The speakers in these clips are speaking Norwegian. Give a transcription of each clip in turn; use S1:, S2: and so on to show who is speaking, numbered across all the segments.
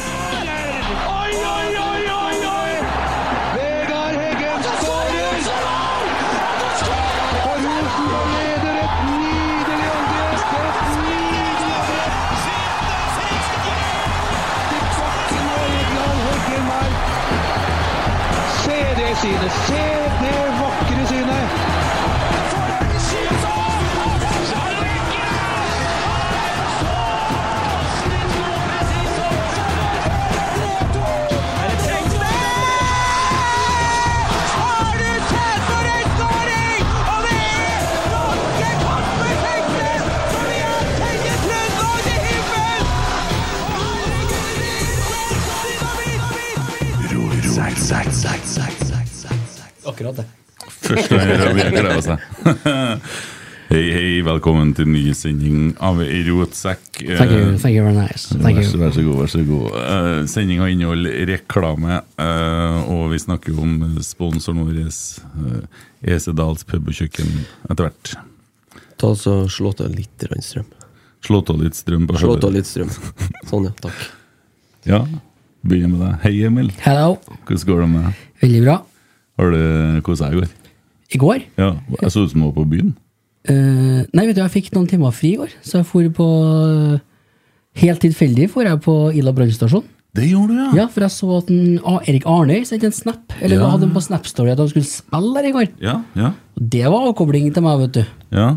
S1: Oi, oi, oi, oi, oi!
S2: Vegard Heggen skårer! Og Rosenborg leder et nydelig angrep! Et nydelig angrep! Til bakken og Egeland Heggen her. Se det synet! Se det vakre synet!
S3: Akkurat det.
S4: Første gang jeg rødbjørn gleder seg. Hei, hei, velkommen til ny sending av Rotsekk.
S3: Thank you, Eh, thank you very nice. Thank
S4: Vær så,
S3: you.
S4: vær så god, vær så god. Eh, Sendinga inneholder reklame, eh, og vi snakker jo om sponsoren vår, eh, Esedals pub og kjøkken, etter hvert.
S5: Ta så Slå til litt grann strøm.
S4: Slå av litt strøm på
S5: Slå
S4: puben.
S5: til litt strøm. Sånn, ja. Takk.
S4: Ja, begynner med deg. Hei, Emil.
S3: Hello.
S4: Hvordan går det med deg?
S3: Veldig bra.
S4: Har du kosa deg i går?
S3: I går
S4: Ja, jeg så ut som du var på byen.
S3: eh, Nei, vet du, jeg fikk noen timer fri i går, så jeg for på eh, Helt tilfeldig for jeg på Ila brannstasjon.
S4: Det gjorde du,
S3: Ja, for jeg så at en, ah, Erik Arnøy sendte en snap. Eller
S4: Ja.
S3: hadde han på Snap-story at han skulle spille der i går.
S4: Ja, ja,
S3: Og det var avkobling til meg, vet du.
S4: ja.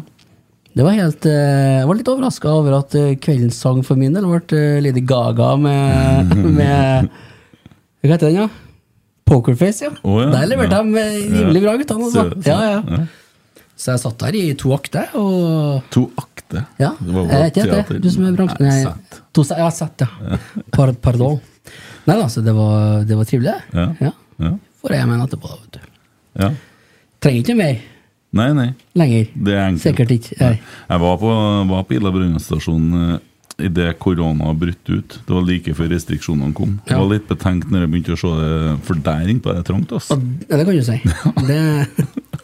S3: Det var helt, eh, jeg var litt overraska over at eh, kveldens sang for min del ble eh, Lady Gaga med, med Hva heter den, da? Ja? Pokerface, ja.
S4: Å, ja,
S3: Der leverte
S4: ja.
S3: de eh, rimelig bra, guttene. Altså.
S4: Så- så-
S3: Ja, ja. Så jeg satt der i to akter, og
S4: To akter.
S3: ja.
S4: Det var
S3: Jeg vet ikke,
S4: vårt
S3: jeg
S4: teater.
S3: vet det. Du som er bransjen
S4: Nei,
S3: Nei,
S4: sant.
S3: to se- Ja, sett, ja. Par, pardon. Nei da, så det var, det var trivelig.
S4: Ja. Ja.
S3: Får jeg hjem igjen etterpå, da, vet du.
S4: ja.
S3: Trenger ikke mer
S4: Nei, nei.
S3: lenger.
S4: Det er enkelt.
S3: Sikkert ikke. Nei.
S4: Jeg var på, var på Ila brannstasjon idet korona brøt ut. Det var like før restriksjonene kom. Jeg
S3: Ja.
S4: var litt betenkt når jeg begynte å se det, for der inne på det er trangt. ass.
S3: Ja, det kan du si. Det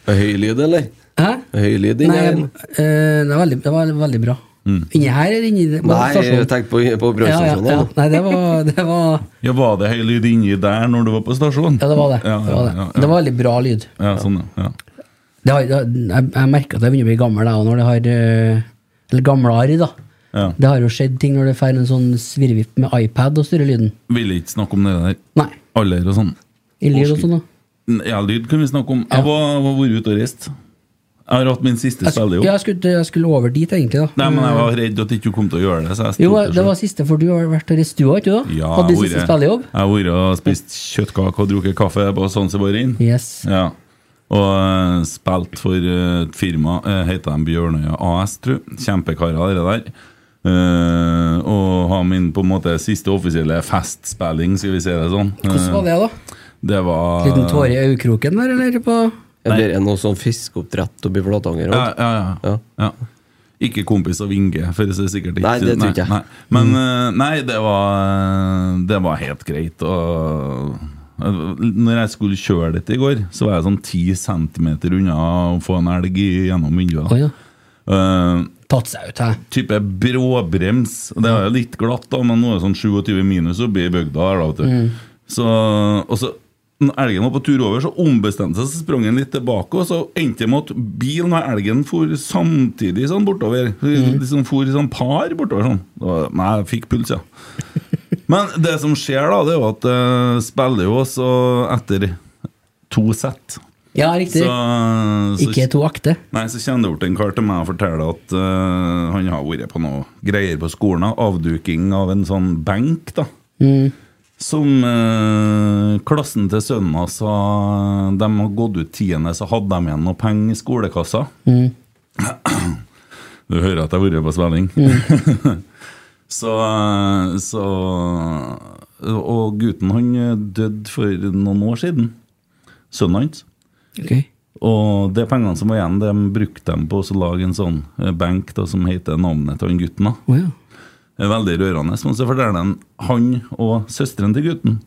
S5: Er høy lyd, eller?
S3: Hæ?
S5: Er høy lyd inni
S3: Nei,
S5: her?
S3: eh, det, var veldig, det var veldig bra.
S4: Mm.
S3: Inni her eller inni på
S5: Nei,
S3: stasjonen?
S5: jeg tenkte på, på
S3: ja, ja,
S5: brannstasjonen.
S3: ja.
S5: Ja,
S3: Nei, det var det. Var,
S4: Ja, Var det høy lyd inni der når du var på stasjonen?
S3: ja, det var det.
S4: Ja,
S3: det, var det.
S4: ja, ja.
S3: det var veldig bra lyd.
S4: ja, sånn, ja. ja.
S3: Det har, det, jeg jeg merker at jeg begynner å bli gammel, jeg òg, når det har eh, Eller gamlere, da.
S4: Ja.
S3: Det har jo skjedd ting når det får en sånn svirrevipp med iPad og styrer lyden.
S4: Ville ikke snakke om det der.
S3: Nei.
S4: Alder og sånn.
S3: I lyd og sånn, da.
S4: Ja, lyd kan vi snakke om. Jeg var, var vært ute og reist. Jeg har hatt min siste
S3: Jeg,
S4: spille,
S3: sk-
S4: jo.
S3: ja, jeg, skulle, jeg skulle over dit, egentlig. da
S4: Nei, men jeg var redd at du ikke kom til å gjøre det. Så jeg
S3: Jo,
S4: stolte selv.
S3: det var siste, for du har vært her i stua, ikke du? da?
S4: Ja,
S3: Hadde din
S4: jeg
S3: siste
S4: har vært-
S3: spillejobb?
S4: Jeg har vært og spist kjøttkake og drukket kaffe på Zanzibar Inn.
S3: Yes.
S4: Ja. Og eh, spilt for eh, et firma, eh, heter de Bjørnøya AS, tror jeg. Kjempekarer, dere der. Eh, og har min på en måte siste offisielle festspilling, skal vi si det sånn.
S3: Hvordan var det, da?
S4: Eh, det var
S3: Liten tåre i øyekroken der, eller? på...
S5: ja. Blir det noe sånn fiskeoppdrett oppi Flatanger?
S4: Ja,
S5: Ja.
S4: ja, ja.
S5: Ja.
S4: ja. Ikke kompis av Inge, for det er sikkert ikke
S5: Nei, det tror ikke jeg.
S4: Nei, nei. Men eh, nei, det var, eh, det var helt greit. Og eh, når jeg skulle kjøre dette i går, så var jeg sånn ti centimeter unna å få en elg i- gjennom vinduet.
S3: Oi, ja.
S4: Eh,
S3: Tatt seg ut, hæ?
S4: type bråbrems. Det er jo litt glatt, da, men nå er det sånn 27 minus oppe i bygda. her, da, vet du. Så, og så, når elgen var på tur over, så ombestemte seg, så sprang han litt tilbake. Og så endte det med at bilen og elgen for samtidig sånn bortover. De som for i sånn par bortover sånn. Det var- Nei, jeg fikk puls, ja. Men det som skjer, da, det er jo at uh, spiller jo også etter to sett.
S3: Ja, riktig.
S4: Så, så
S3: ikke to akter.
S4: Nei, så kjenner bort en kar til meg og forteller at eh, han har vært på noe greier på skolen. da. Avduking av en sånn benk, da. Som eh, klassen til sønnen hans har De har gått ut tiende, så hadde de igjen noe penger i skolekassa. Du hører at jeg har vært på spilling. så, eh, så Og gutten han eh, døde for noen år siden. Sønnen hans.
S3: Ok.
S4: Og de pengene som var igjen, de brukte de på å lage en sånn eh, benk da, som heter navnet til han gutten. da.
S3: Å ja.
S4: Det er Veldig rørende. Men så forteller han han og søsteren til gutten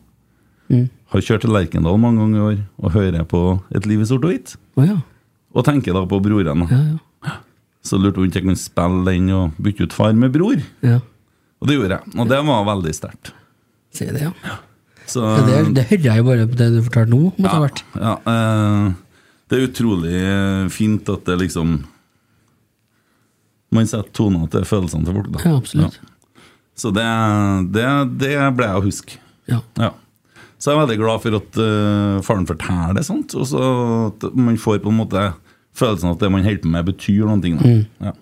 S3: Mm.
S4: har kjørt til Lerkendal mange ganger i år og hører på Et liv i sort og hvitt.
S3: Å ja.
S4: Og tenker da på broren. da.
S3: Ja, ja.
S4: Så lurte hun om ikke jeg kunne spille den og bytte ut far med bror.
S3: ja.
S4: Og det gjorde jeg. Og det var veldig sterkt.
S3: Si det, ja.
S4: Så
S3: ja det, det hører jeg jo bare på det du fortalte nå. om etter hvert.
S4: ja, eh, det er utrolig eh, fint at det liksom Man setter toner til følelsene til folk, da.
S3: Ja, absolutt.
S4: Ja. Så det, det, det ble jeg å huske.
S3: Ja.
S4: Ja. Så jeg er veldig glad for at eh, faren forteller det, sant? og så at man får på en måte følelsen av at det man holder på med, betyr noen ting. Da.
S3: Mm.
S4: Ja.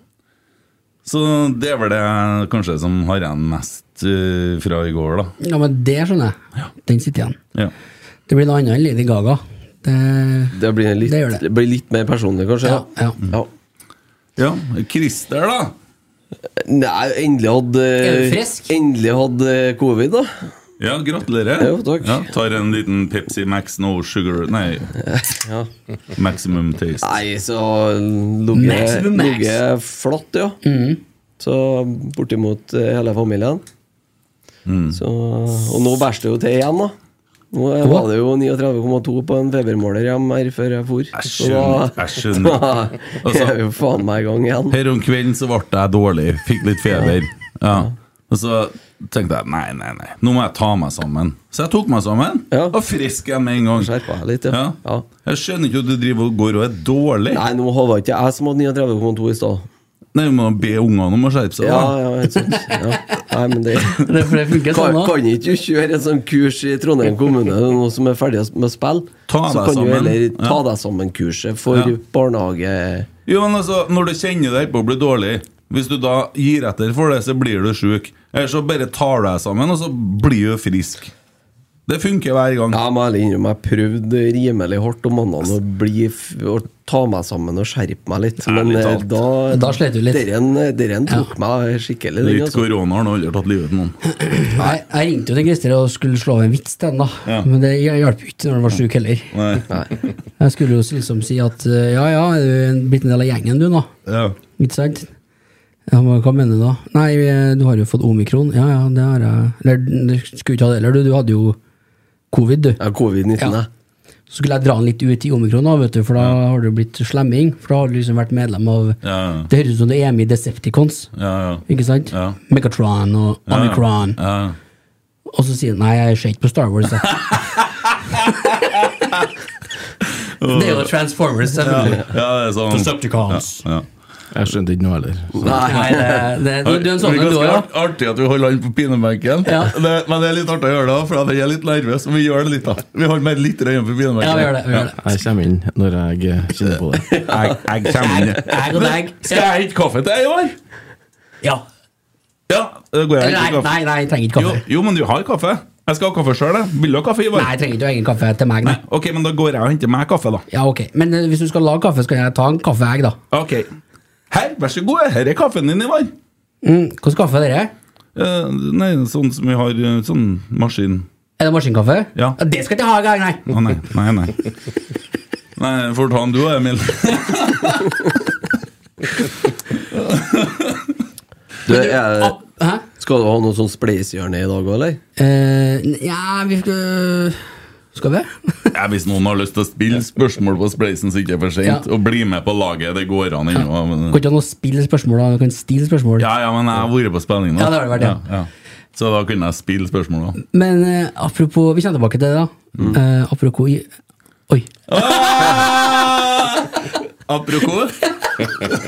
S4: Så det er vel det jeg kanskje som har igjen mest eh, fra i går, da.
S3: ja, men det skjønner jeg. Den sitter igjen.
S4: Ja.
S3: Det blir noe annet enn Lady Gaga. Det,
S5: Det blir litt,
S3: Det gjør det.
S5: det blir litt mer personlig, kanskje.
S3: ja, ja.
S5: Ja.
S4: ja. Christer, da!
S5: Nei, endelig hadde
S3: Er du frisk?
S5: Endelig hadde covid, da.
S4: Ja, gratulerer.
S5: Jo, takk.
S4: Ja, tar en liten Pepsi Max No Sugar Nei,
S5: Ja.
S4: Maximum Taste.
S5: Nei, så lå jeg
S3: Maximum max. Mm.
S5: lå jeg flatt, ja. Så bortimot eh, hele familien.
S4: Mm.
S5: Så, og nå bæsjer det jo til igjen, da. Nå eh, var det jo 39,2 på en febermåler hjemme her før jeg for.
S4: Jeg
S5: Så da-
S4: skjønner. Jeg skjønner. Altså-
S5: da er vi jo faen meg i gang igjen.
S4: Her om kvelden så ble jeg dårlig, fikk litt feber. Ja. Og så tenkte jeg nei, nei, nei, nå må jeg ta meg sammen. Så jeg tok meg sammen,
S5: Ja.
S4: og frisk jeg med en gang.
S5: Skjerpa jeg litt, ja.
S4: Ja.
S5: ja.
S4: Jeg skjønner ikke at du driver og går og er dårlig.
S5: Nei, nå var det ikke jeg som hadde 39,2 i stad.
S4: Nei, Du må be ungene om å skjerpe seg.
S5: Ja,
S4: da
S5: ja, helt sant. Ja. Nei, men det
S3: Det, for det funker
S5: kan,
S3: sånn òg.
S5: kan ikke du kjøre en sånn kurs i Trondheim kommune nå som er ferdig med spill?
S4: Ta
S5: så
S4: deg
S5: kan
S4: sammen.
S5: du heller ta
S4: Ja.
S5: deg sammen-kurset for
S4: Ja.
S5: barnehage...
S4: Jo, men altså, Når du kjenner deg på å bli dårlig, hvis du da gir etter for det, så blir du sjuk. Eller så bare tar du deg sammen, og så blir du frisk. Det funker hver gang.
S5: Jeg må ærlig innrømme, jeg prøvde rimelig hardt om morgenen å, bli, f- å ta meg sammen og skjerpe meg litt. Men
S4: Ærlig
S5: eh,
S4: talt.
S5: da,
S3: Da slet du litt.
S5: Den tok meg skikkelig. Den,
S4: Litt
S5: altså.
S4: korona har nå aldri tatt livet av noen.
S3: Nei, jeg ringte jo til Christer og skulle slå av en vits til ham, da.
S4: Ja.
S3: Men det hj- hjalp jo ikke når han var sjuk heller.
S4: Nei.
S5: Nei.
S3: Jeg skulle jo liksom si at eh, ja ja, er du en- blitt en del av gjengen du nå?
S4: Ja.
S3: Ikke sant? Ja, men Hva mener du da? Nei, eh, du har jo fått omikron. Ja ja, det har jeg. Eller du skulle ikke ha det heller, du. Du hadde jo covid, du.
S5: Ja, Covid-19,
S3: Ja.
S5: ja.
S3: Så skulle jeg dra den litt ut i omikron, da, vet du, for da har du blitt slemming. For da har du liksom vært medlem av
S4: Ja, ja.
S3: Det høres ut som du er med i Decepticons,
S4: ja, ja.
S3: ikke sant?
S4: Ja.
S3: Megatron og Omicron.
S4: Ja.
S3: Og så sier han nei, jeg ser ikke på Star Wars. Jeg. det er jo Transformers, selvfølgelig.
S4: ja, det er sånn.
S3: Decepticons.
S4: Ja.
S6: Jeg skjønte ikke noe heller. Så.
S3: Nei, det, det, du, du er en
S4: Det
S3: sånn en,
S4: er
S3: du
S4: ganske
S3: òg, ja.
S4: art- artig at vi holder an på pinebenken,
S3: Ja.
S4: Det- men det er litt artig å gjøre det, for jeg er litt nervøs. Men vi gjør det litt, da. Vi holder meg litt øye på pinebenken.
S3: Ja, vi gjør det. Vi gjør det.
S6: Jeg kommer inn når jeg eh, kjenner på det.
S4: Jeg, jeg kommer inn.
S3: Jeg og deg.
S4: Skal jeg hente kaffe til deg i år?
S3: Ja.
S4: Ja, da går jeg og
S3: Nei,
S4: henter kaffe.
S3: nei, nei, jeg trenger ikke
S4: Jo,
S3: kaffe.
S4: jo, men du har kaffe. Jeg skal ha kaffe sjøl. Vil du ha kaffe,
S3: Nei,
S4: Ivar?
S3: jeg trenger ikke egen kaffe til meg. Nei.
S4: Ok, men da går jeg og henter meg kaffe, da.
S3: Ja, ok. Men eh, hvis du skal lage kaffe, skal jeg ta en kaffe, jeg, da.
S4: Ok. Her, vær så god. Her er kaffen din, Ivar.
S3: Mm, Hvordan kaffe er det?
S4: Eh, nei, sånn som vi har eh, sånn maskin
S3: Er det maskinkaffe?
S4: Ja. Mm.
S3: Det skal ikke jeg ha engang, nei.
S4: Å nei, nei, nei. Nei, får ta den du òg, Emil.
S5: Du,
S4: Eh.
S5: er,
S3: Ah, Hæ?
S5: skal du ha noe sånn spleisehjørne i dag òg, eller?
S3: Eh, ja, vi skal Skal vi?
S4: Ja, hvis noen har lyst til å spille spørsmål på Spleisen, så ikke det er for sent.
S3: Ja.
S4: Og bli med på laget. Det går an ennå.
S3: Kan
S4: men-
S3: ikke ha noe spill spørsmål, da. Du kan stille spørsmål.
S4: Ja, ja, men jeg har vært på spilling nå.
S3: Ja, det har det vært, ja.
S4: Så da kunne jeg spille spørsmål, da.
S3: Men eh, apropos Vi kommer tilbake til det, da.
S4: Mm.
S3: Eh, apropos i- Oi.
S4: Ah! Apropos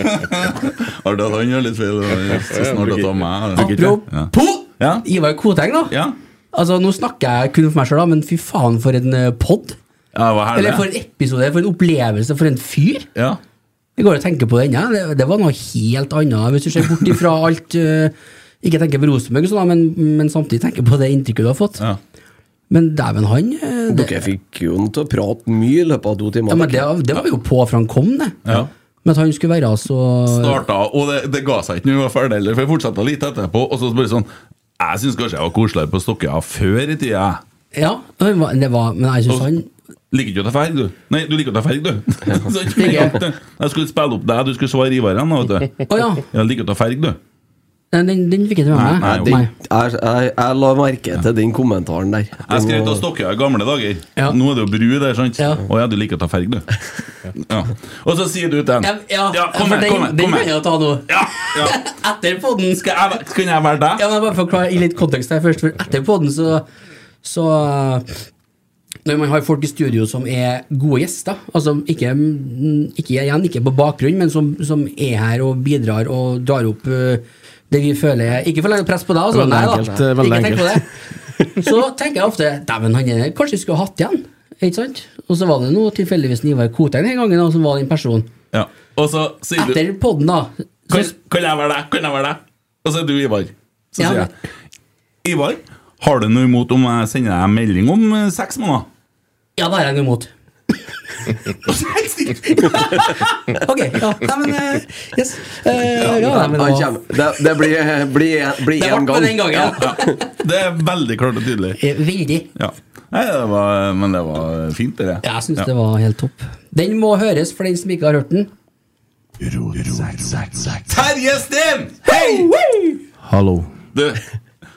S4: Arda, han gjør litt feil. og jeg skal Snart å ta meg. Ja.
S3: Apropos
S4: Ja.
S3: Ivar Koteng, da.
S4: ja.
S3: Altså, Nå snakker jeg kun for meg sjøl, men fy faen, for en pod.
S4: Ja, det var herlig.
S3: Eller for en episode, for en opplevelse, for en fyr.
S4: Ja.
S3: Jeg går og tenker på den, ja. det, det var noe helt annet. Hvis du ser bort ifra alt eh, Ikke tenker på Rosenborg, og sånn, da, men, men samtidig tenker på det inntrykket du har fått.
S4: Ja.
S3: Men dæven, han eh, det,
S5: Dere fikk jo han til å prate mye i løpet av to
S3: ja,
S5: timer.
S3: men det, det var jo på fra han kom, det.
S4: Ja.
S3: Men at han skulle være så
S4: starta, og det, det ga seg ikke når vi var ferdig heller, for jeg fortsatte litt etterpå. Og så bare sånn Jeg syns kanskje jeg var koseligere på Stokkøya før i tida.
S3: Ja, han var- det var, men jeg syns han
S4: Liker ikke å ta ferg, du. Nei, du liker å ta ferg, du. Så ikke med
S3: Liker.
S4: at, eh, jeg skulle spille opp deg, du skulle svare Ivar igjen, da, vet du.
S3: Å ja.
S4: Jeg liker å ta ferg, du.
S3: Nei, den, den fikk jeg ikke med
S4: Nei,
S3: meg.
S4: nei,
S5: Jeg, jeg, jeg, jeg la merke til den kommentaren der.
S4: Jeg skrev til Stokkøya i gamle dager.
S3: Ja.
S4: Nå er det jo bru der, sant?
S3: Ja.
S4: Å ja, du liker å ta ferg, du. Ja. Og så sier du til den.
S3: Ja, ja,
S4: kom
S3: for
S4: her,
S3: den,
S4: kom her.
S3: den
S4: Kom
S3: kan jeg
S4: her.
S3: jo ta nå.
S4: Ja, ja.
S3: Etter podden skal jeg
S4: Jeg, vet- kan jeg være deg?
S3: Ja, men jeg bare forklare i litt kontekst her først. For etter podden så, så eh, Når man har folk i studio som er gode gjester, altså ikke, mm, ikke igjen, ikke på bakgrunn, men som, som er her og bidrar og drar opp eh, det vi føler Ikke for å legge press på deg, altså.
S7: Veldig
S3: Nei da.
S7: enkelt, eh, veldig
S3: ikke tenk på det. Så tenker jeg ofte Dæven, han er Kanskje vi skulle hatt igjen? Ikke sant? Og så var det nå tilfeldigvis Ivar Koteng den gangen da, som var den personen.
S4: Ja. Og så sier du
S3: Etter podden, da. Så,
S4: kan, kan jeg være deg? Kan jeg være deg? Og så er du Ivar. Så
S3: Ja,
S4: sier jeg Ivar, har du noe imot om jeg sender deg en melding om eh, seks måneder?
S3: ja, da er jeg noe imot.
S4: Og så er jeg stille.
S3: Ok, ja, nei, men eh, Yes. Eh, ja, nei, men,
S5: Han
S3: da-
S5: kommer. Det, det blir, blir, blir
S3: Det ble
S5: en gang.
S3: med den gangen. Ja.
S4: Det er veldig klart og tydelig.
S3: Eh, Veldig.
S4: Ja. Nei, det var, men det var fint, det.
S3: Jeg syns det var helt topp. Den må høres for den som ikke har hørt den.
S4: Terje Steen! Hei!
S7: Hallo.
S4: Du,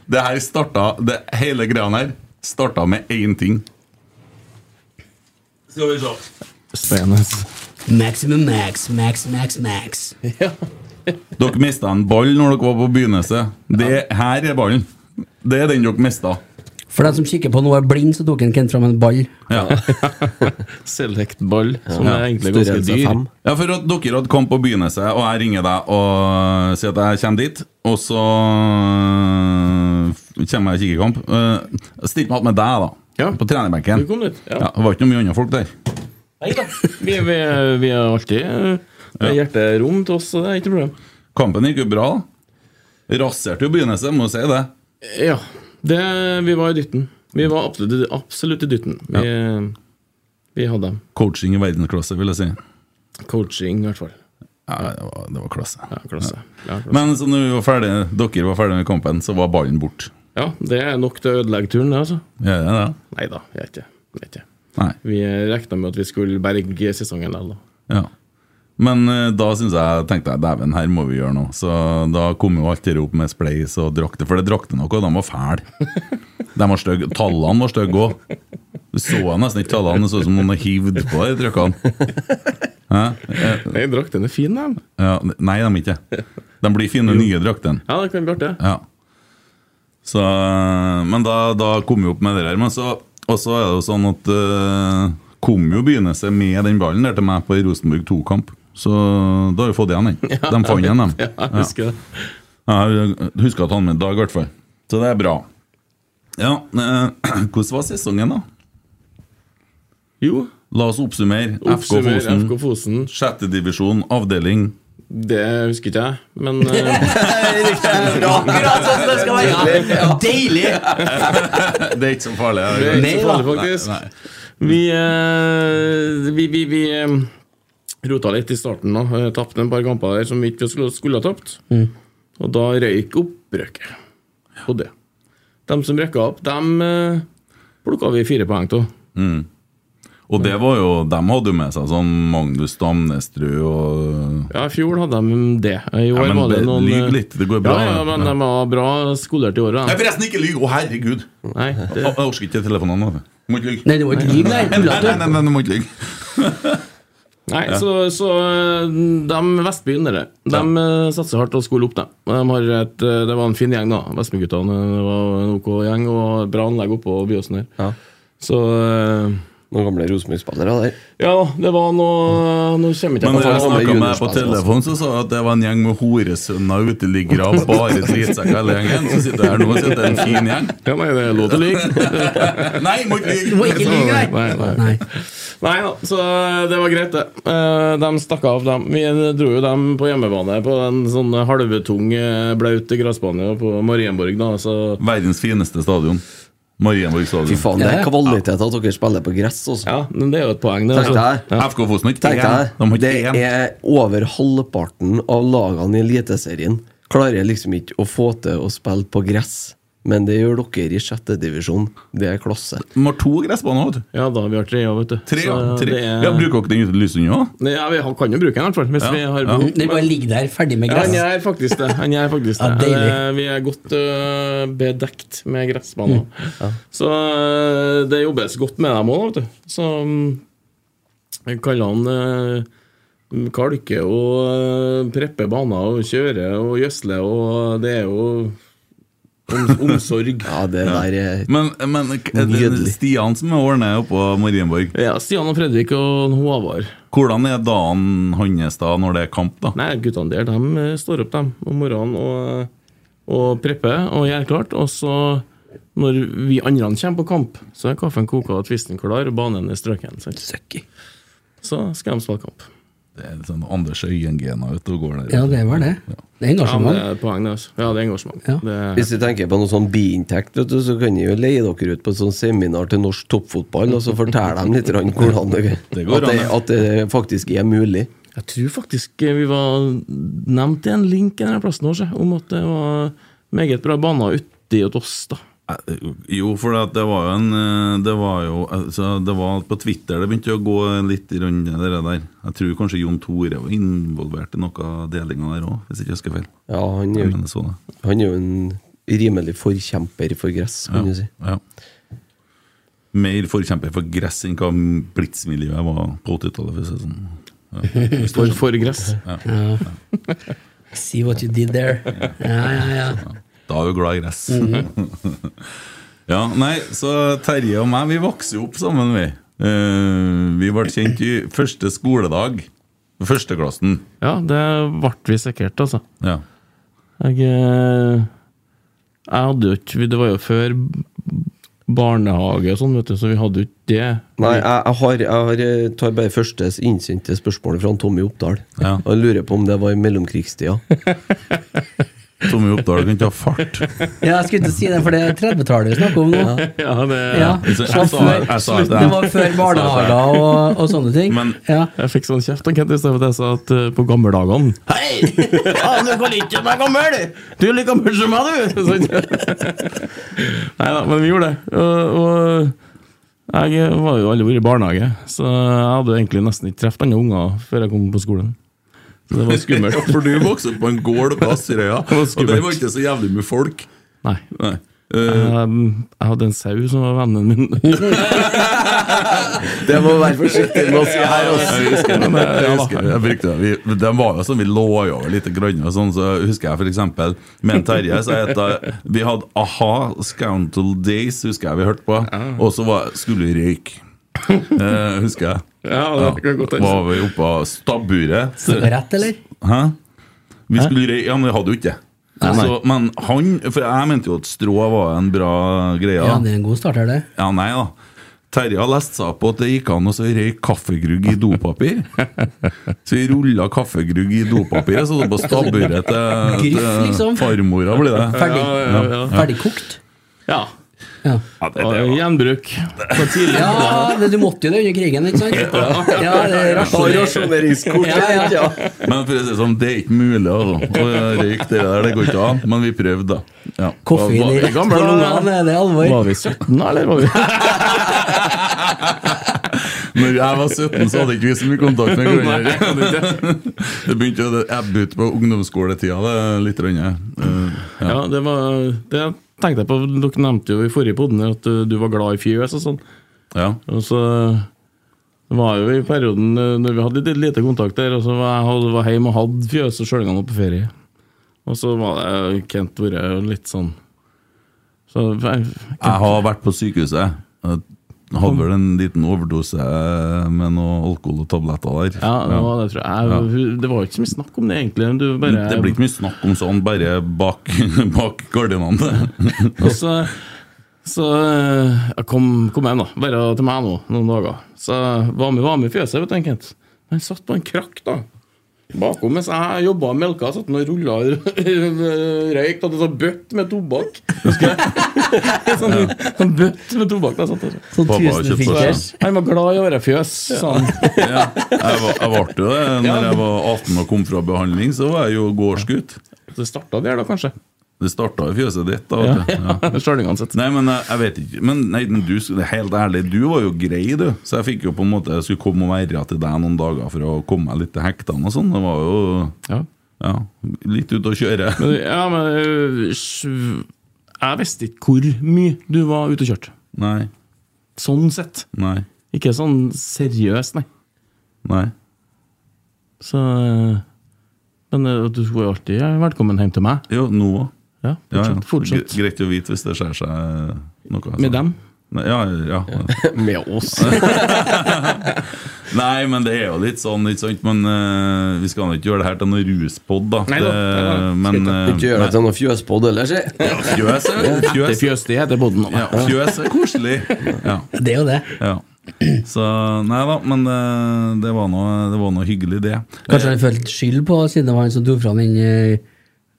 S4: det her starta det, Hele greia her starta med én ting. Skal vi se.
S7: Stenes.
S3: Maximum max, max, max, max.
S4: Dere mista en ball når dere var på begynnelse. Det her er ballen. Det er den dere mista.
S3: For den som kikker på nå er blind, så tok en Kent fram en ball.
S4: Ja.
S7: Select ball, som er egentlig ganske
S5: Størrelse
S7: dyr.
S5: fem.
S4: ja, for at dere hadde kamp på begynnelse, og jeg ringer deg og sier at jeg kommer dit, og så kommer jeg i kikkerkamp. Eh, Stilt meg opp med deg, da.
S7: Ja.
S4: På trenerbenken.
S7: Du kom dit, ja.
S4: Det var ikke noe mye andre folk der.
S7: Vi, vi, vi er alltid eh, det er hjerterom til oss, så det er ikke noe problem.
S4: Kampen gikk jo bra. da. Raserte jo begynnelse, må jo si det.
S7: Ja. Det, vi var i dytten. Vi var absolutt, absolutt i dytten. Vi, vi hadde dem.
S4: Coaching i verdensklasse, vil jeg si.
S7: Coaching, i hvert fall.
S4: Ja, det var, det var klasse.
S7: Ja, klasse. Ja, klasse.
S4: Men så når vi var ferdige, dere var ferdige med kampen, så var ballen borte.
S7: ja, det er nok til å ødelegge turen, det, altså.
S4: Ja, det er det.
S7: Nei da, vi er ikke vi er ikke.
S4: Nei.
S7: Vi regna med at vi skulle berge sesongen likevel, da.
S4: Ja. Men eh, da synes jeg, tenkte jeg dæven, her må vi gjøre noe. Så da kom jo alt det opp med Spleis og drakter, for det drakter noe, og de var fæle. De var stygge. Tallene var stygge òg. Du så nesten ikke tallene, det så ut som noen hadde hivd på de trykkene.
S7: Nei, drakten er fin, dem.
S4: Ja, nei, de er ikke De blir fine, nye draktene.
S7: Ja, det kan bli artig.
S4: Ja. Så, eh, men da, da kom vi opp med det der. Men så, og så er det jo sånn at eh, kom jo begynnelse med den ballen der til meg på en Rosenborg 2-kamp. Så da har vi fått igjen den. De fant igjen, dem.
S7: Ja, jeg husker det.
S4: Jeg husker at han med Dag, i hvert fall. Så det er bra. Ja, eh, hvordan var sesongen, da?
S7: Jo,
S4: La oss oppsummere. FK
S7: oppsummer
S4: Fosen,
S7: FK Fosen.
S4: sjette divisjon, avdeling.
S7: Det husker ikke jeg, men eh,
S3: Akkurat sånn som det skal være! Ja. Deilig!
S4: Det er ikke så farlig.
S7: det er
S4: Nei,
S7: ikke så farlig,
S4: nei.
S7: faktisk. Vi, eh, vi, vi, vi eh, rota litt i starten, da. Eh, Tapte en par kamper der som vi ikke skulle, skulle ha tapt. Og da røyk opprøket. Og det. De som røkka opp, dem eh, plukka vi fire poeng av.
S4: Og det var jo, de hadde jo med seg sånn Magnus Damnestrø og
S7: Ja, i fjor hadde de det. I år
S4: Ja, men
S7: var det
S4: be-
S7: noen eh,
S4: lyg litt, det går bra,
S7: Ja, ja
S4: det.
S7: men de var bra skolert i året.
S4: Nei,
S7: da.
S4: forresten, ikke lyv! Å, herregud!
S7: Nei, det,
S4: Jeg orker ikke telefonen nå. vet du. Du Må ikke lyve.
S3: Nei, det var ikke liv, nei.
S4: Nei, nei, nei, nei, du må ikke lyve.
S7: nei så, så eh, de Vestbyen, dere, de eh, satser hardt og skoler opp, dem. De har et, eh, det var en fin gjeng, da. Vestbyguttene eh, var en ok gjeng og bra anlegg oppå Byåsen her.
S5: Ja.
S7: Så eh,
S5: Noen gamle Rosenborg-spillere der.
S7: ja da, det var noe Nå kommer ikke
S4: Men da
S7: jeg på
S4: jeg
S7: det.
S4: snakka med deg på telefon, så sa jeg at det var en gjeng med horesønner, uteliggere, bare drittsekker hele gjengen. Så sitter jeg her nå og sier at det er en fin gjeng.
S7: Ja, nei, det er lov til å lyve.
S4: Nei, må ikke
S3: Du må
S4: lyve!
S3: ikke lyve, nei!
S7: Nei, nei.
S3: Nei.
S7: Nei da, så det var greit, det. Eh, De stakk av, dem. Vi eh, dro jo dem på hjemmebane på en sånn halvtung, eh, blaut gressbane på Marienborg, da. Så
S4: Verdens fineste stadion. Marienborg
S5: Fy
S4: stadion.
S5: faen, det
S3: Ja, ja.
S5: er kvalitet at dere spiller på gress, altså.
S7: ja, men det er jo et poeng, det.
S5: Tenk
S7: Altså.
S5: deg.
S4: FK Fosen har ikke
S5: Tenk
S4: én. De
S5: deg,
S4: har
S5: det
S4: ikke én.
S5: er over halvparten av lagene i Eliteserien klarer liksom ikke å få til å spille på gress men det gjør dere i sjette divisjon. Det er klasse.
S4: De har to gressbaner. vet du.
S7: Ja, da vi har tre, ja, vet du.
S4: Tre, ja.
S7: Så
S4: tre.
S7: det er-
S4: Ja, Bruker dere den uten Lysund òg?
S7: Nei, ja, vi har- kan jo bruke den, i hvert fall. Hvis
S4: Ja,
S7: vi har
S4: ja.
S7: behov.
S3: Den bare ligger der, ferdig med
S7: Ja,
S3: gress.
S7: han gjør faktisk det. Han gjør faktisk
S3: Ja,
S7: det.
S3: deilig.
S7: Eh, Vi er godt eh, bedekt med gressbaner.
S3: Mm.
S7: Så eh, det jobbes godt med dem òg, vet du. Så mm, jeg kaller han eh, kalke og eh, preppe baner og kjøre og gjødsle, og det er jo om, omsorg.
S5: Ja, det der er
S4: Men, men k- er det
S5: Nydelig.
S4: Stian som ordner oppå Marienborg,
S7: Ja, Stian og Fredrik og Håvard.
S4: hvordan er dagen hans da når det er kamp? da?
S7: Nei, guttene der, de eh, står opp dem om morgenen og, og prepper og gjør klart. Og så, når vi andre kommer på kamp, så er kaffen koka og tvisten klar, og banen er strøken. sant?
S3: Søkki.
S7: Så skal de spille kamp.
S4: Det er sånn Anders Øyen-gener ute og går der.
S3: Ja, det var det. Det er
S7: Ja, men det
S3: engasjement.
S7: er et poeng, det. altså. Ja, det er engasjement.
S3: Ja.
S7: Det,
S5: Hvis du tenker på noe sånn biinntekt, vet du, så kan de jo leie dere ut på et sånt seminar til norsk toppfotball, og så fortelle dem litt grann hvordan det,
S4: Det går
S5: at,
S4: an,
S5: det,
S4: ja.
S5: at det faktisk er mulig.
S7: jeg tror faktisk eh, vi var nevnt i en link en eller annen plass nå, se, om at det var meget bra baner uti hos oss, da.
S4: Eh, Jo, for at det var jo en eh, Det var jo altså, Det var på Twitter det begynte å gå litt i rundt det der. Jeg tror kanskje Jon Tore var involvert i noe av delinga der òg, hvis ikke jeg husker feil.
S5: Ja, han er
S4: Jeg
S5: jo,
S4: mener sånn, ja.
S5: han er jo en rimelig forkjemper for gress, kan du si.
S4: Ja. Mer forkjemper for gress enn hva blitsmiljøet var på 80-tallet. for å si det sånn.
S7: For, for gress.
S3: See what you did there. Ja, ja, ja.
S4: Da er du glad i gress. ja, nei, så Terje og meg, vi vokste jo opp sammen, vi. Eh, vi ble kjent i første skoledag. Førsteklassen.
S7: Ja, det ble vi sikkert, altså.
S4: Ja.
S7: Jeg, eh, jeg hadde jo ikke Det var jo før barnehage og sånn, vet du, så vi hadde jo ikke det.
S5: Nei, jeg, jeg, har, jeg har, eh, tar bare første innsendte spørsmålet fra han Tommy Oppdal.
S4: Ja.
S5: Og jeg lurer på om det var i mellomkrigstida.
S4: Tommy Oppdal kan ikke ha fart.
S3: ja jeg skulle ikke si det, for det er 30-tallet vi snakker om nå.
S7: Ja, det,
S3: Ja.
S4: Jeg sa-
S3: Det var
S4: jeg sa- jeg sa
S3: før-
S4: det.
S3: det var før barnehager og, og sånne ting.
S4: Men-
S3: Ja.
S7: Jeg fikk sånn kjeft av Kent i stedet for at jeg sa at eh, på gammeldagene Hei! Ja, du kan ikke være gammel! Du er like gammel som meg, du! Sånn. Nei da, men vi gjorde det. Og, og jeg var jo aldri vært i barnehage, så jeg hadde jo egentlig nesten ikke truffet andre unger før jeg kom på skolen. Så det var
S4: Ja,
S7: skummelt.
S4: for du vokste opp på en gård på Asterøya,
S7: var
S4: og
S7: skummelt.
S4: der var ikke så jævlig mye folk.
S7: Nei.
S4: Nei. Eh,
S7: Um, jeg hadde en sau som var vennen min.
S5: Det må være forsiktig med å si her, altså.
S4: jeg husker, det, jeg husker, det, jeg brukte det. Vi, de var jo sånn, vi lå jo over litt grann og sånn, så husker jeg for eksempel med en Terje, så het det Vi hadde A-ha, Scoundrel Days, husker jeg vi hørte på, og så var, skulle vi røyke. Eh, husker jeg.
S7: Ja, det kan godt hende.
S4: var vi oppe av stabburet. så-
S3: Rett, eller?
S4: Hæ? Vi skulle røy- Ja, men vi hadde jo ikke det. Så, men han For jeg mente jo at strå var en bra greie.
S3: Ja,
S4: da.
S3: det er en god start her, det.
S4: Ja, nei da. Terje har lest seg opp på at det gikk an å så røyke kaffegrugg i dopapir. Så vi rulla kaffegrugg i dopapiret, så det på stabburet til,
S3: Gryff,
S4: til
S3: liksom.
S4: farmora blir det.
S3: Ferdig.
S7: Ja, ja, ja.
S3: Ferdig kokt.
S7: Ja.
S3: Ja.
S4: Ja, det,
S7: Og
S4: det, var-
S7: gjenbruk. På tidlig.
S3: Ja, det, du måtte jo det under krigen, ikke sant? Ja, det er
S5: Har
S3: rasjonelt.
S5: rasjoneringskortet,
S3: Ja, ja.
S5: ja.
S4: men for å si det sånn, det er ikke mulig altså. å røyke det der. Det går ikke an. Men vi prøvde, da. Ja.
S3: Koffein i
S7: Hva- hva-
S3: rett
S7: gamle
S3: på
S7: dager?
S3: lungene, det er alvor.
S7: Var vi 17 da, eller? Var vi?
S4: Når jeg var 17, så hadde ikke vi så mye kontakt med hverandre. Det begynte å ebbe ut på ungdomsskoletida det litt. grann, ja. Eh,
S7: Ja, det var Det tenkte jeg på. Dere nevnte jo i forrige podden at uh, du var glad i fjøs og sånn.
S4: Ja.
S7: Og så eh, var jo i perioden uh, når vi hadde litt lite kontakt der, og så var jeg hadde- var hjemme og hadde fjøs og sjølgene oppe på ferie. Og så var det Kent vært litt sånn Så jeg-
S4: Jeg har vært på sykehuset. Jeg hadde vel en liten overdose med noe alkohol og tabletter der.
S7: Ja, det var det, tror jeg. jeg. hun- Det var jo ikke så mye snakk om det, egentlig. Du bare,
S4: Det blir ikke mye snakk om sånn, bare bak, bak gardinene.
S7: Og så, så eh, jeg kom, kom hjem, da. Bare til meg nå, noen dager. Så jeg var med, var med i fjøset, vet du, Kent. Han satt på en krakk, da. Bakom mens jeg jobba og melka, satt han og rulla røyk. Hadde sånn bøtt med tobakk. Husker jeg? Sånn, sånn bøtt med tobakk. Da, satt han og-
S3: Sånn
S4: Pappa har kjøpt
S3: tusenfikkers.
S4: seg.
S7: han var glad i å være fjøs, sa han.
S4: Ja, jeg var- jeg ble jo det. Når jeg var 18 og kom fra behandling, så var jeg jo gårdsgutt.
S7: Så det starta der, da, kanskje.
S4: Det starta i fjøset ditt, da. vet du. Ja.
S7: Stjerningene sitt.
S4: Nei, men eh, jeg vet ikke. Men nei, men du, helt ærlig, du var jo grei, du. Så jeg fikk jo på en måte Jeg skulle komme og være til deg noen dager for å komme meg litt til hektene og sånn. Det var jo
S7: Ja.
S4: ja, litt ute å kjøre.
S7: Men, ja, men øh, sj- Jeg visste ikke hvor mye du var ute og kjørte.
S4: Nei,
S7: Sånn sett.
S4: nei,
S7: Ikke sånn seriøst, nei.
S4: nei.
S7: Så øh, Men øh, du var jo alltid velkommen hjem til meg.
S4: Jo, Noah.
S7: Ja,
S4: Ja, ja.
S7: fortsatt. fortsatt.
S4: Gre- Greit å vite hvis det skjer seg noe. altså.
S7: Med dem.
S4: Nei, Ja, ja. ja.
S5: Med oss.
S4: Nei, men det er jo litt sånn, ikke sant. Men eh, vi skal nå ikke gjøre det her til noen ruspod, da.
S7: Nei da, nei da.
S4: Det- men eh,
S5: Ikke gjør det til noe fjøspodd ellers, si.
S4: nei, fjøs er
S7: Det
S4: fjøs.
S7: fjøste jeg, det bodde nå.
S4: Ja, fjøs er koselig. Ja.
S3: Det er jo det.
S4: Ja. Så nei da, men eh, det var noe, det var noe hyggelig, det.
S3: Kanskje han følte skyld på siden det var han som dro fram den eh,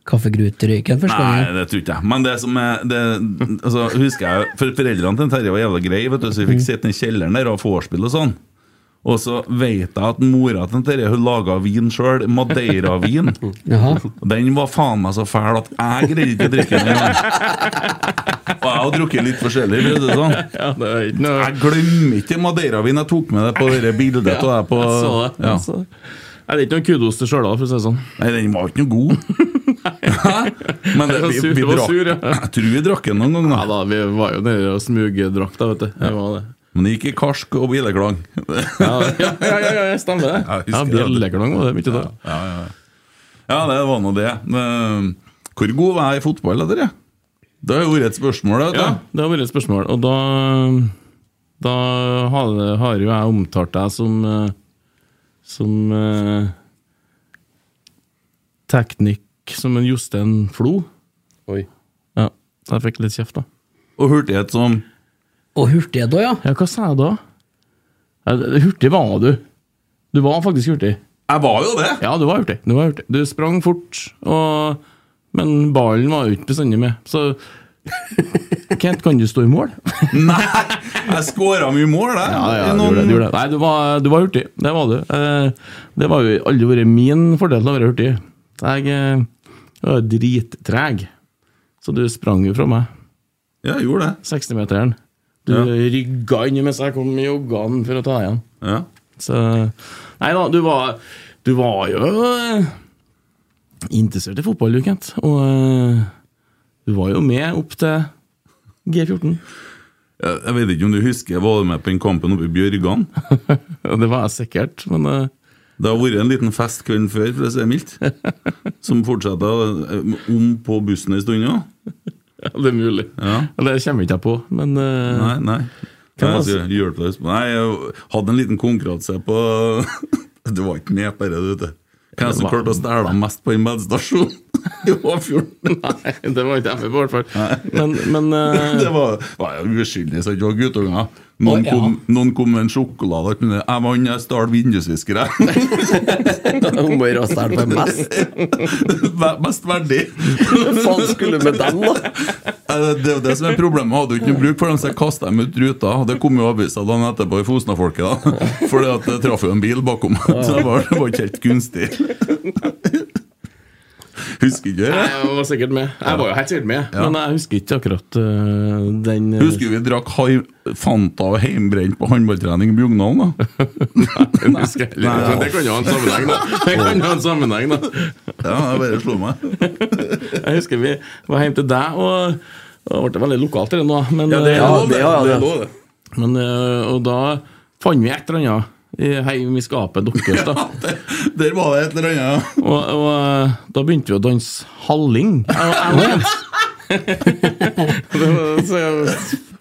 S3: kaffegruterøyken første
S4: Nei,
S3: gangen.
S4: det tror ikke jeg. Men det som er det, altså, husker jeg, for Foreldrene til Terje var jævla greie, vet du, så vi
S7: Mm.
S4: fikk sitte i kjelleren der og ha vorspiel og sånn. Og så vet jeg at mora til Terje hun laga vin sjøl, Madeira-vin.
S3: Jaha.
S4: Den var faen meg så fæl at jeg greide ikke å drikke den. engang. Og jeg har drukket litt forskjellig. for å si det sånn.
S7: Ja, det er ikke noe
S4: Jeg glemmer ikke Madeira-vin jeg tok med deg på det bildet. av deg på,
S7: Jeg så det.
S4: Ja.
S7: Jeg så det. Nei, det er ikke noe kudos til Stjørdal, for å si det sånn.
S4: Nei, den var ikke noe god. Hæ? Men det,
S7: Det var
S4: vi,
S7: sur-
S4: vi
S7: det var
S4: drakk,
S7: sur, ja.
S4: jeg tror vi drakk den noen
S7: Ja,
S4: ganger.
S7: da, vi var jo nede og smugdrakk, da, vet du. Det var det.
S4: Men det gikk i karsk og bjelleklang.
S7: Ja, ja, ja, ja, ja stemmer det.
S4: Jeg husker
S7: Ja, Bjelleklang var det mye da.
S4: Ja, det var nå det. Men, eh, hvor god var jeg i fotball, da, dere? Det har jo vært et spørsmål. Vet du.
S7: Ja, det har vært et spørsmål. Og da, da har, har jo jeg omtalt deg som eh, Som eh, teknikk Som en Jostein Flo.
S5: Oi.
S7: Ja, så jeg fikk litt kjeft, da.
S4: Og hurtighet som
S3: Og hurtig da, ja.
S7: Ja, hva sa jeg da? Ja, det- Hurtig var du. Du var faktisk hurtig.
S4: Jeg var jo det!
S7: Ja, du var hurtig. Du, var hurtig. du sprang fort, og... men ballen var jo ikke bestandig med. Så Kent, kan du stå i mål?
S4: Nei! Jeg skåra mye mål, jeg. I
S7: du
S4: noen-
S7: gjorde det, du gjorde det. Nei, du var, du var hurtig. Det var du. Eh, Det var jo aldri vært min fordel til å være hurtig. Jeg eh, var drittreg, så du sprang jo fra meg.
S4: Ja, jeg gjorde det.
S7: 60-meteren. Du
S4: Ja.
S7: rygga inn mens jeg kom med joggene for å ta igjen.
S4: Ja.
S7: Så Nei da, du var, du var jo eh, interessert i fotball, du, Kent. Og eh, du var jo med opp til G14.
S4: Jeg jeg vet ikke om du husker, var du med på den kampen oppe i Bjørgan?
S7: Og Det var jeg sikkert, men eh,
S4: Det har vært en liten fest kvelden før, for å si det mildt, som fortsetta om på bussen en stund òg.
S7: ja, det er mulig.
S4: Ja.
S7: Eller det kommer ikke jeg på, men eh,
S4: Nei, nei. Nei,
S7: Hvem var
S4: jeg skal hjelpe deg. Nei, jeg hadde en liten konkurranse på Du var ikke med på det, du, vet du. Hvem som
S7: Det var-
S4: klarte å stjele mest på en medstasjon i Åfjorden?
S7: nei, det var ikke jeg med på, i hvert fall. Men, men eh,
S4: Det var, var jo uskyldig, så det var guttunger. Noen,
S3: Å, ja.
S4: kom- noen kom med en sjokolade. og kunne, Jeg vant, jeg stjal vindusviskere.
S5: Hun må raste her på mest.
S4: Ve- Mest verdig.
S5: Hva faen skulle med dem, da?
S4: Eh, Det er jo det som er problemet. Hadde jo ikke noe bruk for dem, så jeg kastet dem ut ruta. Det kom jo avisa dagen etterpå i Fosna-folket, da. Fordi at det traff jo en bil bakom. Så det var, det var ikke helt gunstig. Husker ikke det?
S7: jeg var sikkert med. Jeg var jo helt sikkert med, men jeg husker ikke akkurat eh, den eh,
S4: Husker vi drakk hai- Fanta og heimbrent på håndballtrening i Bjugnalen, da?
S7: Jeg husker heller ikke,
S4: Nei.
S7: men Det kan jo ha en sammenheng, da. Det kan jo ha en sammenheng, da.
S4: Ja, jeg bare slo meg.
S7: Jeg husker vi var hjemme til deg, og og det ble veldig lokalt til det nå. Men,
S5: er
S7: eh,
S5: lov, det, ja, det.
S4: lov, det.
S7: men, eh, og da fant vi et eller annet i- hjemme i skapet deres. Da.
S4: Der- Der var det et eller annet.
S7: Og, og eh, da begynte vi å danse halling. Jeg og- jeg og Jens. det var så,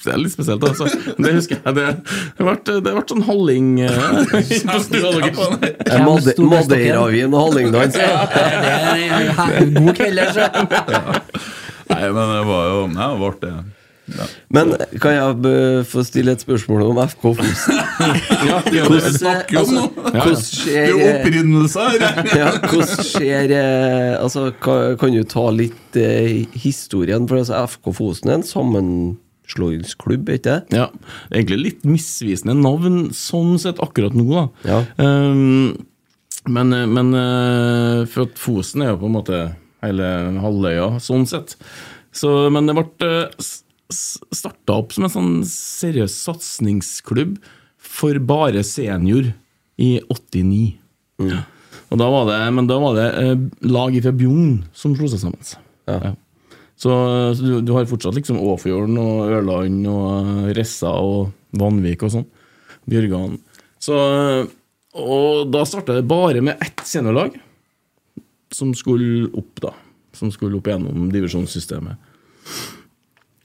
S7: det er litt spesielt, altså. Det husker jeg. Det, det, ble, det ble sånn halling eh, på stua deres.
S5: Eh, Made-
S3: sto best dere?
S5: Madeira-vin og hallingdans. ja.
S3: Det er en her- god kveld, altså.
S4: Nei, men det var jo Nei, det ble det.
S5: Men kan jeg eh, få stille et spørsmål om FK Fosen?
S7: Ja, ja,
S4: Det
S7: det-
S4: vi snakker om nå.
S5: Hvordan
S4: Det er
S5: skjer
S4: jo
S5: eh,
S4: opprinnelse her.
S5: ja, hvordan skjer eh, altså, ka- Kan du ta litt eh, historien? For altså, FK Fosen er en sammenslåingsklubb, er ikke det?
S7: Ja, egentlig litt misvisende navn sånn sett akkurat nå, da.
S5: Ja.
S7: Ehm, men men eh, for at eh, Fosen er jo på en måte hele halvøya, sånn sett. Så, men det eh, ble starta opp som en sånn seriøs satsingsklubb for bare senior i 89. Ja. Og da var det, men da var det eh, lag fra Bjugn som slo seg sammen. Ja. Så, så du, du har fortsatt liksom Åfjorden og Ørland og Ressa og Vanvik og sånn. Bjørgan. Så, eh, og da starta det bare med ett seniorlag som skulle opp, da. Som skulle opp gjennom divisjonssystemet.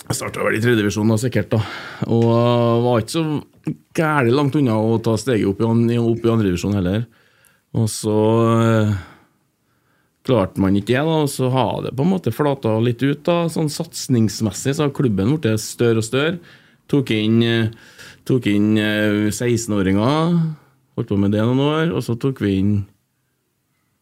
S7: Jeg starta vel i tredje divisjon da, sikkert, da. Og var ikke så gærent langt unna å ta steget opp i, an- i- opp i andre divisjon heller. Og så eh, klarte man ikke det, da, og så har det på en måte flata litt ut. da, Sånn satsingsmessig så har klubben blitt større og større. Tok inn, eh, tok inn eh, 16-åringer, holdt på med det noen år, og så tok vi inn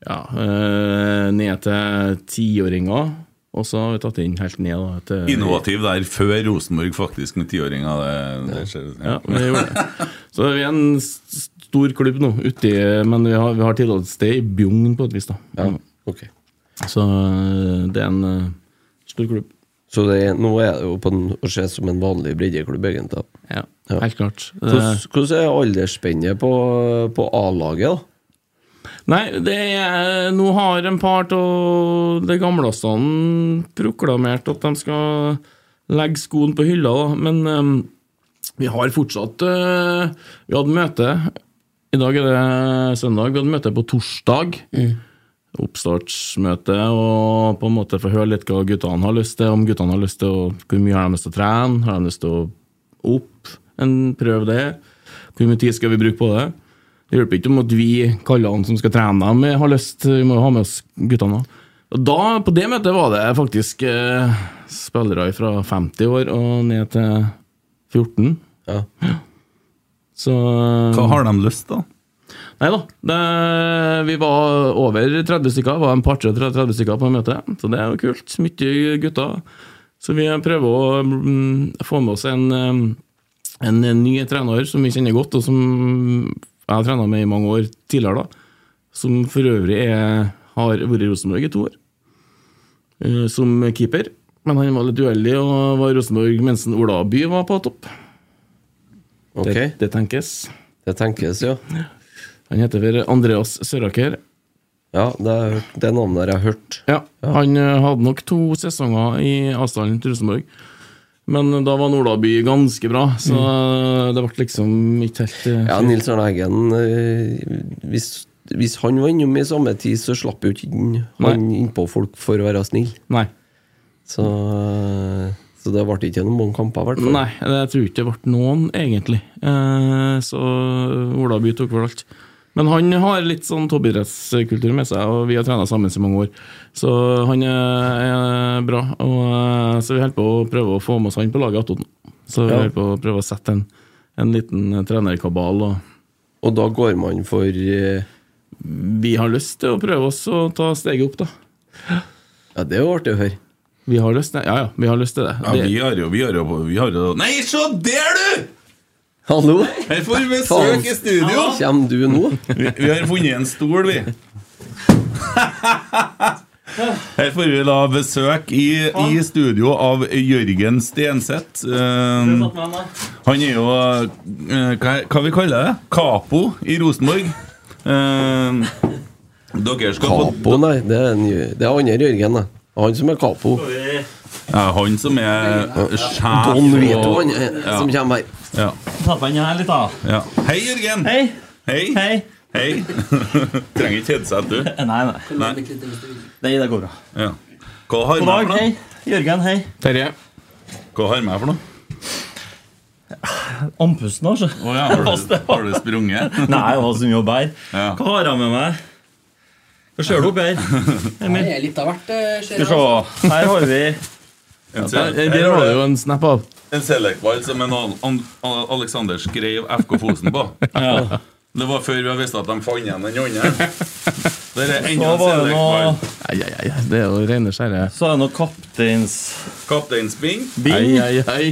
S7: ja, eh, ned til tiåringer. Og så har vi tatt inn helt ned da, til
S4: Innovativ der før Rosenborg, faktisk, med tiåringer. Det, det skjer.
S7: Ja, vi gjorde det. Så vi er en s- stor klubb nå, uti, men vi har, vi har tillatelse til i Bjugn på et vis, da. Ja.
S5: Ok.
S7: Så eh, det er en eh, stor klubb.
S5: Så det, er- nå er det jo på en, å se som en vanlig breddeklubb, egentlig.
S7: Ja,
S5: Ja.
S7: helt klart. Eh,
S5: Hvordan, hvordan er aldersspennet på, på A-laget, da?
S7: Nei, det er, nå har en par av de gamleste sånn proklamert at de skal legge skoen på hylla, da. men eh, vi har fortsatt eh, Vi hadde møte I dag er det søndag. Vi hadde møte på torsdag. Oppstartsmøte og på en måte få høre litt hva guttene har lyst til. Om guttene har lyst til å, Hvor mye har de lyst til å trene? Har de lyst til å opp? En prøv det. Hvor mye tid skal vi bruke på det? Det hjelper ikke om at vi kallene som skal trene dem, har lyst. Vi må jo ha med oss guttene òg. Og da, på det møtet var det faktisk eh, spillere fra 50 år og ned til 14.
S5: Ja.
S7: Så
S4: Hva har de lyst til, da?
S7: Nei da. det- Vi var over 30 stykker. Det var en par-tre 30 stykker på møtet, så det er jo kult. Mye gutter. Så vi prøver å mm, få med oss en, em, en ny trener som vi kjenner godt, og som jeg har trena med i mange år tidligere, da. Som for øvrig er, har vært i Rosenborg i to år. eh, Som keeper. Men han var litt uheldig og var i Rosenborg mens Ola By var på topp.
S5: Ok,
S7: Det,
S5: det,
S7: det tenkes.
S5: tenkes, ja.
S7: Han heter for Andreas Søraker.
S5: Ja, det, har jeg hørt- det navnet har jeg hørt.
S7: Ja, han eh, hadde nok to sesonger i avstanden til Rosenborg. Men da var Nordaby ganske bra, så eh, det ble liksom ikke helt eh,
S5: Mm. Ja, Nils Arne Eggen eh, hvis, hvis han var innom i samme tid, så slapp jo ikke inn, han innpå folk for å være snill.
S7: Nei.
S5: Så, eh, så det ble ikke noen mange kamper, i hvert fall.
S7: Nei, jeg tror ikke det ble noen, egentlig. Eh, så Olaby tok vel alt. Men han har litt sånn toppidrettskultur med seg, og vi har trena sammen i mange år. Så han er, er bra. Og, eh, så vi holder på å prøve å få med oss han på laget attåt nå. Så vi
S5: Ja.
S7: holder på å prøve å sette en, en liten eh, trenerkabal. og
S5: Og da går man for eh,
S7: vi har lyst til å prøve oss å ta steget opp, da.
S5: Ja, det er jo artig å høre.
S7: Vi har lyst til, ja, ja, vi har lyst til det.
S4: Ja, vi har jo, vi har jo, vi har jo Nei, se der, du!
S5: Hallo!
S4: Her får vi besøk i studio!
S5: Kommer du nå?
S4: Vi, vi har funnet en stol, vi. Her får vi da besøk i, i studio av Jørgen Stenseth. Eh, han er jo eh, hva, hva vi kaller det? Kapo i Rosenborg. Eh, dere skal få
S5: Capo, nei. Det er, en, det er andre Jørgen, da. Han som er capo.
S4: ja, Han som er sjef
S5: Don Vito,
S4: og
S5: han eh, som kommer her.
S4: ja,
S8: Ta på den her litt, da.
S4: ja. Hei, Jørgen.
S8: Hei.
S4: Hei.
S8: Hei.
S4: Hei. Trenger ikke headset, du.
S8: Eh, Nei, nei. Nei, det går bra.
S4: Ja. Hva har
S8: God
S4: med
S8: dag.
S4: for noe?
S8: Hei. Jørgen, hei.
S7: Terje.
S4: Hva har med for noe?
S8: Andpusten, altså.
S4: Å ja, har du, har du sprunget?
S8: Nei, det var så mye å bære.
S4: Ja.
S8: Hva har jeg med meg? Hva ser du oppi her?
S3: Det er litt av hvert, eh, ser
S8: Skal vi
S3: jeg.
S8: se. Her har vi
S4: En
S7: Der,
S4: sel-
S7: der har du jo en snap av.
S4: en selekvall som en Al- An- Al- Alexander skrev FK Fosen på.
S8: ja.
S4: Det var før vi visste at de fant igjen den andre. Det er
S8: Så
S4: enda en
S8: var det noe,
S4: selekvall.
S7: Ai, ai, ai, det er jo rene skjære.
S8: så er det noe kapteins...
S4: Kapteinsbing.
S7: Ai,
S8: Bing.
S7: ai, ai.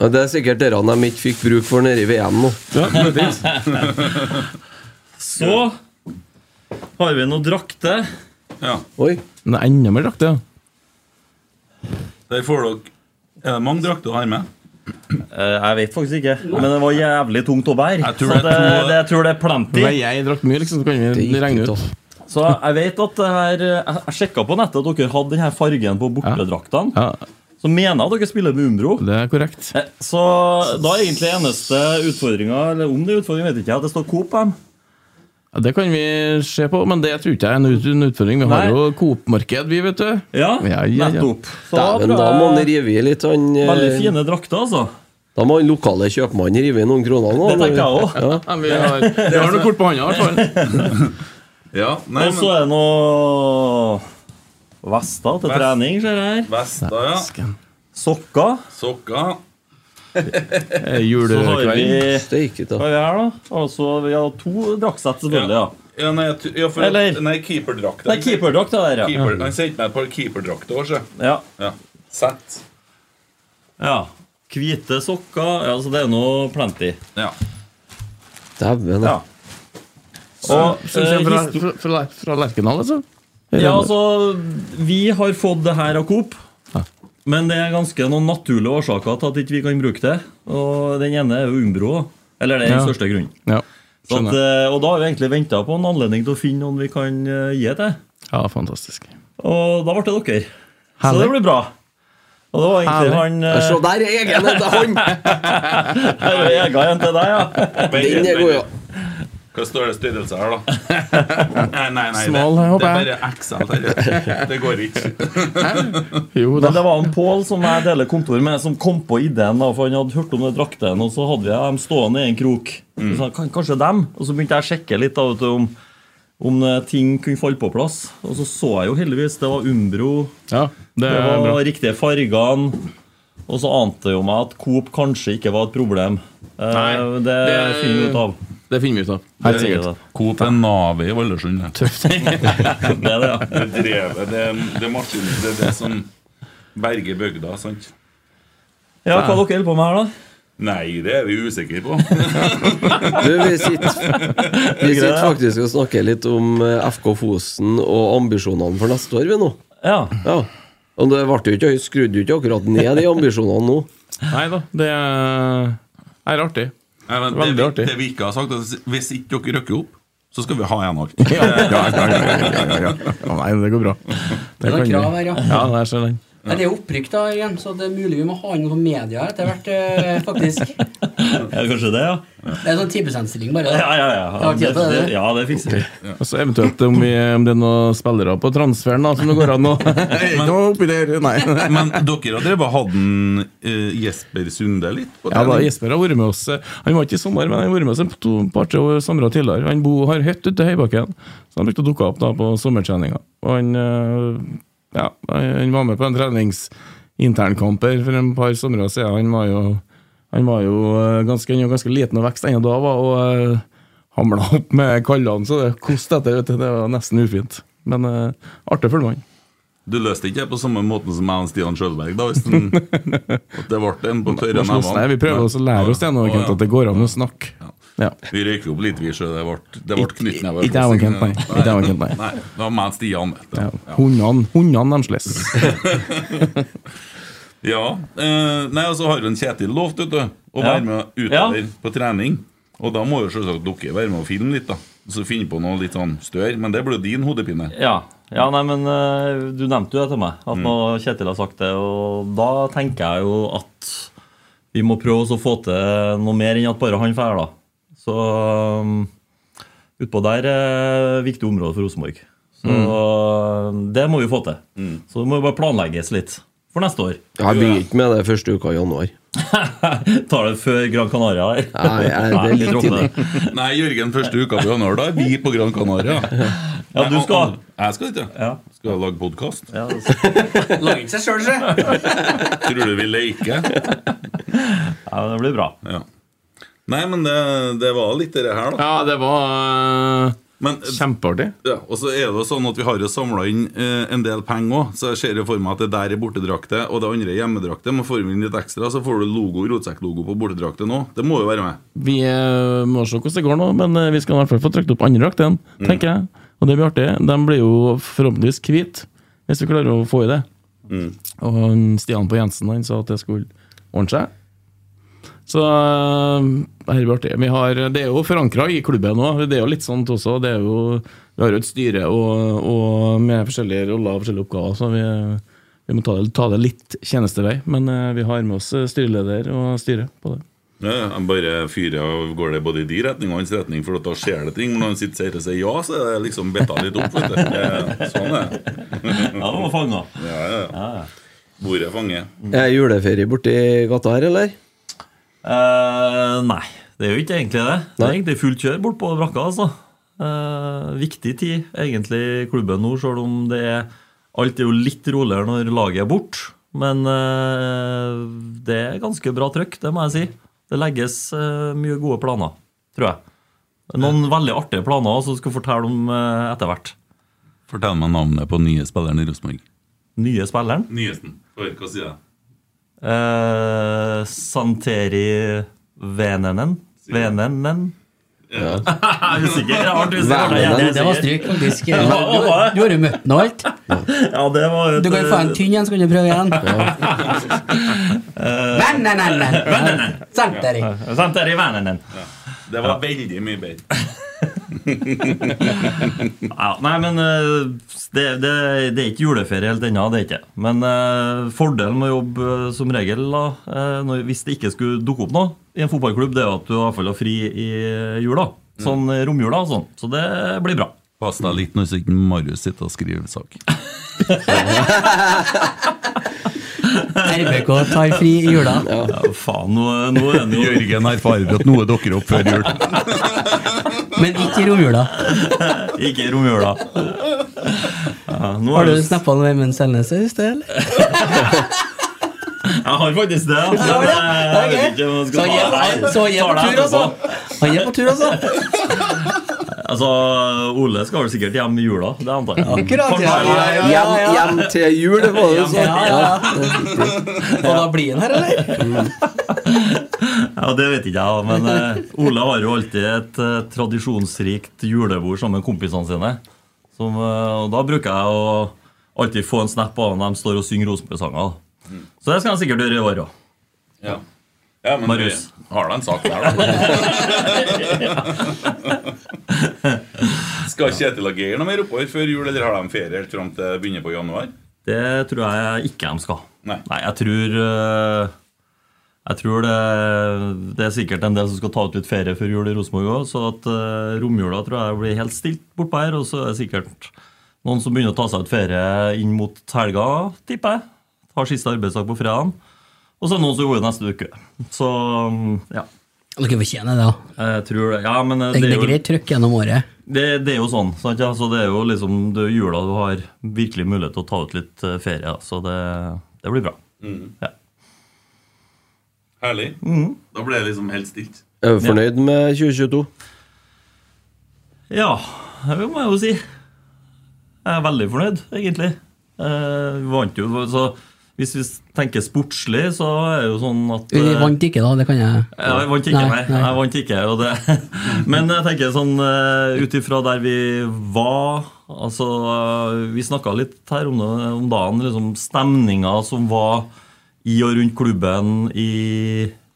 S5: Ja, det er sikkert dere de ikke fikk bruk for nede i VM nå.
S8: Så har vi noe drakte.
S4: Ja.
S5: Oi.
S7: Men det er enda mer drakter.
S4: Der får dere Er det mange drakter å ha med?
S8: Eh, Jeg vet faktisk ikke, men det var jævlig tungt å bære.
S4: Jeg tror
S8: så
S4: det
S8: det,
S4: er to-
S8: det, jeg tror det er plenty.
S7: Veier jeg en drakt mye, liksom, så kan vi regne ut.
S8: Så jeg vet at det her Jeg, jeg sjekka på nettet at dere hadde den her fargen på bortedraktene.
S7: Ja,
S8: Så mener jeg at dere spiller med Umbro.
S7: det er korrekt.
S8: Eh, Så da er egentlig eneste utfordringa, eller om det er utfordring, vet jeg ikke, at det står Coop på dem.
S7: Ja, Det kan vi se på, men det tror ikke jeg er en ut- en utfordring.
S8: Nei.
S7: Vi har jo Coop-marked, vi, vet du.
S8: Ja,
S7: Ja, ja, ja.
S8: nettopp. Så
S5: Dæven,
S8: tror
S5: da
S8: jeg-
S5: må han rive i litt, han eh,
S8: Veldig fine drakter, altså.
S5: Da må han lokale kjøpmannen rive i noen kroner nå.
S8: Det tenker jeg òg.
S5: Ja.
S7: Ja, vi har, vi har noe kort på hånda, i hvert fall.
S4: Ja, nei,
S8: Og så
S4: men
S8: er det noe vester til
S4: Vest.
S8: trening, ser jeg her.
S4: Vester, ja.
S8: Sokker.
S4: Sokker.
S7: Eh,
S8: Så har vi
S7: Julekvelden.
S5: Steike ta.
S8: Hva er det her, da? Altså, vi har to draktsett, selvfølgelig. ja
S4: Ja, nei, jeg t- ja, for,
S8: Eller-
S4: nei Mm. keeperdrakt.
S8: Nei, keeperdrakt er det der, ja.
S4: Keeper, han sendte meg et par keeperdrakter òg, se.
S8: ja.
S4: Ja. Sett.
S8: ja. Hvite sokker. Ja, så det er nå plenty.
S4: Ja.
S5: Dæven.
S8: Ja. Og
S7: Så
S8: eh,
S7: ser vi Fra,
S8: histo-
S7: fra, fra, fra Lerkendal, altså?
S8: Ja, altså, vi har fått det her av Coop. Men det er ganske noen naturlige årsaker til at ikke vi ikke kan bruke det. Og den ene er jo Umbro. da. Eller det er den
S7: Ja.
S8: største grunnen.
S7: Ja,
S8: Så at,
S7: skjønner.
S8: eh, og da har vi egentlig venta på en anledning til å finne noen vi kan eh, gi til.
S7: Ja, fantastisk.
S8: Og da ble det dere. Så
S7: Herlig.
S8: det blir bra. Og det var egentlig
S7: Herlig.
S8: han eh,
S5: Se, der er egen etter hånd!
S8: her er egen en til deg, ja.
S5: Den er god, ja.
S4: Hva står det størrelse her, da? Nei, nei, nei.
S7: Smal,
S4: det, det
S7: håper
S4: er bare XL her. Det går ikke.
S7: Jo
S8: Men
S7: da.
S8: det var en Pål som jeg deler kontor med, som kom på ideen. da, for Han hadde hørt om det draktene, og så hadde vi dem stående i en krok. Så sa han, kan, kanskje dem? Og så begynte jeg å sjekke litt da, vet du, om, om eh, ting kunne falle på plass. Og så så jeg jo heldigvis det var Umbro,
S7: Ja, det
S8: det
S7: er
S8: var
S7: bra.
S8: riktige fargene. Og så ante jo meg at Coop kanskje ikke var et problem. Eh, det
S7: Nei, det-
S8: finner vi ut av.
S7: Det finner vi ut av. Helt sikkert.
S4: Coop er navet i Valdresund. Det
S8: Det er det, ja.
S4: Det drevet, det, det er maskin, det er det som berger bygda, sant?
S8: ja. Hva dere holder på med her, da?
S4: Nei, det er vi usikre på.
S5: Du, vi sitter, vi sitter
S8: ja.
S5: faktisk og snakker litt om eh, FK Fosen og ambisjonene for neste år, vi nå.
S8: Ja,
S5: Ja. Og det ble jo ikke, vi skrudde jo ikke akkurat ned de ambisjonene nå.
S7: Nei da, det er, er artig.
S4: Nei, men
S7: Veldig
S4: det,
S7: artig.
S4: vi- det vi ikke har sagt, er at hvis ikke dere røkker opp, så skal vi ha igjen alt. Ja, ja, ja, ja, ja, ja.
S7: Ja, nei, det går bra.
S3: Det er noen
S7: kan vi.
S3: krav her, ja.
S7: Ja, der ser den.
S3: Nei, det er jo opprykk da igjen, så det er mulig vi må ha inn noe media her etter hvert, eh, faktisk. Det
S8: ja kanskje det, ja.
S3: er sånn 10 %-stilling, bare.
S8: Ja, ja, ja.
S3: Jeg har tid til det.
S8: ja det fikser vi.
S7: Og så eventuelt om, vi, om det er noen spillere på transferen da, som det går an å Ikke noe oppi der, nei.
S4: Men dere har drevet hatt en eh, Jesper Sunde litt? På
S7: Ja da,
S4: trening.
S7: Jesper har vært med oss eh, Han var ikke i sommer, men han har vært med oss en to- par-tre år somre tidligere. Han bo, har hytte ute i Høybakken, så han brukte å dukke opp da på sommertreninga. Og han, eh, ja, han var med på en treningsinternkamper for en par somre siden. Han var jo, han var jo eh, ganske, han var ganske liten og vekst ennå da, var, og eh, hamla opp med kallene, så det koste etter. Vet du, det var nesten ufint. Men eh, artig å følge med han.
S4: Du løste ikke det på samme måten som jeg og Stian Sjølberg, da? Hvis den, at det ble en på tørre
S7: Lars Losen,
S4: nevene.
S7: nei, Vi prøver også å lære oss det nå,
S4: Å,
S7: Kent,
S4: ja.
S7: at det går an å snakke. Ja.
S4: Vi røyker opp litt, vi sjø. Det ble, det ble
S7: Ikke-
S4: knyttneve.
S7: ikke jeg og Kent, nei. Ikke jeg og Kent, nei.
S4: eh, Nei, det var meg og Stian. vet du.
S7: Ja. Hundene, hundene de slåss.
S4: Ja. eh, nei, og så har jo en Kjetil lovt, vet du, å
S8: Ja.
S4: være med
S8: Ja.
S4: utover på trening. Og da må jo selvsagt dere være med og filme litt, da. Så finne på noe litt sånn større. Men det blir jo din hodepine.
S8: Ja. ja, nei, men eh, du nevnte jo det til meg, at nå Kjetil har sagt det. Og da tenker jeg jo at vi må prøve oss å få til noe mer enn at bare han drar, da. Så um, utpå der er et viktig område for Rosenborg. Så um, det må vi få til. Så det må jo bare planlegges litt for neste år.
S5: Jeg begynner ikke med det første uka i januar.
S8: Tar det før Gran Canaria her.
S5: Nei, nei, det er litt tidlig.
S4: Nei, Jørgen, første uka på januar, da er vi på Gran Canaria.
S8: Ja, du skal.
S4: Jeg skal ikke.
S8: Ja.
S4: Skal jeg lage podkast?
S8: Ja, det-
S3: Lager ikke seg sjøl, se.
S4: Tror du vi leker?
S8: ja, det blir bra.
S4: Ja. Nei, men det, det var litt det her, da.
S7: Ja, det var eh,
S4: Men,
S7: kjempeartig.
S4: ja, og så er det jo sånn at vi har jo samla inn eh, en del penger òg, så jeg ser jo for meg at det der er bortedrakte, og det andre er hjemmedrakte. Men får vi inn litt ekstra, så får du logo, rotsekklogo på bortedrakte nå. Det må jo være med.
S7: Vi eh, må se hvordan det går nå, men eh, vi skal i hvert fall få trykt opp andre drakt igjen, tenker jeg. Og det blir artig. De blir jo forhåpentligvis hvite. hvis vi klarer å få i det. Og han Stian på Jensen han sa at det skulle ordne seg. Så eh, det her blir artig. Vi har, det er jo forankra i klubben òg. Det er jo litt sånt også. Det er jo, vi har jo et styre og, og med forskjellige roller og forskjellige oppgaver, så vi, vi må ta det, ta det litt tjenestevei. Men eh, vi har med oss styreleder og styre på det.
S4: Ja, ja, han bare fyrer av går det både i de retning og hans retning, for da skjer det ting. Men når han sitter her og sier ja, så er det liksom betta litt opp. Vet du. Det, er- sånn er det.
S8: Ja, det var fanga.
S4: Ja, ja, ja. Bordet fanger.
S5: Er det juleferie borti gata her, eller?
S8: Eh, nei, det er jo ikke egentlig det. Det er
S5: Nei.
S8: egentlig fullt kjør bort på brakka. altså. Eh, viktig tid, egentlig, i klubben nå, selv om det er Alt er jo litt roligere når laget er borte, men eh, det er ganske bra trøkk, det må jeg si. Det legges eh, mye gode planer, tror jeg. Noen veldig artige planer som skal fortelle om eh, etter hvert.
S4: Fortell meg navnet på nye spilleren i Rosenborg.
S8: Nye spilleren.
S4: Nyheten. Hør hva sier jeg.
S8: Eh, Santeri Venenen. Venenen. Jeg er usikker. Jeg har vært usikker.
S5: Venenen,
S8: Jeg er
S3: Det, det var
S8: usikker.
S3: stryk, faktisk. Du har- du har jo møtt den og alt.
S8: Ja, det var et,
S3: Du kan jo få en tynn en, så kan du prøve igjen. Nei, nei, nei, nei. Sant, Erik.
S8: eh, Santeri Venenen.
S4: Det var veldig mye bedre.
S8: Ja, nei, men eh, det, det, det er ikke juleferie helt ennå, det er ikke. Men eh, fordelen med å jobbe eh, som regel, da, eh, når, hvis det ikke skulle dukke opp noe i en fotballklubb, det er jo at du i hvert fall har fri i jula. Sånn eh, romjula og sånn. Så det blir bra.
S4: Pass deg litt når ikke Marius sitter og skriver sak.
S3: RBK tar fri i jula.
S8: Ja, faen, nå, nå er det jo
S4: Jørgen erfarer at noe dukker opp før jul.
S3: Men ikke i romjula.
S8: Ikke i romjula. Ja, nå
S3: Har
S8: er
S3: du
S8: det-
S3: snappa noe Emund Selnes i sted, eller?
S8: Jeg har faktisk det. altså,
S3: Ja,
S8: men
S3: ja.
S8: jeg vet ikke om jeg skal
S3: Så
S8: ta det her.
S3: hjem- Så hjem
S8: Tar
S3: på
S8: det
S3: tur, altså.
S8: etterpå.
S3: Han er på tur, altså.
S8: Altså, Ole skal vel sikkert hjem i jula. Det antar jeg.
S3: Akkurat, ja.
S8: Fortell meg.
S3: ja,
S5: Hjem,
S3: ja, ja.
S5: hjem til jul, var det
S3: Ja,
S5: sånn?
S3: ja, ja. Og da blir han her, eller?
S8: Ja, Det vet ikke jeg, men eh, Ole har jo alltid et eh, tradisjonsrikt julebord sammen med kompisene sine. Som, eh, og da bruker jeg å alltid få en snap av når de står og synger Rosenborg-sanger. da. Så det skal jeg sikkert gjøre i år òg.
S4: Ja. Ja, men
S8: Marius.
S4: du, Har du en sak der, da? Skal Kjetil og Geir noe mer oppover før jul, eller har de ferie helt fram til begynner på januar?
S8: Det tror jeg ikke de skal.
S4: Nei.
S8: jeg tror eh, Jeg tror det, det er sikkert en del som skal ta ut litt ferie før jul i Rosenborg òg, så at eh, romjula tror jeg blir helt stilt bortpå her. Og så er det sikkert noen som begynner å ta seg ut ferie inn mot helga, tipper jeg. Har siste arbeidsdag på fredagen. Og så er det noen som gjorde det neste uke. Så mm, ja.
S3: Dere fortjener det, da.
S8: Jeg tror det. Ja, men eh,
S3: Det, det
S8: er
S3: er
S8: jo-
S3: greit trøkk gjennom året.
S8: det, det er jo sånn. Sant, ja? Så det er jo liksom det er jula du har virkelig mulighet til å ta ut litt eh, ferie. da. Så det, det blir bra. Ja.
S4: Herlig. Da ble det liksom helt stilt.
S5: Er du fornøyd med 2022?
S8: Ja, det må jeg jo si. Jeg er veldig fornøyd, egentlig. Eh, Vi vant jo, så hvis vi tenker sportslig, så er det jo sånn at
S3: Vi
S8: eh,
S3: vant ikke, da. Det kan jeg
S8: ja, jeg vant ikke, nei.
S3: Nei, nei.
S8: Jeg vant ikke, og det. Men jeg tenker sånn eh, ut ifra der vi var altså, eh, Vi snakka litt her om, det, om dagen, liksom stemninga som var i og rundt klubben i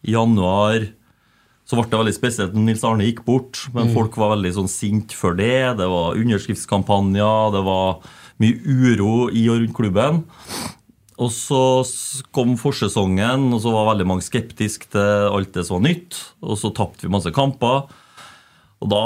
S8: januar. Så ble det veldig spesielt når Nils Arne gikk bort, men folk var veldig sånn sint for det. Det var underskriftskampanjer, det var mye uro i og rundt klubben. Og så s- kom forsesongen, og så var veldig mange skeptiske til alt det som var nytt. Og så tapte vi masse kamper. Og da,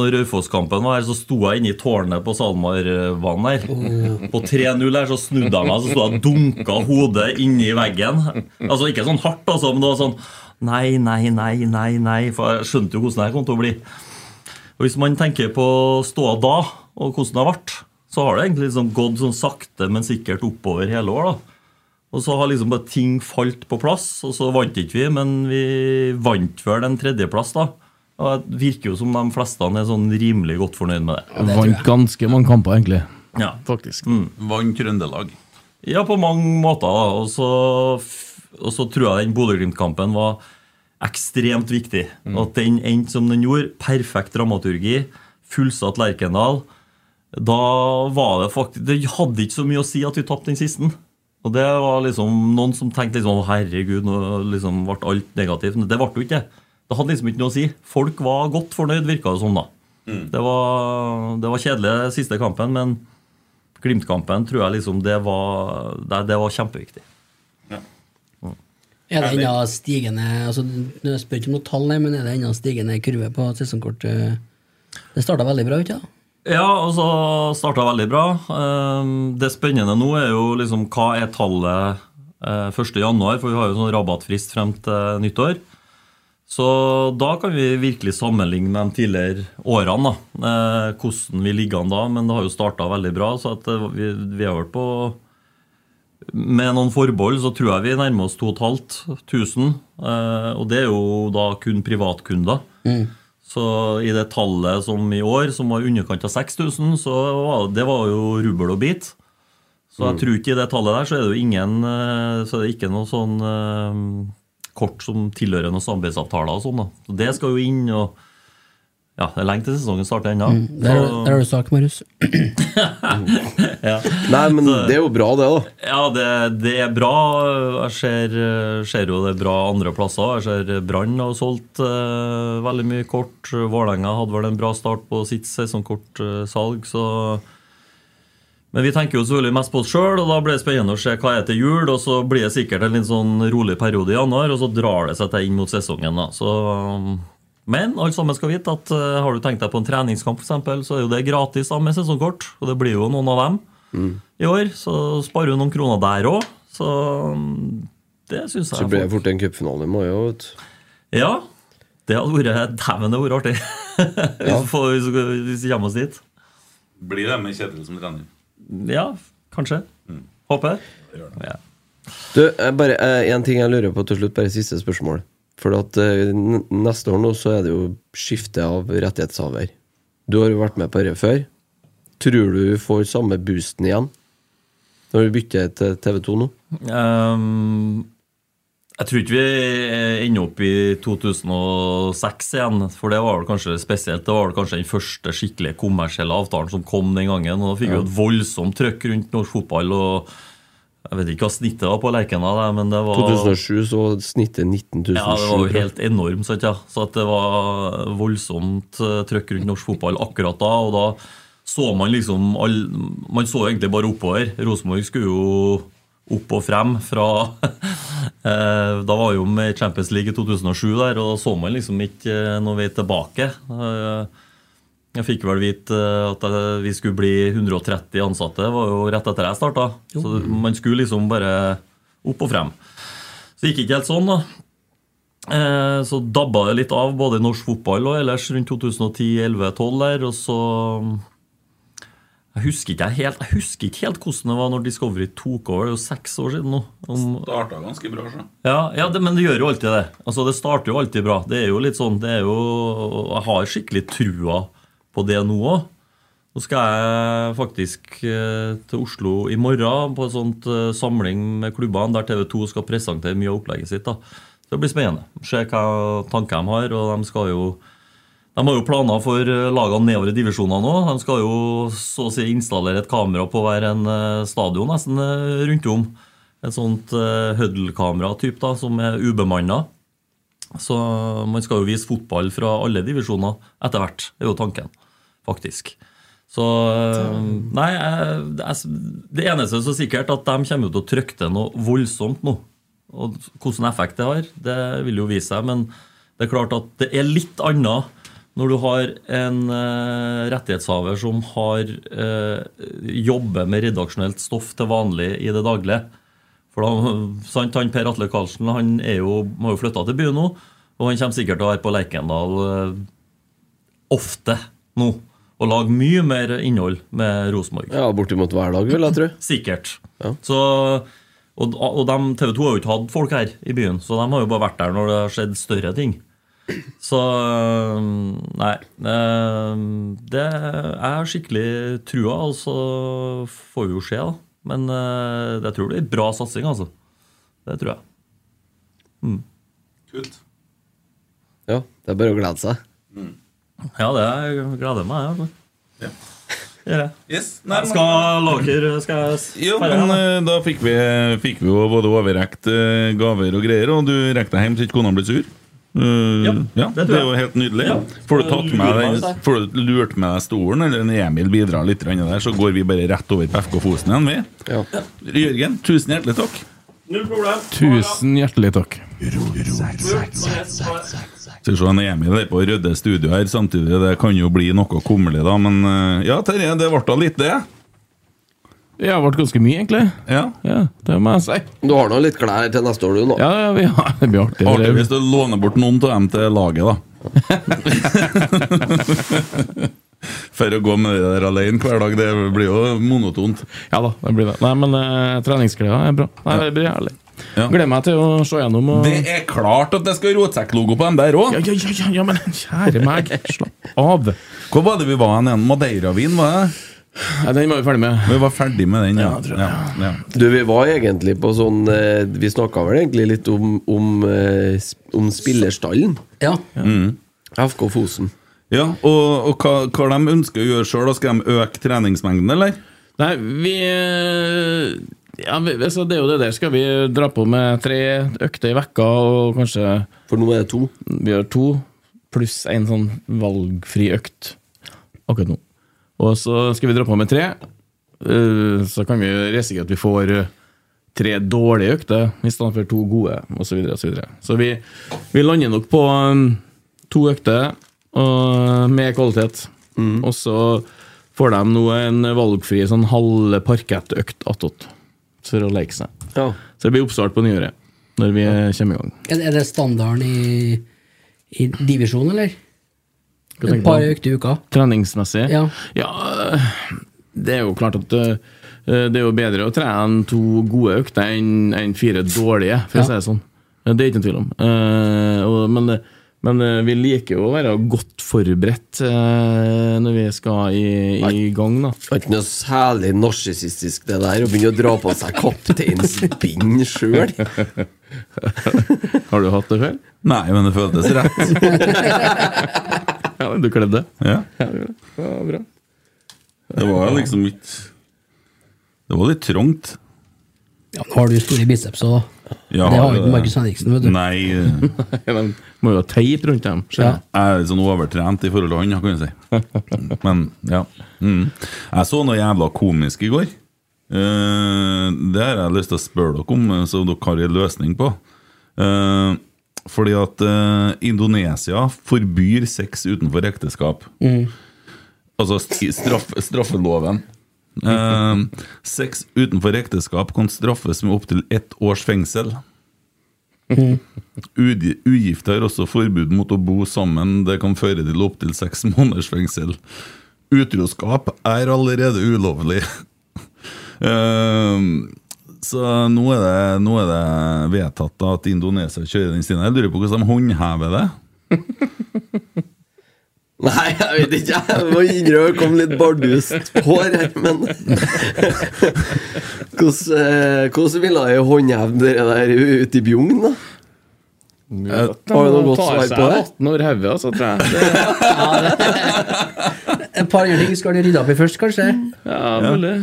S8: når Raufoss-kampen var her, så sto jeg inne i tårnet på SalMar-banen her. På 3-0 her så snudde jeg meg, så sto jeg og dunka hodet inni veggen. Altså ikke sånn hardt, altså, men det var sånn Nei, nei, nei, nei, nei. For jeg skjønte jo hvordan det her kom til å bli. Og Hvis man tenker på ståa da, og hvordan det har vært, så har det egentlig liksom gått sånn sakte, men sikkert oppover hele år. da. Og så har liksom bare ting falt på plass, og så vant ikke vi, men vi vant vel en tredjeplass, da. Og Det virker jo som de fleste er sånn rimelig godt fornøyd med det.
S7: Vant ganske mange kamper, egentlig.
S8: Ja,
S7: Faktisk.
S4: Mm. Vant Trøndelag.
S8: ja på mange måter. da. Og så, f- og så tror jeg den Bodø-Glimt-kampen var ekstremt viktig. At den endte som den gjorde. Perfekt dramaturgi. Fullsatt Lerkendal. Da var det faktisk Det hadde ikke så mye å si at vi tapte den siste. Og det var liksom noen som tenkte liksom, «Å, herregud, nå liksom ble alt negativt. Men det ble jo ikke det. Det hadde liksom ikke noe å si. Folk var godt fornøyd, virka det som, da. Det, var, det var kjedelig den siste kampen, men Glimt-kampen tror jeg liksom det var, det, det var kjempeviktig.
S3: Er det ennå stigende altså, Jeg spør ikke om noe tall, nei, men er det ennå stigende kurve på sesongkort? eh? Det starta veldig bra, ikke sant?
S8: Ja, og så starta veldig bra. Ehm, Det spennende nå er jo liksom hva er tallet eh, 1. januar, for vi har jo sånn rabattfrist frem til nyttår. Så da kan vi virkelig sammenligne med de tidligere årene, da. Eh, Hvordan vi ligger an da, men det har jo starta veldig bra, så at eh, vi, vi har vært på Med noen forbehold så tror jeg vi nærmer oss 2500, eh, og det er jo da kun privatkunder. Så i det tallet som i år, som var i underkant av 6000, så var det var jo rubbel og bit. Så jeg tror ikke i det tallet der så er det jo ingen eh, Så er det ikke noe sånn eh, kort som tilhører noen samarbeidsavtaler og sånn, da. Så det skal jo inn, og ja, det er lenge til sesongen starter ennå.
S3: Der,
S8: Så-
S3: der har du sak, Marius.
S5: Nei, men det er jo bra, det, da.
S8: Ja, det, det er bra. Jeg ser, ser jo det er bra andre plasser. Jeg ser Brann har solgt eh, veldig mye kort. Vålerenga hadde vel en bra start på sitt sesongkortsalg, så Men vi tenker jo selvfølgelig mest på oss sjøl, og da blir det spennende å se hva er til jul. Og så blir det sikkert en litt sånn rolig periode i januar, og så drar det seg til inn mot sesongen, da. Så um, men alle sammen skal vite at eh, har du tenkt deg på en treningskamp, f.eks., så er jo det gratis da med sesongkort. Og det blir jo noen av dem
S5: Mm.
S8: i år, så sparer hun noen kroner der òg. Så mm, det syns jeg
S5: Så blir
S8: er
S5: det fort en cupfinale i mai òg, vet du.
S8: flott. Ja, det hadde vært Dæven, det hadde vært artig. Hvis vi- hvis vi- hvis vi kommer oss dit.
S4: Blir det med Kjetil som trener?
S8: Ja, kanskje. Håper. Ja.
S5: Du, eh, bare eh, en ting jeg lurer på til slutt, bare siste spørsmål. For at eh, n- neste år nå så er det jo skifte av rettighetshaver. Du har jo vært med på dette før. Tror du vi får samme boosten igjen når vi bytter til TV2 nå?
S8: Ehm, jeg tror ikke vi ender opp i 2006 igjen, for det var vel kanskje spesielt. Det var vel kanskje den første skikkelig kommersielle avtalen som kom den gangen. og Da fikk vi jo et voldsomt trøkk rundt norsk fotball. og Jeg vet ikke hva snittet var på Lerkena, der, men det var
S5: 2007 så snittet 19
S8: Ja, det var jo
S5: 700.
S8: helt enormt, sant, ja. Så at det var voldsomt eh, trøkk rundt norsk fotball akkurat da, og da så man liksom all, Man så egentlig bare oppover. Rosenborg skulle jo opp og frem fra eh, Da var jo med i Champions League i 2007 der, og da så man liksom ikke eh, noe vei tilbake. Eh, Jeg fikk vel vite eh, at eh, vi skulle bli 130 ansatte, det var jo rett etter jeg starta. Så man skulle liksom bare opp og frem. Så det gikk ikke helt sånn, da. Eh, Så dabba det litt av både i norsk fotball og ellers rundt 2010-2011-2012 der. Og så Jeg husker ikke helt, jeg husker ikke helt hvordan det var når Discovery tok over. Det er jo seks år siden nå. Om,
S4: Starta ganske bra, så.
S8: ja, ja det, men det gjør jo alltid det. Altså, Det starter jo alltid bra. Det er jo litt sånn, det er jo, Jeg har skikkelig trua på det nå òg. Nå skal jeg faktisk eh, til Oslo i morgen på en sånn eh, samling med klubbene der TV 2 skal presentere mye av opplegget sitt. da. Så Det blir spennende. Se hva tanker de har. og De skal jo, de har jo planer for eh, lagene nedover i divisjonene òg. De skal jo så å si installere et kamera på hver en eh, stadion nesten eh, rundt om. Et sånt uh, Huddle-kamera-typ da, som er ubemanna. Så man skal jo vise fotball fra alle divisjoner etter hvert, er jo tanken, faktisk. Så eh, Nei, jeg, jeg, det eneste som er sikkert, at de kommer jo til å trykke til noe voldsomt nå. Og Hvilken effekt det har, det vil jo vise seg, men det er klart at det er litt annet når du har en eh, rettighetshaver som har eh, jobber med redaksjonelt stoff til vanlig i det daglige. For da, sant, han Per Atle Karlsen han er jo, har jo flytta til byen nå, og han kommer sikkert til å være på Lerkendal eh, ofte nå. Og lage mye mer innhold med Rosenborg.
S5: Ja, bortimot hver dag, vil jeg tro.
S8: Sikkert.
S5: Ja.
S8: Så, og og dem- TV 2 har jo ikke hatt folk her i byen, så de har jo bare vært der når det har skjedd større ting. Så øhm, Nei. øhm, Det, jeg har skikkelig trua, og så får vi jo se, da. Men øh, jeg tror det er bra satsing, altså. Det tror jeg.
S4: Kult.
S5: Ja, det er bare å glede seg.
S8: Ja, det jeg gleder meg. jeg, Altså. gjør jeg.
S4: Yes, nei, men-
S8: Skal dere skal jeg s-
S4: Jo,
S8: ferde
S4: men
S8: her, da?
S4: eh, da fikk vi, fikk vi jo både overrekt eh, gaver og greier, og du rekte deg hjem så ikke kona ble sur. Eh,
S8: Ja,
S4: ja,
S8: det
S4: det,
S8: tror jeg.
S4: er jo helt nydelig.
S8: Ja.
S4: Får du tatt med
S8: Lurer meg
S4: deg
S8: seg.
S4: Får du lurt med deg stolen, eller en Emil bidrar litt grann der, så går vi bare rett over på FK Fosen igjen, vi.
S5: Ja.
S4: Jørgen, tusen hjertelig takk.
S8: Null problem.
S7: Tusen hjertelig takk.
S4: Skal vi se, han Emil er på Rødde studio her samtidig. Det kan jo bli noe kummerlig, da, men eh, ja, Terje, det ble da litt, det.
S7: Ja, det ble ganske mye, egentlig.
S4: Ja.
S7: Ja, Det må jeg si.
S5: Du har nå litt klær til neste år, du, nå.
S7: Ja, ja, vi har, det blir artig.
S4: Artig
S7: Det-
S4: hvis du låner bort noen av dem til laget, da. For å gå med det der alene hver dag, det blir jo monotont.
S7: Ja da, det blir det. Nei, men uh, treningsklær er bra. Nei, Det blir herlig.
S4: Ja.
S7: Gleder meg til å se gjennom og
S4: Det er klart at det skal rotsekklogo på dem der òg!
S7: ja, ja, ja, ja, ja, men kjære meg, slapp av.
S4: Hvor var det vi var hen igjen? Madeiravin, var det?
S7: Nei, den var vi ferdig med.
S4: Vi var ferdig med den, ja.
S7: Ja, tror jeg.
S4: ja, ja.
S5: Du, vi var egentlig på sånn eh, Vi snakka vel egentlig litt om, om, eh, sp- om spillerstallen.
S3: Ja.
S5: FK Fosen.
S4: ja og, og hva, hva de ønsker å gjøre sjøl? Skal de øke treningsmengden, eller?
S7: Nei, vi eh, ja, vi, altså, Det er jo det der. Skal vi dra på med tre økter i vekka og kanskje
S5: For nå er det to.
S7: Vi har to, pluss en sånn valgfri økt akkurat nå. Og så skal vi dra på med tre. Eh, Så kan vi risikere at vi får eh, tre dårlige økter i stedet for to gode, osv. Så, videre, og så, videre. så vi, vi lander nok på um, to økter og, med kvalitet. Og så får de nå en valgfri sånn halve parkettøkt attåt for å leke seg.
S5: Ja.
S7: Så det blir oppstart på nyåret, når vi eh, kommer i gang.
S3: Er er det standarden i, i divisjon, eller?
S7: Hva tenker
S3: Et
S7: du?
S3: par økter i uka?
S7: Treningsmessig?
S3: Ja.
S7: Ja, eh, det er jo klart at eh, det er jo bedre å trene to gode økter enn enn fire dårlige, for
S3: Ja.
S7: å si det sånn. Ja, Det er ikke noen tvil om. Eh, og, men, men eh, vi liker jo å være godt forberedt eh, når vi skal i, i gang, da.
S5: Det er ikke noe særlig narsissistisk, det der, å begynne å dra på seg kapteinsbind sjøl.
S7: Har du hatt det før?
S4: Nei, men det føltes rett.
S7: Ja, du kledde det.
S4: Ja.
S7: Ja, bra.
S4: Det var liksom ikke Det var litt trangt.
S3: Ja, nå har du store biceps òg, da.
S4: Ja,
S3: det har jo ikke Markus Henriksen, vet du.
S4: Nei.
S7: Ja, men Må jo ha teip rundt dem.
S3: Ja.
S7: skjønner jeg.
S4: Jeg er litt sånn overtrent i forhold til han, kan jeg si. Men, ja. Mm. Jeg så noe jævla komisk i går. Eh, det har jeg lyst til å spørre dere om, eh, så dere har en løsning på. Eh, fordi at eh, Indonesia forbyr sex utenfor ekteskap. Altså st- straff, straffeloven. Eh, sex utenfor ekteskap kan straffes med opptil ett års fengsel. Ugi- Ugifte har også forbud mot å bo sammen. Det kan føre til opptil seks måneders fengsel. Utroskap er allerede ulovlig. Ehm, så nå er, det, nå er det vedtatt da at Indonesia kjører den stien. Jeg lurer på hvordan de håndhever det.
S5: Nei, jeg vet ikke. Jeg må innrømme det kom litt bardust hår her, men Hvordan eh, hvordan ville jeg håndheve det der ute i bjugn, da? Har du noe godt
S7: Tar
S5: svar
S7: seg
S5: på det?
S7: 18 år hodet, altså, tror jeg. Det,
S3: Et par andre ting skal du rydde opp i først, kanskje?
S7: ja, mulig.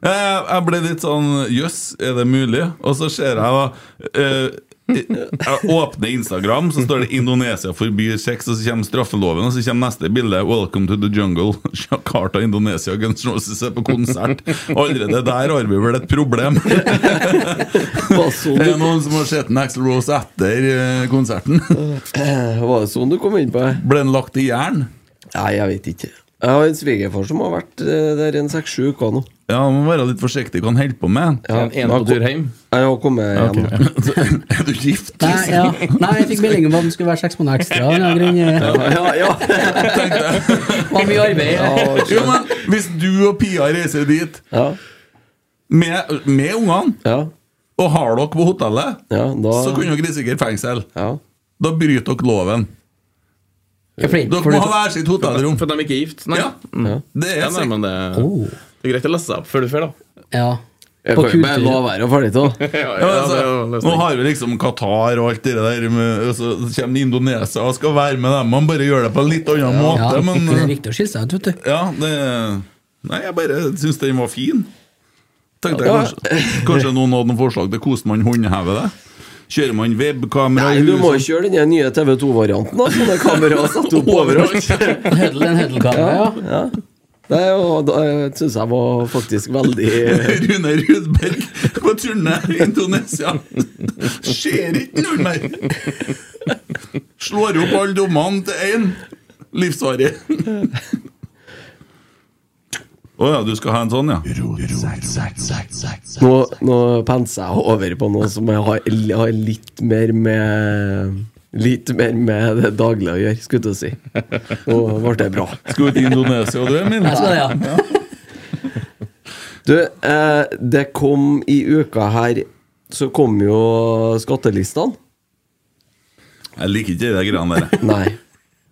S4: Jeg, jeg ble litt sånn Jøss, er det mulig? Og så ser jeg da eh, Jeg åpner Instagram, så står det 'Indonesia forbyr sex', og så kommer straffeloven, og så kommer neste bilde 'Welcome to the jungle'. Jakarta, Indonesia, Guns N' Roses er på konsert. Allerede der har vi vel et problem. Det
S5: Var sånn
S4: er
S5: du-
S4: noen som har sett Axl Rose etter eh, konserten.
S5: eh, var det sånn du kom inn på det?
S4: Ble den lagt i jern?
S5: Nei, jeg vet ikke. Jeg har en svigerfar som har vært eh, der en seks-sju uker nå.
S4: Ja, må være litt forsiktig hva han holder på med.
S5: Ja,
S7: En, en på tur hjem.
S5: Jeg har kommet hjem. nå.
S4: Er du gift?
S3: Nei, ja. Nei, jeg fikk melding om at den skulle være seks måneder ekstra. av en eller annen grunn.
S5: Ja, ja.
S3: Det var mye arbeid.
S5: ja,
S4: Jo, men hvis du og Pia reiser dit
S5: ja,
S4: med, med ungene
S5: ja,
S4: og har dere på hotellet,
S5: ja, da
S4: så kunne dere risikere fengsel.
S5: ja.
S4: Da bryter dere loven.
S3: Ja, fordi-
S4: Dere
S3: fordi-
S4: må ha hver sitt hotellrom.
S7: For at de ikke er gift? Nei.
S4: Ja, det er
S7: Ja, nei,
S4: sikkert.
S7: men det,
S3: Oh,
S7: det er greit å lese seg opp før du drar, da.
S3: ja.
S6: Jeg
S3: På
S6: kan jo bare
S3: kultur.
S6: la
S5: La være å ferdig til da.
S6: Ja, ja,
S4: Ja,
S6: det er jo
S4: men altså, nå
S6: løsning.
S4: har vi liksom Qatar og alt det der, med, og så kommer Indonesia og skal være med dem. Man bare gjør det på en litt annen
S3: Ja,
S4: måte,
S3: ikke det er
S4: men eh,
S3: riktig å skille seg ut, vet du.
S4: Ja, det Nei, jeg bare syns den var fin. Tenkte jeg kanskje, kanskje noen hadde noen forslag til hvordan man håndhever det? Kjører man webkamera
S5: Nei,
S4: i
S5: du må jo
S4: huset?
S5: kjøre den her nye TV2-varianten, da. Sånne kameraer satt opp overalt.
S3: En Huddle, en huddle-kamera, ja.
S5: Ja. Det er jo- det syns jeg var faktisk veldig
S4: Eh, Rune Rudberg på turné i Indonesia. Ser ikke noe mer! Slår opp alle dommene til én. Livsvarig. Å ja, du skal ha en sånn, ja?
S5: Nå, nå penser jeg over på noe som jeg har, har litt mer med Litt mer med det daglige å gjøre, skulle jeg til å si. Nå ble det bra.
S4: Skal du til Indonesia, du, Emil?
S3: Jeg skal det, ja.
S5: Du, eh, det kom i uka her Så kom jo skattelistene.
S4: Jeg liker ikke de greiene der.
S5: Nei,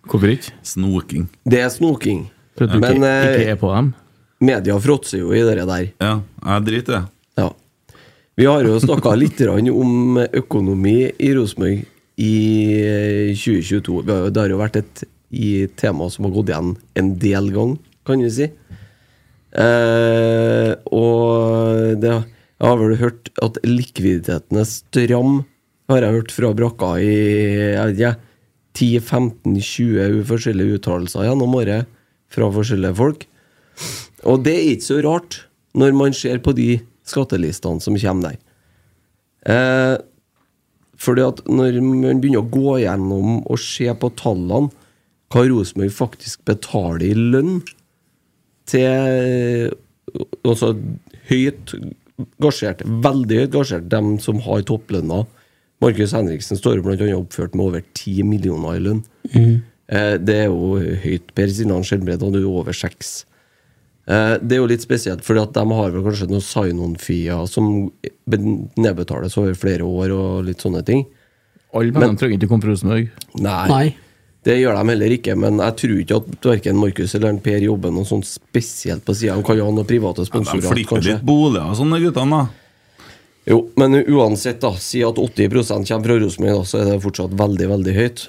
S7: Hvorfor ikke?
S4: Snoking.
S5: det er snoking.
S7: For at du
S5: Men,
S7: ikke,
S5: eh,
S7: ikke er på dem?
S5: Media fråtser jo i det der.
S4: Ja, jeg driter i det.
S5: Ja. Vi har jo snakka litt grann om økonomi i Rosenborg i 2022. Vi har jo- Det har jo vært et i tema som har gått igjen en del ganger, kan vi si. Eh, og det, jeg har vel hørt at likviditeten er stram, har jeg hørt fra brakka i jeg vet ikke, 10-15-20 forskjellige uttalelser gjennom året fra forskjellige folk. Og det er ikke så rart når man ser på de skattelistene som kommer der. Eh, fordi at når man begynner å gå gjennom og se på tallene, hva Rosenborg faktisk betaler i lønn til Altså høyt gasjert, veldig høyt gasjert, dem som har topplønna. Markus Henriksen står jo blant annet oppført med over 10 millioner i lønn. Eh, det er jo høyt. Per Siljan Skjelbred hadde jo over 6. Eh, Det er jo litt spesielt, fordi at de har vel kanskje noen sign-on-fier som be- nedbetales over flere år og litt sånne ting.
S7: Alle pengene trenger ikke å komme fra Rosenborg.
S5: Nei,
S3: Nei.
S5: det gjør de heller ikke, men jeg tror ikke at verken Markus eller en Per jobber noe sånn spesielt på sida. De kan jo ha noen private
S4: De
S5: sponsorer,
S4: flipper
S5: kanskje.
S4: litt boliger og sånn, de guttene. da
S5: Jo, men uansett, da, si at 80 kommer fra Rosenborg, da, så er det fortsatt veldig, veldig høyt.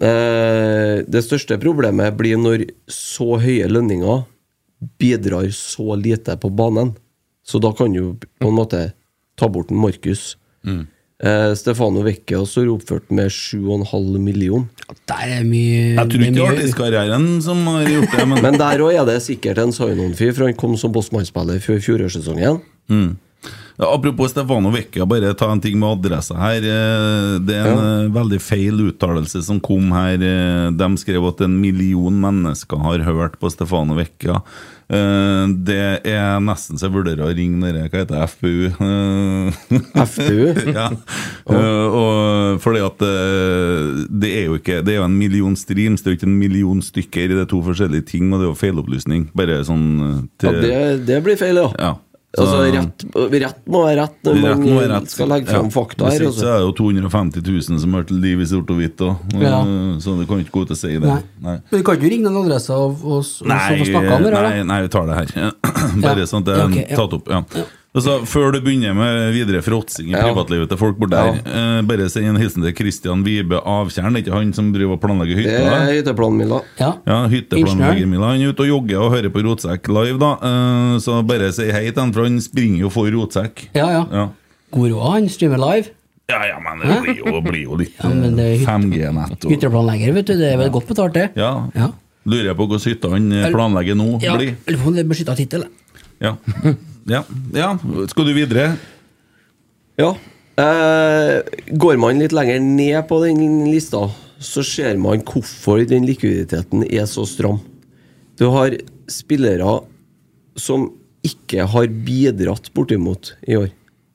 S5: Eh, Det største problemet blir når så høye lønninger bidrar så lite på banen. Så da kan du på en måte ta bort en Markus. Eh, Stefano Vecchia står oppført med 7,5 million.
S3: Der er mye
S4: Jeg tror ikke det er
S3: mye-
S4: artistkarrieren som har gjort det, men
S5: Men der òg er det sikkert en sign-on-fyr, for han kom som bossmannsspiller før fjorårssesongen.
S4: Ja, Apropos Stefano Vecchia, bare ta en ting med adresse her. Eh, Det er en eh, veldig feil uttalelse som kom her. Eh, De skrev at en million mennesker har hørt på Stefano Vecchia. Eh, Det er nesten så jeg vurderer å ringe dere, hva heter det, FPU? Eh,
S5: FPU.
S4: ja. Eh, og fordi at eh, det er jo ikke Det er jo en million streams, det er jo ikke en million stykker. Det er to forskjellige ting, og det er jo feilopplysning. Bare sånn eh,
S5: Ja,
S4: til
S5: det, det blir feil, ja.
S4: Ja. Så-
S5: Altså, rett, rett må være rett når
S4: Rett
S5: eh, man
S4: må være rett.
S5: skal legge fram fakta
S4: Hvis
S5: her.
S4: ikke så
S5: Altså.
S4: er det jo 250 000 som hørte liv i sort og hvitt, da.
S3: Ja.
S4: Eh, så du kan ikke gå ut og si det.
S3: Nei.
S4: Nei.
S3: Men du kan ikke ringe noen adresse og, og, og så få snakka om det? da?
S4: nei, nei, vi tar det her. Bare
S3: Ja.
S4: sånn at det er
S3: Ok, ja.
S4: tatt opp. Ja. Altså, før du begynner med videre fråtsing i
S5: Ja.
S4: privatlivet til folk borti der, eh, bare si en hilsen til Christian Vibe Avtjern. Det er ikke han som driver og planlegger
S5: Det
S4: hytta?
S5: er hytteplanen min, da.
S3: Ja.
S4: Ja,
S3: Ingeniør.
S4: hytteplanleggermila. Han er ute og jogger og hører på Rotsekk live, da. Eh, Så bare si hei til han, for han springer jo for Rotsekk.
S3: Ja, ja.
S4: Ja.
S3: God råd, han streamer live.
S4: Ja, ja, men det blir jo, blir jo litt eh,
S3: Ja, men det er hytte-
S4: 5G-nett og
S3: Hytteplanlegger, vet du. Det er vel godt betalt, det.
S4: ja.
S3: Ja.
S4: Lurer jeg på hvordan hytta han eh, planlegger nå
S3: Ja,
S4: blir.
S3: Lurer på om det er beskytta tittel. jeg.
S4: Ja. ja. ja. Skal du videre?
S5: Ja. Eh, går man litt lenger ned på den lista, så ser man hvorfor den likviditeten er så stram. Du har spillere som ikke har bidratt bortimot i år.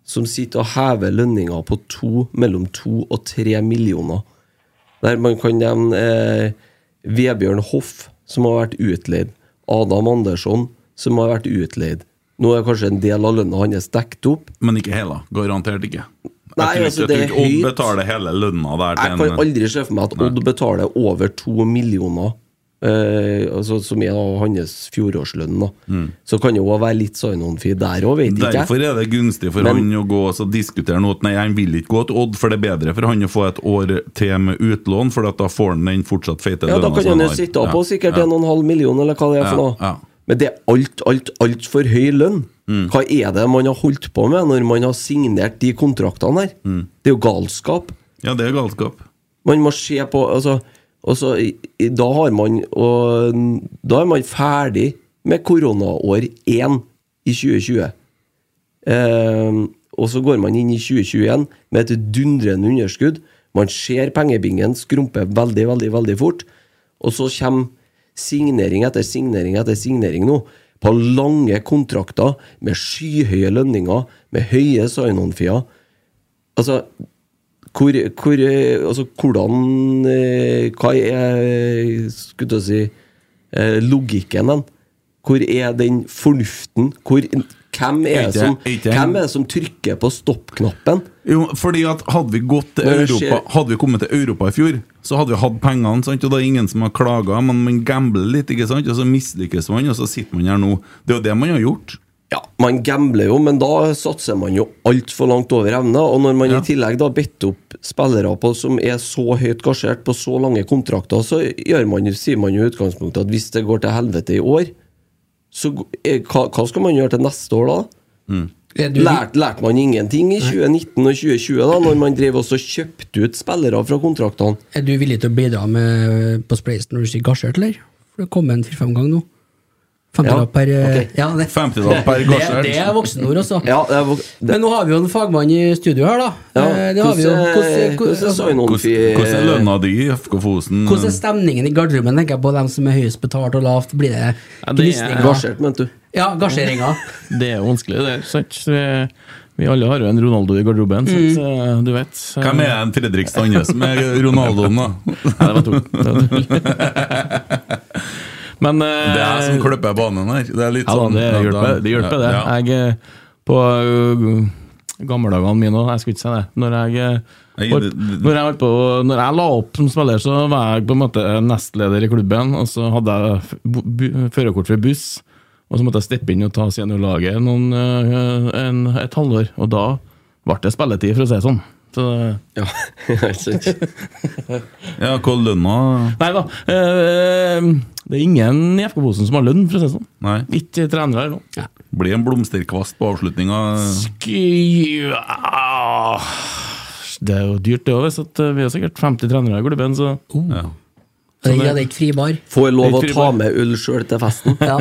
S5: Som sitter og hever lønninger på to, mellom to og tre millioner. Der man kan nevne eh, Vebjørn Hoff, som har vært utleid. Adam Andersson, som har vært utleid. Nå er kanskje en del av lønna hans dekket opp.
S4: Men ikke hele. Garantert ikke. Jeg
S5: Nei,
S4: tror
S5: altså,
S4: ikke- jeg
S5: det er
S4: tror ikke Odd
S5: høyt.
S4: betaler hele lønna der
S5: Jeg
S4: til
S5: kan
S4: en
S5: aldri se for meg at Odd betaler over to millioner eh, eh, altså, som er da hans fjorårslønn, da. Så kan det jo også være litt Sainon-feed der òg, vet ikke
S4: Mm.
S5: jeg.
S4: Derfor er det gunstig for
S5: Men-
S4: han å gå og så diskutere noe at nei, han vil ikke gå til Odd, for det er bedre for han å få et år til med utlån, for at da får han den fortsatt feite
S5: Ja, da
S4: lønna
S5: kan
S4: som
S5: han jo
S4: har.
S5: sitte av på sikkert
S4: ja.
S5: en og en halv million, eller hva det er
S4: Ja,
S5: for noe.
S4: ja. Mm.
S5: Men det er alt, alt, altfor høy lønn. Hva er det man har holdt på med når man har signert de kontraktene her?
S4: Mm.
S5: Det er jo galskap.
S4: Ja, det er galskap.
S5: Man må se på altså, og så i- i- Da har man og, Da er man ferdig med koronaår 1 i 2020. Ehm, og så går man inn i 2021 med et dundrende underskudd. Man ser pengebingen skrumpe veldig, veldig veldig fort. Og så kommer signering etter signering etter signering nå. På lange kontrakter med skyhøye lønninger, med høye sign-on-fier. Altså, hvor, hvor, eh, altså, hvordan eh, Hva er eh, skulle til å si, eh, logikken den? Hvor er den fornuften? Hvor, hvem, er
S4: Ikke-
S5: det som,
S4: ikke-
S5: hvem er det som trykker på stopp-knappen?
S4: Jo, fordi at Hadde vi gått til
S5: Men det
S4: Europa
S5: skjer-
S4: Hadde vi kommet til Europa i fjor, så hadde vi hatt pengene. sant? Og det er ingen som har klaga, men man gambler litt, ikke sant? og så mislykkes man, og så sitter man her nå. Det er jo det man har gjort.
S5: Ja, man gambler jo, men da satser man jo altfor langt over evne. Og når man
S4: Ja.
S5: i tillegg da bitter opp spillere på som er så høyt gasjert på så lange kontrakter, så gjør man, jo- sier man jo i utgangspunktet at hvis det går til helvete i år, så g- eh, hva, hva skal man gjøre til neste år da?
S3: Er du-
S5: Lærte lært man ingenting i 2019 og 2020, da når man drev også kjøpte ut spillere fra kontraktene?
S3: Er du villig til å bidra med på Spleisen når du sier gasjert, eller? For det kom en fire-fem ganger nå. 50
S5: Ja,
S3: ja, per eh,
S5: ok.
S3: ja, det,
S4: 50-tall per
S3: det,
S4: gasjert.
S3: det er voksenord, altså.
S5: Ja, det, var- det,
S3: Men nå har vi jo en fagmann i studio her, da.
S5: ja.
S3: Eh, det har vi jo. Hvordan,
S5: Hvordan
S3: hvordan,
S5: hvordan sa noen fi-
S4: Hvordan hvordan er lønna di i FK Fosen?
S3: hvordan er stemningen i garderoben? Tenker jeg på dem som er høyest betalt og lavt. Blir det
S7: Ja, det er-
S3: gnisninger?
S5: Gasjert, mente du?
S3: Ja, gasjeringer.
S7: Det er jo vanskelig, det. Sant? Så Vi, vi alle har jo en Ronaldo i garderoben,
S5: Mm.
S7: sant? Eh, du vet. Så-
S4: Hvem er en Fredrik Stande som er Ronaldoen, da?
S7: Nei, det var to. Det var to. Men eh,
S4: Det er jeg som klipper banen her. Det er litt
S7: ja, da,
S4: sånn
S7: det
S4: ja,
S7: hjelper, det. Hjelper, det.
S4: Ja, ja.
S7: Jeg, eh, på eh, gammeldagene mine òg, jeg skulle ikke si det. Når jeg, eh,
S4: Nei,
S7: holdt,
S4: det- det-
S7: når, jeg holdt på, når jeg la opp som spiller, så var jeg på en måte nestleder i klubben. Og så hadde jeg f- bu- bu- førerkort for buss, og så måtte jeg steppe inn og ta seniorlaget noen, eh, en, et halvår. Og da ble det spilletid, for å si det sånn. Så det
S5: Ja, ikke sant?
S4: Ja, hva er lønna
S7: Nei da. eh, det er ingen i FK-posen som har lønn, for å si det sånn.
S4: Nei.
S7: Ikke trenere eller noe.
S4: Blir en blomsterkvast på avslutninga.
S7: Sky- ah, Det er jo dyrt, det òg. eh, Vi har sikkert 50 trenere i klubben, så
S4: Ja.
S3: Det er ikke fribar.
S5: Får lov å
S7: Litt
S5: ta
S7: fribar.
S5: med øl sjøl til festen?
S3: Ja.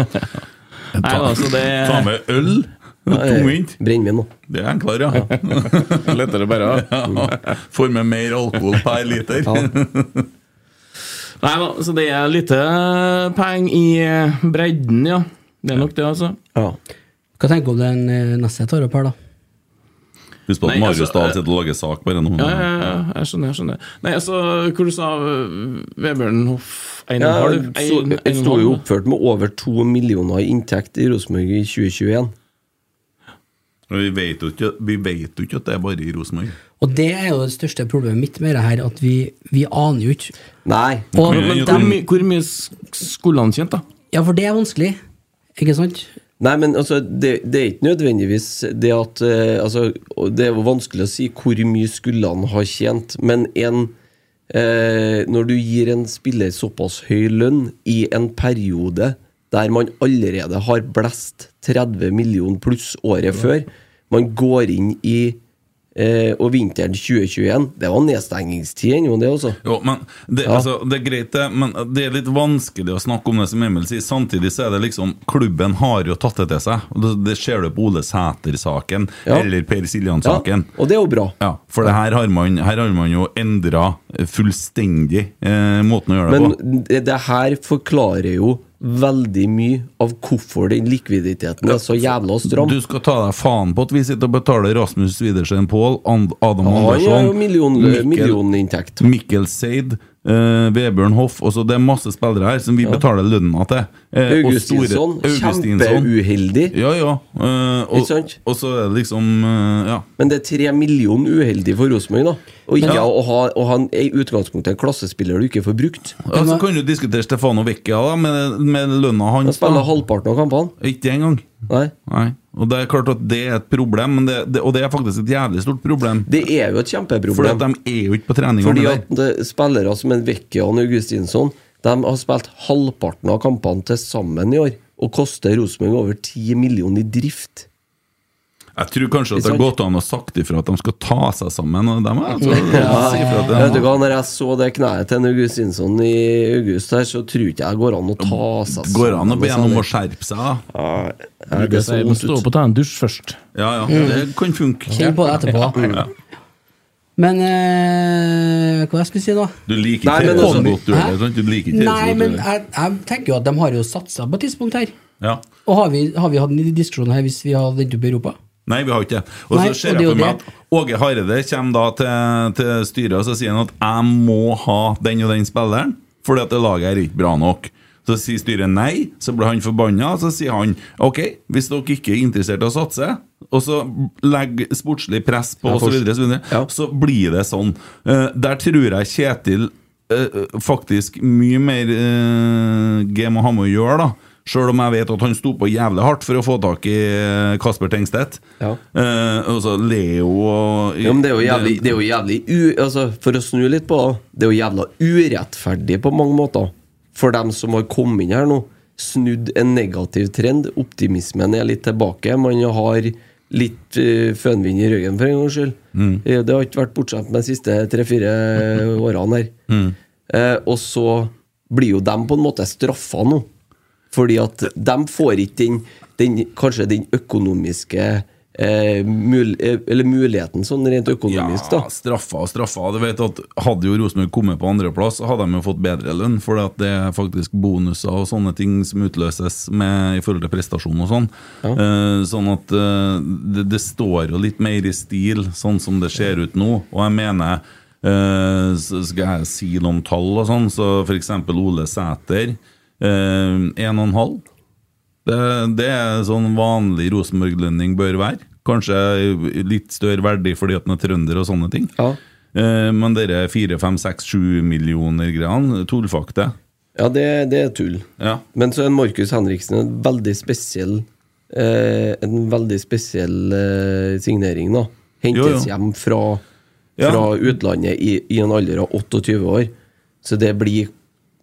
S7: Nei da, så det
S4: Ta med øl! Tungvint.
S5: Brennevin, da.
S4: Det er enklere, ja.
S7: lettere bare
S4: ja. Får med mer alkohol per liter.
S7: Nei da, så det er lite penger i eh, bredden, ja. Det er nok det, altså.
S5: Ja.
S3: Hva tenker du om den eh, neste jeg tar opp her, da?
S4: Husk på at
S7: Nei,
S4: Marius
S7: altså,
S4: Dahl sitter og lager sak bare nå.
S7: Ja, ja, ja, jeg skjønner. jeg skjønner Nei, altså, Hvor du sa øh, Vebjørn Hoff
S5: Ja,
S7: 1,5?
S5: så- Jeg sto jo oppført med over to millioner i inntekt i Rosenborg i 2021.
S4: Men Vi vet jo ikke, vi vet jo ikke at det er bare i Rosenborg.
S3: Og det er jo det største problemet mitt med det her, at vi, vi aner jo ikke.
S5: Nei.
S3: Og,
S4: Men-
S3: men
S4: men-
S7: Hvor,
S3: dem,
S7: mye- hvor mye sk- skulle han tjent, da?
S3: ja, for det er vanskelig, ikke sant?
S5: Nei, men altså, det, det er ikke nødvendigvis det at eh, altså, og Det er jo vanskelig å si hvor mye skulle han ha tjent, men en eh, Når du gir en spiller såpass høy lønn i en periode der man allerede har blest 30 millioner pluss året før Man går inn i eh, Og vinteren 2021 Det var nedstengingstid ennå, det, altså.
S4: Jo, men det, altså, det er greit, det, men det er litt vanskelig å snakke om det som Emil sier. Samtidig så er det liksom Klubben har jo tatt det til seg. Og Det, det ser du på Ole Sæter-saken
S5: Ja.
S4: eller Per
S5: Ja,
S4: Siljan-saken. Ja.
S5: og det er jo bra.
S4: for det her har man, her har man jo endra fullstendig eh, måten å gjøre det på.
S5: Men det, det her forklarer jo veldig mye av hvorfor den likviditeten er så jævla stram.
S4: Du skal ta deg faen på at vi sitter og betaler Rasmus Widersen Pål, Adam
S5: Han har jo
S4: Andersson
S5: million,
S4: Mikkel-
S5: millioninntekt.
S4: Mikkel Seid, eh, Vebjørn Hoff også, Det er masse spillere her som vi betaler lønna til. Eh, og store-
S5: Augustinsson,
S4: Augustinsson.
S5: kjempeuheldig.
S4: Ja, ja. eh, og,
S5: Ikke sant?
S4: og så er det liksom eh, Ja.
S5: Men det er tre millioner uheldig for Rosenborg, da. Og ikke å ha, å ha en, i utgangspunktet en klassespiller du ikke får brukt.
S4: Ja, så kan du diskutere Stefano Vecchia da, med, med lønna
S5: Han
S4: hans. da.
S5: spiller halvparten av kampene.
S4: Ikke det engang.
S5: Nei.
S4: Nei. Og det er klart at det er et problem, men det, det, og det er faktisk et jævlig stort problem.
S5: Det er jo et
S4: Fordi at
S5: kjempeproblem.
S4: de er jo ikke på trening.
S5: Fordi at det- spillere som en Vekke og en Augustinsson De har spilt halvparten av kampene til sammen i år. Og koster Rosenborg over 10 millioner i drift.
S4: Jeg tror kanskje at det har
S5: Ikke sant?
S4: gått an å sagt ifra at de skal ta seg sammen. Og dem, jeg tror, si ifra til
S5: Vet du
S4: dem.
S5: hva, Når jeg så det kneet til en Augustinsson i august, her så tror ikke jeg går an å ta seg
S4: Det Går an å be
S5: sammen
S4: dem om
S5: med
S4: å skjerpe seg, da?
S5: sånne- Nei, Det så
S7: Jeg må
S5: vondt
S7: stå
S5: ut.
S7: opp og ta en dusj først.
S4: Ja ja,
S3: Mm.
S4: det kan funke.
S3: Kjenn på det etterpå. Men eh, hva jeg skulle si da?
S4: Du liker
S5: Nei,
S4: ikke det
S5: men
S4: så
S5: altså-
S4: godt, du heller. sant? Du liker ikke det så
S3: Nei,
S4: godt,
S3: men
S4: du heller.
S3: jeg, jeg tenker jo at de har jo satsa på et tidspunkt her.
S4: Ja.
S3: Og har vi, har vi hatt en diskusjon her hvis vi hadde endt opp i Europa?
S4: Nei, vi har ikke det. Og
S3: Nei,
S4: så ser
S3: og det er
S4: jeg for
S3: jo
S4: meg at Åge Hareide kommer da til, til styret og så sier han at 'jeg må ha den og den spilleren', fordi at det laget er ikke bra nok. Så sier styret nei, så blir han forbanna, og så sier han 'ok, hvis dere ikke er interessert i å satse', og så legger sportslig press på oss, og så, videre, så, videre,
S5: Ja.
S4: så blir det sånn. Eh, der tror jeg Kjetil eh, faktisk mye mer uh, game å ha med å gjøre, da. Sjøl om jeg vet at han sto på jævlig hardt for å få tak i eh, Kasper Tengstedt.
S5: Ja.
S4: Eh, og så Leo og
S5: Ja, men det er jo jævlig, det er jo jævlig u, altså, For å snu litt på det, det er jo jævla urettferdig på mange måter. For dem som har kommet inn her nå, snudd en negativ trend. Optimismen er litt tilbake. Man har litt uh, fønvind i ryggen, for en gangs skyld. Eh, Det har ikke vært bortskjemt de siste tre-fire årene her. Eh, og så blir jo dem på en måte straffa nå. Fordi at de får ikke den, den kanskje den økonomiske eh, mul eh, eller muligheten sånn rent økonomisk,
S4: ja,
S5: da.
S4: straffa og straffa. Du vet at Hadde jo Rosenborg kommet på andreplass, så hadde de jo fått bedre lønn. For at det er faktisk bonuser og sånne ting som utløses med i forhold til prestasjon og sånn. Eh, sånn at eh, det, det står jo litt mer i stil, sånn som det ser ut nå. Og jeg mener eh, så Skal jeg si noen tall og sånn, så f.eks. Ole Sæter eh, 1,5. Det, det er sånn vanlig Rosenborg-lønning bør være. Kanskje litt større verdi fordi at den er trønder og sånne ting.
S5: Ja.
S4: Eh, Men dere 4-5-6-7 millioner greiene, tullfakte.
S5: Ja, det, det er tull.
S4: Ja.
S5: Men så er Markus Henriksen en veldig spesiell eh, En veldig spesiell eh, signering, da.
S4: Jo,
S5: Hentes
S4: jo.
S5: hjem fra,
S4: Ja.
S5: fra utlandet i, i en alder av 28 år. Så det blir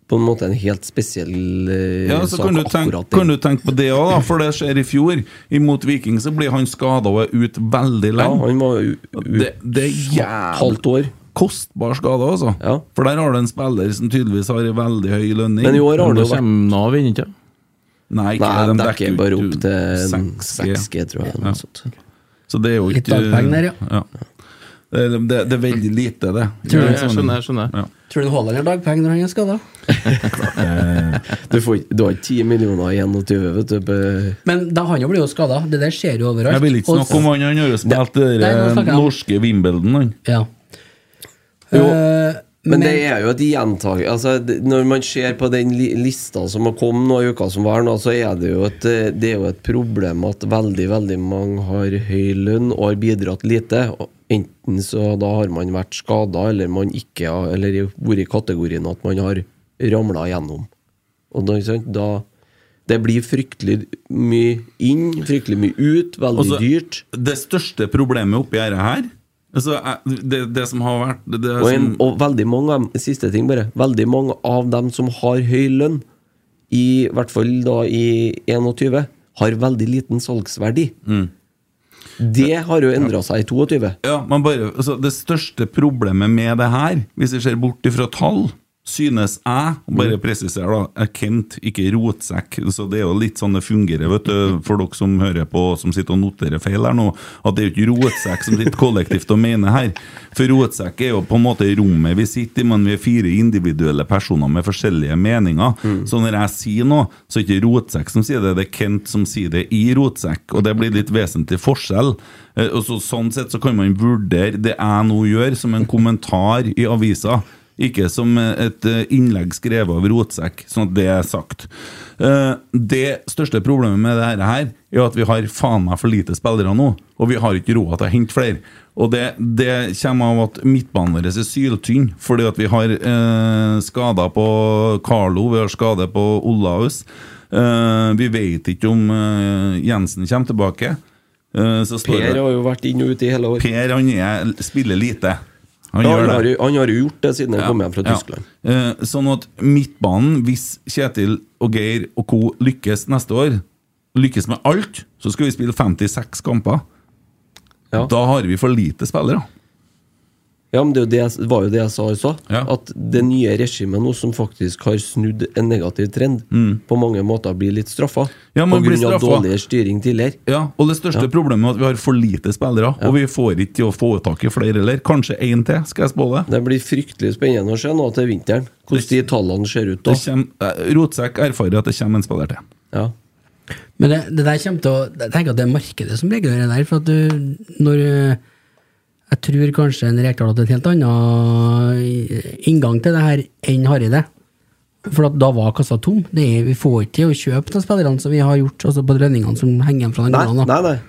S5: på en måte en helt spesiell eh,
S4: Ja, så
S5: sak,
S4: kan du, tenke,
S5: akkurat det.
S4: kan du tenke på det òg, da, for det skjer i fjor. Imot Viking så blir han skada og er ute veldig
S5: ja,
S4: lenge.
S5: han var jo
S4: Det, det er jævlig
S5: halvt år.
S4: kostbar skade, altså.
S5: Ja.
S4: For der har du en spiller som tydeligvis har en veldig høy lønning.
S5: Men i år har
S7: Men
S5: det
S7: da
S5: jo vært
S7: kommer Nav inn, ikke
S4: Nei, ikke,
S5: Nei,
S4: de
S5: de
S4: dekker
S5: dekker
S4: jo
S5: bare
S4: ikke
S5: opp til
S4: 6G.
S5: 6G, tror jeg. eller noe sånt.
S4: Så det er jo
S3: Litt
S4: ikke
S3: dagpenger der,
S4: ja. Det, er- det, det er veldig lite, det. sånn-
S7: Ja, jeg skjønner, jeg skjønner.
S4: Ja.
S3: Tror du Haaland har dagpenger når han er skada?
S5: Du, får, ikke- du har ikke 10 millioner i 21, vet du. på-
S3: Men da han jo blir jo skada. Det der skjer jo overalt.
S4: Jeg vil ikke
S3: Og-
S4: snakke om han. Han har jo spilt det
S3: Nei, nå
S4: der
S3: snakker jeg om-
S4: norske Wimbledon, han.
S3: Ja.
S5: Jo,
S3: Eh,
S5: Men det er jo et gjentag... Altså, det- når man ser på den li- lista som har kommet nå i uka som var nå, så er det jo et, eh, det er jo et problem at veldig, veldig mange har høy lønn og har bidratt lite. Og Enten så da har man vært skada, eller man ikke har Eller vært i kategorien at man har ramla gjennom. Og da, ikke sant, da Det blir fryktelig mye inn, fryktelig mye ut, veldig
S4: Altså,
S5: dyrt.
S4: Det største problemet oppi dette her altså, jeg- det, det som har vært det, det
S5: Og, en,
S4: som,
S5: og veldig mange av dem, siste ting bare Veldig mange av dem som har høy lønn, i hvert fall da i 21, har veldig liten salgsverdi.
S4: Mm.
S5: Det har jo endra seg i 22.
S4: ja, men bare, altså, Det største problemet med det her, hvis vi ser bort ifra tall Synes jeg, og bare presisere da, er Kent, ikke rotsekk. Så det er jo litt sånn det fungerer, vet du, for dere som hører på og som sitter og noterer feil her nå, at det er jo ikke rotsekk som sitter kollektivt og mener her. For rotsekk er jo på en måte rommet vi sitter i, men vi er fire individuelle personer med forskjellige meninger. Så når jeg sier noe, så er det ikke Rotsekk som sier det, det er Kent som sier det i Rotsekk. Og det blir litt vesentlig forskjell. Eh, Og så, sånn sett så kan man vurdere det jeg nå gjør, som en kommentar i avisa. Ikke som et eh, innlegg skrevet av rotsekk, sånn at det er sagt. Eh, Det største problemet med dette her er at vi har faen meg for lite spillere nå, og vi har ikke råd til å hente flere. Og det, det kommer av at midtbanen vår er syltynn, fordi at vi har eh, skader på Carlo, vi har skader på Olaus. Eh, vi vet ikke om eh, Jensen kommer tilbake. Eh, så står
S5: Per
S4: det
S5: har jo vært inn og ute i hele år.
S4: Per han er, spiller lite. Han
S5: Ja,
S4: gjør
S5: han,
S4: det.
S5: har, jo- han har jo gjort det siden han kom hjem fra
S4: Ja.
S5: Tyskland.
S4: Eh, sånn at midtbanen, hvis Kjetil og Geir og co. lykkes neste år, lykkes med alt, så skal vi spille 56 kamper.
S5: Ja.
S4: Da har vi for lite spillere.
S5: Ja, men det er jo det jeg- var jo det jeg sa i stad.
S4: Ja.
S5: At det nye regimet nå, som faktisk har snudd en negativ trend, på mange måter blir litt straffa.
S4: Mm. Ja,
S5: på
S4: man blir
S5: grunn av
S4: straffa.
S5: dårligere styring tidligere.
S4: Ja, og det største problemet er at vi har for lite spillere, og vi får ikke til å få tak i flere heller. Kanskje én til, skal jeg spå det.
S5: Det blir fryktelig spennende å se nå til vinteren, hvordan de tallene ser ut da.
S4: det kommer, eh, Rotsekk erfarer at det kommer en spiller til.
S5: Ja.
S3: Men det, det der kommer til å Jeg tenker at det er markedet som regulerer det der. For at du, når eh, Jeg tror kanskje en Rekdal hadde en helt annen i- inngang til det her enn Hareide. For at da var kassa tom. Det er, vi får ikke til å kjøpe de spillerne som vi har gjort, altså på lønningene som henger igjen fra den
S5: Nei,
S3: gangen. da.
S5: nei, nei.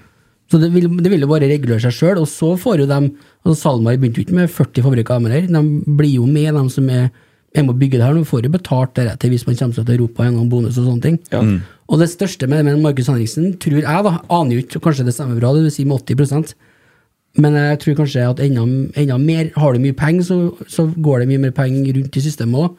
S3: Så det vil, det vil jo bare regulere seg sjøl. Og så får jo dem altså SalMar begynte jo ikke med 40 fabrikker av dem her. De blir jo med, de som er er med å bygge det her. De får jo betalt deretter hvis man kommer seg til Europa gjennom bonus og sånne ting.
S5: Mm.
S3: Og det største med, med Markus Henriksen, tror jeg, da, aner jo ikke, og kanskje det stemmer bra, det vil si med 80 men jeg tror kanskje at enda, enda mer Har du mye penger, så, så går det mye mer penger rundt i systemet òg.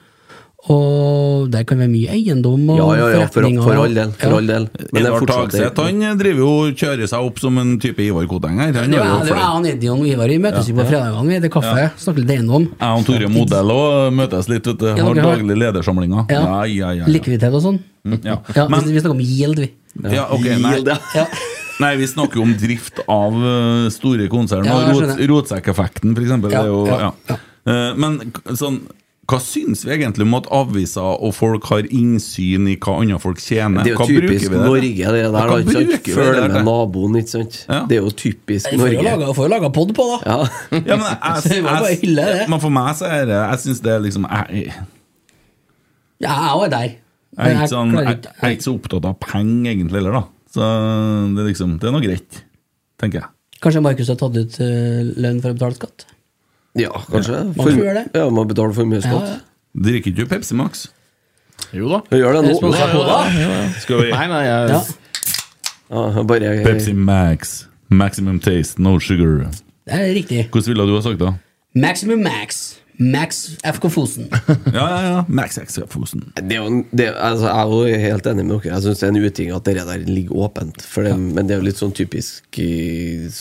S3: Og der kan være mye eiendom og
S5: Ja, ja, ja, for,
S3: forretninger.
S5: for all del. For all del. Men det er
S4: Edvard
S5: fortsatt
S4: Tagseth han driver jo og kjører seg opp som en type Ivar Koteng her. Han
S3: Det var
S4: har jo
S3: det var jeg
S4: flere.
S3: og Eddie og Ivar vi møtes jo på fredagene. Vi spiser kaffe, snakker litt eiendom.
S4: Jeg og Tore Modell òg møtes litt, vet du.
S3: Ja,
S4: Har
S3: dere har-
S4: daglig ledersamlinger.
S3: Ja.
S4: Ja, ja, ja. ja.
S3: Likviditet og sånn.
S4: ja.
S3: Ja,
S4: Men,
S3: vi, vi snakker om yield, vi.
S4: ja, ok, nei.
S5: Yield, ja.
S3: Ja.
S4: nei, vi snakker jo om drift av eh, store konsern.
S3: Ja,
S4: og
S3: jeg
S4: rot,
S3: skjønner.
S4: Rotsekkeffekten, for eksempel.
S3: Ja,
S4: det er jo,
S3: ja,
S4: ja. Eh, Men k- sånn hva syns vi egentlig om at aviser og folk har innsyn i hva andre folk tjener?
S5: Det er jo
S4: hva
S5: typisk
S4: det til?
S5: Norge, det der.
S4: Hva
S5: da, ikke
S4: bruker
S5: sant?
S4: vi det
S5: Følg
S4: der
S5: med
S4: til?
S5: naboen, ikke sant?
S4: Ja.
S5: Det er jo typisk
S3: Vi får jo
S5: Norge.
S3: laga- får jo laga pod på, da.
S5: Ja.
S4: Ja, men jeg,
S3: Så vi må bare
S4: jeg,
S3: hylle det.
S4: men for meg så er det Jeg syns det er liksom Jeg,
S3: Ja, jeg òg er der.
S4: jeg, er ikke sånn,
S3: klarer
S4: jeg,
S3: ikke-
S4: jeg er ikke så opptatt av penger egentlig heller, da. Så det er liksom Det er nå greit, tenker jeg.
S3: Kanskje Markus har tatt ut eh, lønn for å betale skatt?
S5: ja, kanskje.
S3: Man
S5: For-
S3: får gjøre det.
S5: Ja, man betaler formuesskatt.
S3: Ja, ja.
S4: Drikker ikke du Pepsi Max?
S7: Jo da.
S5: Ja, Gjør det nå.
S3: Sponset på det.
S4: Skal vi
S7: Nei, nei, jeg
S3: Ja.
S5: Ja, bare
S4: Pepsi Max. Maximum taste, no sugar.
S3: Det er riktig.
S4: Hvordan ville du ha sagt det?
S3: Maximum max. Max FK Fosen.
S4: Ja, ja, ja. Max X Fosen.
S5: Det er jo, en- det, altså, jeg er jo helt enig med dere. Jeg syns det er en uting at det der ligger åpent. For det, Men det er jo litt sånn typisk i-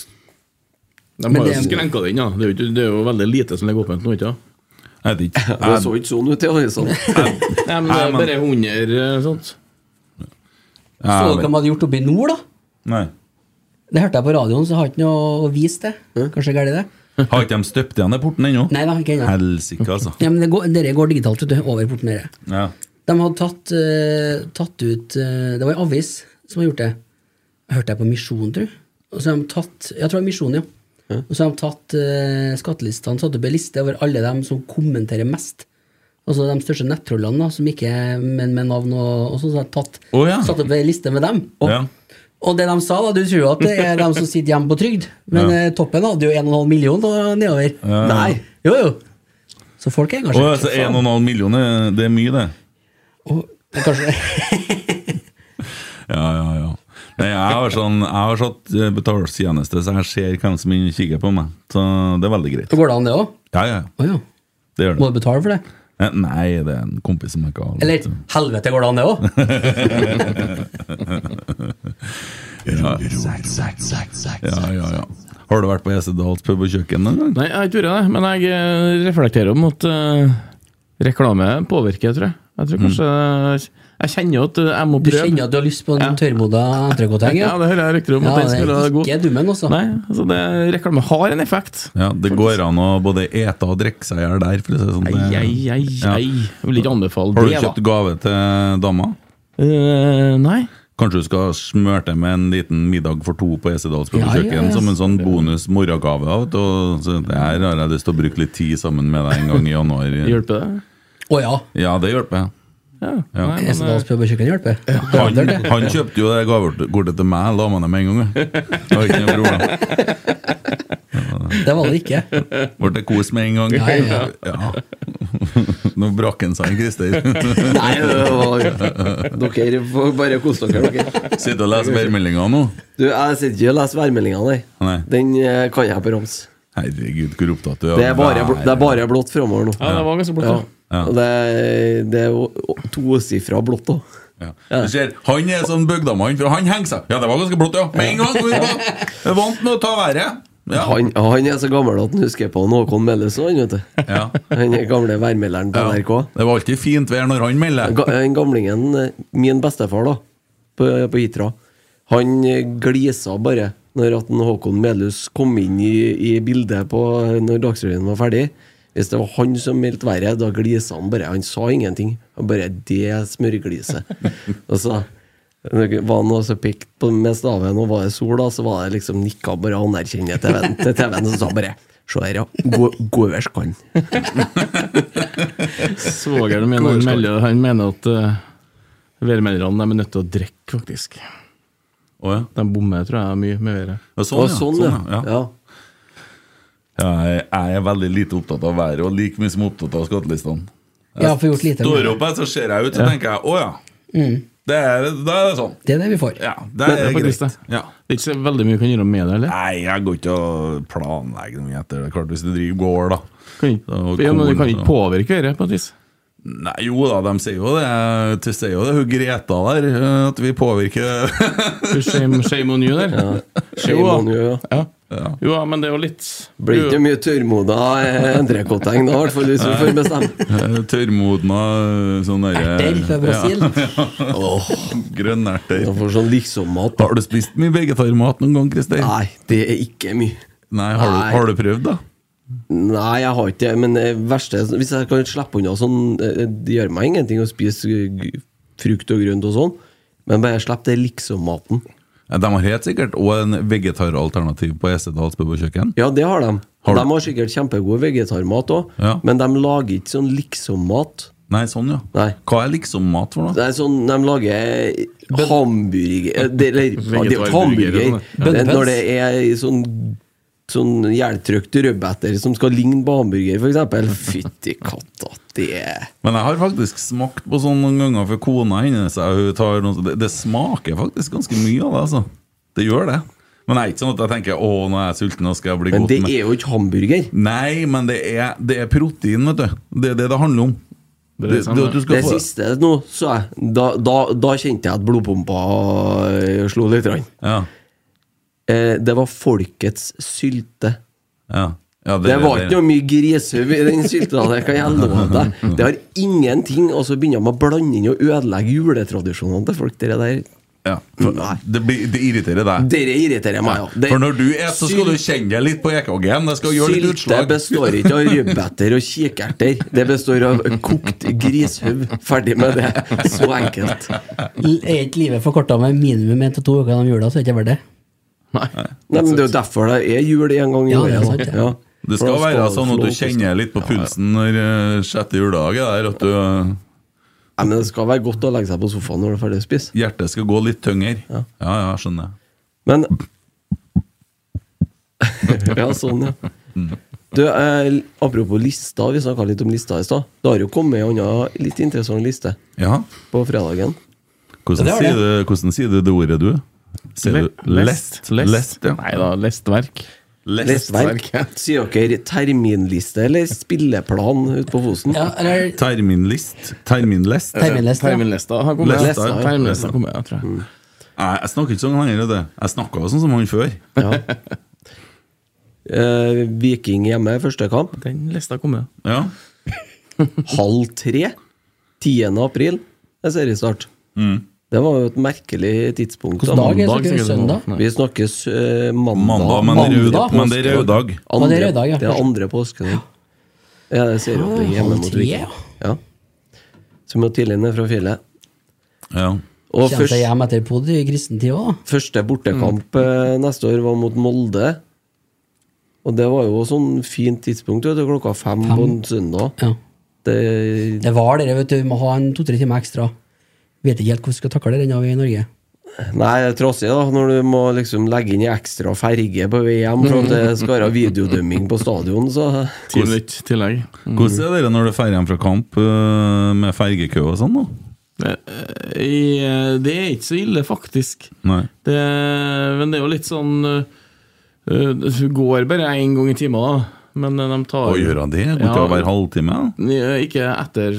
S6: De
S3: Men
S6: har
S3: det
S6: jo
S3: er-
S6: skrenka det inn, da. Det er, jo, ikke- det er jo veldig lite som ligger åpent nå, ikke sant?
S4: Jeg vet ikke.
S5: Det så ikke sånn ut, det. var jo sånn.
S6: Nei, men det
S4: Nei,
S6: er
S4: men-
S6: bare 100 eh, sånt.
S3: Så
S4: Jeg
S3: dere hva
S4: vet-
S3: de hadde gjort oppe i nord, da?
S4: Nei.
S3: Det hørte jeg på radioen, så jeg har ikke noe å vise til. Kanskje galt det?
S4: Har ikke de støpt igjen den porten ennå?
S3: Nei da, ikke ennå.
S4: Helsike, altså.
S3: Ja, men det går, dere går digitalt, vet du. Over porten dere.
S4: Ja.
S3: De hadde tatt, eh, tatt ut eh, Det var en avis som hadde gjort det. Jeg hørte jeg på Misjon, tror jeg. Og så har de tatt Jeg tror det er Misjon, ja. Og så har de tatt eh, skattelistene, satt opp en liste over alle dem som kommenterer mest. Altså de største nettrollene, da, som ikke men med navn og, og sånn. Så har de tatt,
S4: Å, ja.
S3: satt opp en liste med dem. Og,
S4: Ja.
S3: og det de sa, da Du tror jo at det er dem som sitter hjemme på trygd, men eh, toppen hadde jo 1,5 million da, nedover. Nei. Jo, jo. Så folk er
S4: Å,
S3: engasjert.
S4: altså 1,5 millioner, det er mye, det.
S3: Og, og kanskje
S4: Ja, ja, ja. Nei, jeg har sånn Jeg har satt eh, betalingstjeneste, så jeg ser hvem som inn- kikker på meg. Så det er veldig greit.
S3: Så går det an, det òg?
S4: Ja, ja,
S3: Å ja.
S4: det gjør
S3: Må
S4: det.
S3: du betale for det?
S4: Eh, Nei, det er en kompis som ikke har
S3: Eller helvete, går det an, det òg?
S4: ja. ja, ja, ja. Har du vært på Esedals pub og kjøkken noen gang?
S7: Nei, jeg har ikke vært det, men jeg eh, reflekterer om at eh, reklame påvirker, tror jeg. Jeg tror kanskje Jeg kjenner jo at eh, jeg må
S3: Du
S7: prøve.
S3: kjenner at du har lyst på en
S7: Ja.
S3: tørrmoda entrecôte?
S7: Ja, det hører jeg rykter om.
S3: Ja,
S7: at den
S3: det
S7: skulle ha
S3: er
S7: gått.
S3: ikke dummen, altså.
S7: Nei, altså det, reklame har en effekt.
S4: Ja, Det går an å både ete og drikke seg i hjel der. For å si det sånn.
S7: Ei, ei,
S4: Det-
S7: ei, ei. Jeg vil ikke anbefale
S4: Har du
S7: det, da.
S4: kjøpt gave til dama?
S7: Eh, nei.
S4: Kanskje du skal smøre det med en liten middag for to på Esedals
S3: Ja, ja,
S4: pubekjøkken
S3: ja.
S4: som en sånn bonus morgengave. av det, og så det Her har jeg lyst til å bruke litt tid sammen med deg en gang i januar.
S7: Hjelper det?
S3: Å ja.
S4: Ja, det hjelper.
S7: Ja.
S4: Ja.
S7: Nei, men,
S3: Esedals
S7: eh,
S3: pub og kjøkken hjelper.
S4: Han, han kjøpte jo det gavekortet til meg, la meg det med en gang. jeg. Det var ikke noe problem.
S3: Det var det ikke.
S4: Ble det kos med en gang?
S3: Ja, ja,
S4: ja. Nå brakk han seg, Christer.
S5: Nei, det var, dere får bare kose dere. dere.
S4: Sitter og leser værmeldinga nå.
S5: Du, Jeg sitter ikke og leser værmeldinga, nei.
S4: Nei.
S5: Den eh, kan jeg på rams.
S4: Herregud, hvor opptatt du er. av
S5: Det er bare,
S4: vær.
S5: det er bare blått framover nå.
S7: ja, det var ganske blått.
S5: Ja.
S7: da.
S4: Ja.
S5: Og det, er- det er jo tosifra blått òg.
S4: Ja. Du ser, han er sånn bygdamann, for han henger seg. Ja, det var ganske blått, ja. Med en gang! vi var- Jeg vant med å ta været. Ja.
S5: Han, han er så gammel at han husker på Håkon Mellesen, han, vet du.
S4: Ja.
S5: Han er gamle værmelderen på
S4: Ja.
S5: NRK.
S4: Det var alltid fint vær når han melder.
S5: Ga- Den gamlingen, eh, min bestefar, da, på, på Hitra, han eh, glisa bare når at en Håkon Melhus kom inn i, i bildet på når Dagsrevyen var ferdig. Hvis det var han som meldte været, da glisa han bare. Han sa ingenting. Han bare 'Det smørgliset'. og så var han også pikt på med staven, og var det sol, da, så var det liksom nikka bare anerkjennende til TV-en, til TV-en og sa bare 'Se her, ja. Gå- Gå øverst kan'.
S7: Svogeren min han melder, han mener at uh, værmelderne de er nødt til å drikke, faktisk.
S4: Å ja.
S7: De bommer, tror jeg, mye med været.
S4: Ja,
S5: Og
S4: Sånn, ja.
S5: sånn,
S4: Sånn,
S5: ja.
S4: ja. ja.
S5: ja.
S4: Jeg jeg er veldig lite opptatt av været, og like mye som opptatt av skattelistene.
S3: Jeg har fått gjort lite.
S4: Står
S3: med det.
S4: opp her, så ser jeg ut, så tenker jeg å ja. Det er, da er det sånn.
S3: Det er det vi får.
S4: Ja, det er,
S7: Det er faktisk
S4: greit.
S7: det.
S4: Ja.
S7: Det er ikke så veldig mye du kan gjøre med det, eller?
S4: Nei, jeg går ikke og planlegger noe etter det. Klart, hvis du driver gård, da.
S7: Kan ikke,
S4: Og
S7: ja, men du
S4: korn,
S7: kan ikke
S4: og-
S7: påvirke været, på et vis.
S4: Nei, jo da, de sier jo det. De sier jo det, hun Greta der, at vi påvirker
S7: Du, Shame, shame on you der.
S5: Shame on you, ja.
S7: Ja. Jo, ja, men det er jo litt
S5: Blir ikke
S7: Jo,
S5: mye tørrmoda endrekoteng da, i hvert fall hvis vi får bestemme.
S4: tørrmodna sånn
S3: Erter fra Brasil.
S4: Grønnerter.
S5: Jeg får sånn liksom-mat.
S4: Har du spist mye vegetarmat noen gang, Christer?
S5: Nei, det er ikke mye.
S4: Nei, har,
S5: Nei.
S4: Du, har du prøvd, da?
S5: Nei, jeg har ikke det, men det verste er Hvis jeg kan slippe unna sånn eh, Det gjør meg ingenting å spise eh, frukt og grønt og sånn, men bare slipp det liksom-maten.
S4: Ja, De har helt sikkert òg en vegetaralternativ på Esedals pub og kjøkken.
S5: Ja, det har de.
S4: Har du-
S5: De har sikkert kjempegod vegetarmat òg,
S4: Ja.
S5: men de lager ikke sånn liksom-mat.
S4: Nei, sånn, ja.
S5: Nei.
S4: Hva er liksom mat for noe?
S5: Det er sånn, De lager hamburger eh, det- Eller ja, det er jo
S7: Vegetarburger
S5: ikke hamburger.
S7: og
S5: Det er
S3: Bønnepels.
S5: når det er i sånn Sånn hjeltrøkt rødbeter som skal ligne på hamburger, f.eks. Fytti katta, det er
S4: Men jeg har faktisk smakt på sånn noen ganger for kona hennes. jeg- Hun tar noe, sånn- det, det smaker faktisk ganske mye av det, altså. Det gjør det. Men det er ikke sånn at jeg tenker å, nå er jeg sulten, nå skal jeg bli
S5: Men
S4: godt
S5: det
S4: med.
S5: er jo ikke hamburger.
S4: Nei, men det er, det er protein, vet du. Det er det det handler om.
S7: Det
S4: Det,
S7: er
S4: det,
S7: sant, det.
S4: at du skal
S5: Det
S4: få
S5: siste nå, så jeg Da, da, da kjente jeg at blodpumpa eh, slo litt. grann.
S4: Ja,
S5: Eh, det var folkets sylte.
S4: ja, ja,
S5: Det var ikke noe mye grisehøv i den sylta der, kan jeg love deg. Det har ingenting, og så begynner de å blande inn og ødelegge juletradisjonene til folk. Dere der.
S4: ja, for,
S5: Nei.
S4: det, blir- det irriterer deg.
S5: Dere irriterer meg, ja. Det-
S4: for når du spiser, så skal du kjenne deg litt på EKG-en. Det skal gjøre litt
S5: Sylte
S4: utslag.
S5: består ikke av rødbeter og kikerter. Det består av kokt grishøv. Ferdig med det. Så enkelt.
S3: L- Er ikke livet forkorta med minimum én til to uker gjennom jula, så er det ikke verdt det.
S5: Nei, men Det er jo derfor det er jul en gang i
S3: Ja, det er
S5: året.
S3: sant,
S5: da.
S3: ja.
S5: Ja.
S4: Det
S5: For
S4: skal
S5: da
S4: være
S5: det
S4: sånn at
S5: få
S4: du
S5: lov å stå.
S4: kjenner litt på pulsen når eh, sjette juledag er der, at du, eh,
S5: Nei, men Det skal være godt å legge seg på sofaen når du er ferdig å spise.
S4: hjertet skal gå litt tyngre. Ja, ja, skjønner jeg.
S5: Men Ja, sånn, ja. Du, eh, Apropos lista, vi snakka litt om lista i stad. Det har jo kommet en annen litt interessant liste
S4: Ja.
S5: på fredagen.
S4: Hvordan,
S3: Ja, det var
S4: sier du, hvordan sier du det ordet, du? Sier du lest?
S7: Lest.
S4: Lest, ja.
S7: Nei da, lestverk.
S4: Lest.
S5: Lestverk. Sier dere terminliste eller spilleplan ute på Fosen?
S3: Ja, eller
S4: Terminlist. Terminlest.
S3: terminleste. ja.
S7: Terminlista har kommet.
S4: Lesta, ja.
S7: Terminlista har kommet, ja, tror jeg.
S4: Nei, jeg snakker ikke sånn lenger. Det. Jeg snakka sånn som han før.
S5: Eh, Viking hjemme, første kamp.
S7: Den lista har kommet.
S4: Ja.
S5: Halv tre. 10. april er seriestart.
S4: Mm.
S5: Det var jo et merkelig tidspunkt. da.
S3: Hvilken dag er
S7: Mandag,
S3: det?
S7: sikkert.
S3: Søndag?
S5: Vi snakkes eh, mandag.
S4: Mandag, men,
S3: Mandag.
S4: Rød, men det er røddag.
S5: Andre,
S3: det er røddag, ja.
S5: det er andre påskedag. Ja, det ser opp
S3: Ah,
S5: hjemme
S3: halv
S5: mot
S3: tre,
S5: Viking.
S3: ja.
S5: Ja. Så vi må tidlig ned fra fjellet.
S4: Ja.
S5: Og
S3: Kommer seg Mm.
S5: først,
S3: hjem etter pod i kristen tid òg, da.
S5: første bortekamp eh, neste år var mot Molde. Og det var jo sånn fint tidspunkt, vet du, klokka fem, på en søndag.
S3: Ja.
S5: Det,
S3: Det var det, vet du. Vi må ha en to-tre timer ekstra. Vet ikke helt hvordan vi skal takle det ennå, vi i Norge.
S5: Nei, det er trassig da, når du må liksom legge inn i ekstra ferge på vei hjem for at det skal være videodømming på stadion, så
S7: Tidlig tillegg.
S4: Hvordan
S3: Mm.
S4: er dere når du drar hjem fra kamp øh, med fergekø og sånn? da?
S7: Eh, i- eh, Det er ikke så ille, faktisk.
S4: Nei.
S7: Det, men det er jo litt sånn eh, eh, Du går bare én gang i timen, da. Men eh, de tar
S4: Å gjøre det? Går ikke
S7: Ja.
S4: det hver halvtime? da?
S7: Ja, Ikke etter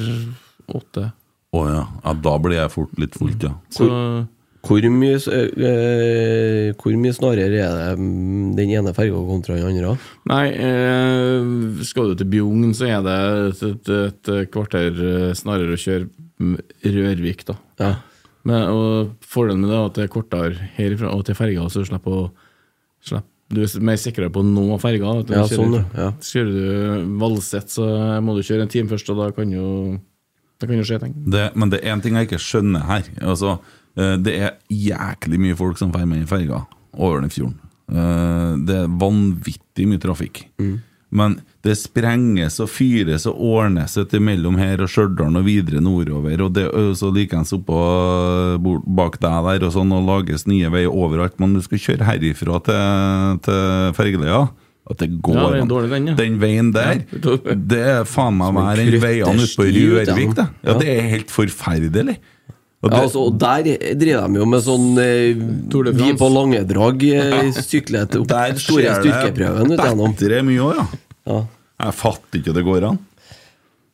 S7: åtte.
S4: Å ja. ja. Da blir jeg fort litt fullt, ja.
S7: Så
S5: hvor mye, s- ø- ø, hvor mye snarere er det mm, den ene ferga kontra den andre?
S7: Nei, eh, skal du til Bjugn, så er det et, et, et kvarter eh, snarere å kjøre mm, Rørvik, da.
S5: Ja.
S7: Men, og fordelen med det er at det er kortere herifra og til ferga, så du slipper å slipp. Du er mer sikrere på å nå ferga. da, at du
S5: Ja,
S7: kjører-
S5: sånn, ja.
S7: Kjører du Valset, så må du kjøre en time først, og da kan jo da kan jo skje ting.
S4: Det, men det er én ting jeg ikke skjønner her. Altså, eh, det er jæklig mye folk som drar med i ferga over den fjorden. Eh, Det er vanvittig mye trafikk.
S7: Mm.
S4: Men det sprenges og fyres og ordnes ut imellom her og Stjørdal og videre nordover. Og det er så likeens oppå bort- bak deg der og sånn, og lages nye veier overalt. Men du skal kjøre herifra til, til Fergeløya. At det går
S7: Ja, det er
S4: an.
S7: dårlig den, ja.
S4: den veien der, det er faen meg hver
S5: en
S4: den veien ute på
S5: kruttersti ut, ja.
S4: Rørvik, da. Ja,
S5: Ja.
S4: det er helt forferdelig. Og
S5: Ja,
S4: det,
S5: altså, og der driver de jo med sånn
S7: Tour
S5: eh,
S7: de
S5: Vi
S7: France.
S5: på lange drag eh, sykler til opp
S4: der
S5: store
S4: skjer
S5: styrkeprøven ut igjennom.
S4: bedre mye òg, ja.
S5: Ja.
S4: Jeg fatter ikke at det går an.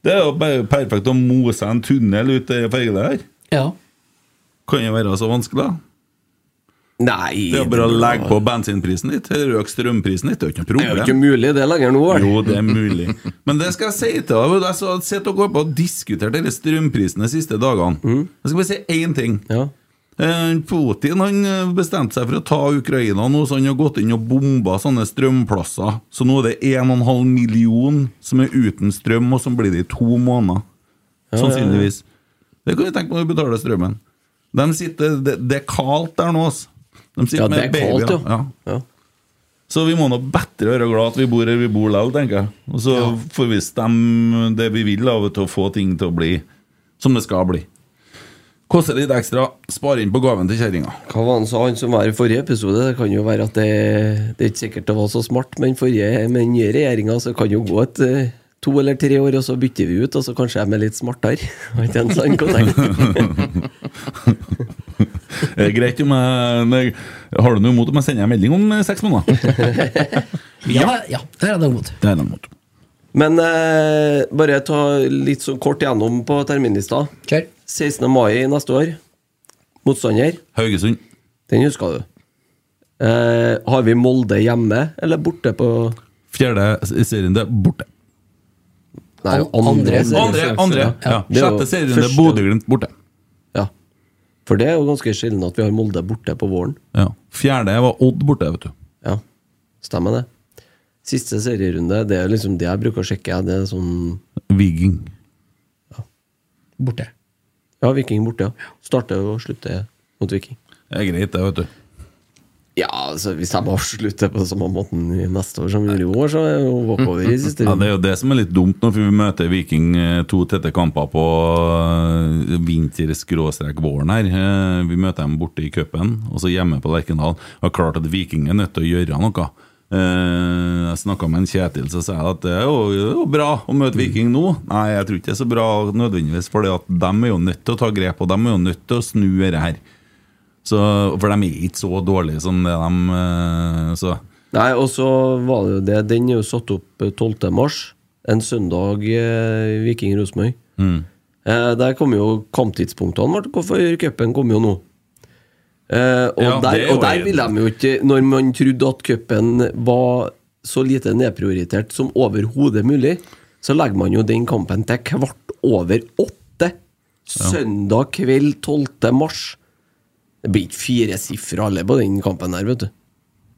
S4: Det er jo bare perfekt å mose en tunnel ut i fergelet her.
S3: Ja.
S4: Kan jo være så vanskelig, da.
S5: Nei
S4: Det er jo bare å legge på bensinprisen litt, eller øke strømprisen litt. Det er jo ikke
S5: Det er jo
S4: noe
S5: ikke
S4: problem.
S5: mulig, det er lenger nå. vel?
S4: Jo, det er mulig. Men det skal jeg si til deg. Jeg så- sitter og går på og diskuterer disse strømprisene de siste dagene.
S5: Mm.
S4: Jeg skal bare si én ting.
S5: Ja.
S4: Eh, Putin han eh, bestemte seg for å ta Ukraina nå, så han har gått inn og bomba sånne strømplasser. Så nå er det 1,5 million som er uten strøm, og som blir det i to måneder. Sannsynligvis. Det kan du tenke på når du betaler strømmen. De sitter, det, det er kaldt der nå, altså. De sitter
S5: Ja,
S4: med
S5: det er
S4: babyer.
S5: kaldt, jo.
S4: Ja.
S5: Ja.
S4: Så vi må nå bedre være glad at vi bor her vi bor likevel, tenker jeg. Og så får vi stemme det vi vil av til å få ting til å bli som det skal bli. Koster litt ekstra, spare inn på gaven til kjerringa.
S5: Hva var han sa han som var i forrige episode? Det kan jo være at det, det er ikke sikkert det var så smart, men forrige, med den nye regjeringa så kan jo gå et eh, to eller tre år, og så bytter vi ut, og så kanskje de er litt smartere. Var ikke en sånn kontekst?
S4: Er det Eh, greit om jeg nei, Har du noe imot om jeg sender en melding om eh, seks måneder?
S3: Ja, ja. det er det imot.
S4: Det er jeg imot.
S5: Men eh, bare ta litt sånn kort gjennom på terminlista.
S3: Kjør.
S5: 16. mai neste år. Motstander.
S4: Haugesund.
S5: Den husker du. Eh, har vi Molde hjemme, eller borte på
S4: Fjerde serierunde borte.
S5: Nei,
S3: Andre.
S5: andre. serie.
S4: Andre, andre. Ja.
S5: Det er jo
S4: Sjette serierunde
S5: første.
S4: Bodø-Glimt borte.
S5: Ja. For det er jo ganske sjelden at vi har Molde borte på våren.
S4: Ja. Fjerde var Odd borte, vet du.
S5: Ja, stemmer det. Siste serierunde, det er liksom det jeg bruker å sjekke. jeg. Det er sånn
S4: Viking.
S3: Borte.
S5: Ja, Viking borte, ja. Starter og slutter mot Viking.
S4: Det er greit, det, vet du.
S5: Ja, altså hvis de avslutter på samme måten i neste år som vi gjorde i år, så er det jo walkover i siste
S4: Ja, Det
S5: runde.
S4: er jo det som er litt dumt nå, for vi møter Viking eh, to tette kamper på eh, vinter-våren her. Eh, Vi møter dem borte i cupen, og så hjemme på Lerkendal. Det er klart at Viking er nødt til å gjøre noe. Eh, Jeg snakka med en Kjetil, så sa jeg at det er jo, det er jo bra å møte Viking nå. Nei, jeg tror ikke det er så bra nødvendigvis, for de er jo nødt til å ta grep, og de er jo nødt til å snu dette her. Så, for de er ikke så dårlige som det de eh, så.
S5: Nei, og så var det jo det. Den er jo satt opp eh, 12. mars. En søndag eh, Viking-Rosenborg.
S4: Mm.
S5: Eh, der kom jo kamptidspunktene, Martin. Hvorfor cupen kom jo nå? Eh, og,
S4: Ja, det
S5: der,
S4: er jo
S5: og der
S4: en-
S5: vil de jo ikke Når man trodde at cupen var så lite nedprioritert som overhodet mulig, så legger man jo den kampen til kvart over åtte. Søndag kveld 12. mars. Det blir ikke firesifra alle på den kampen der, vet du.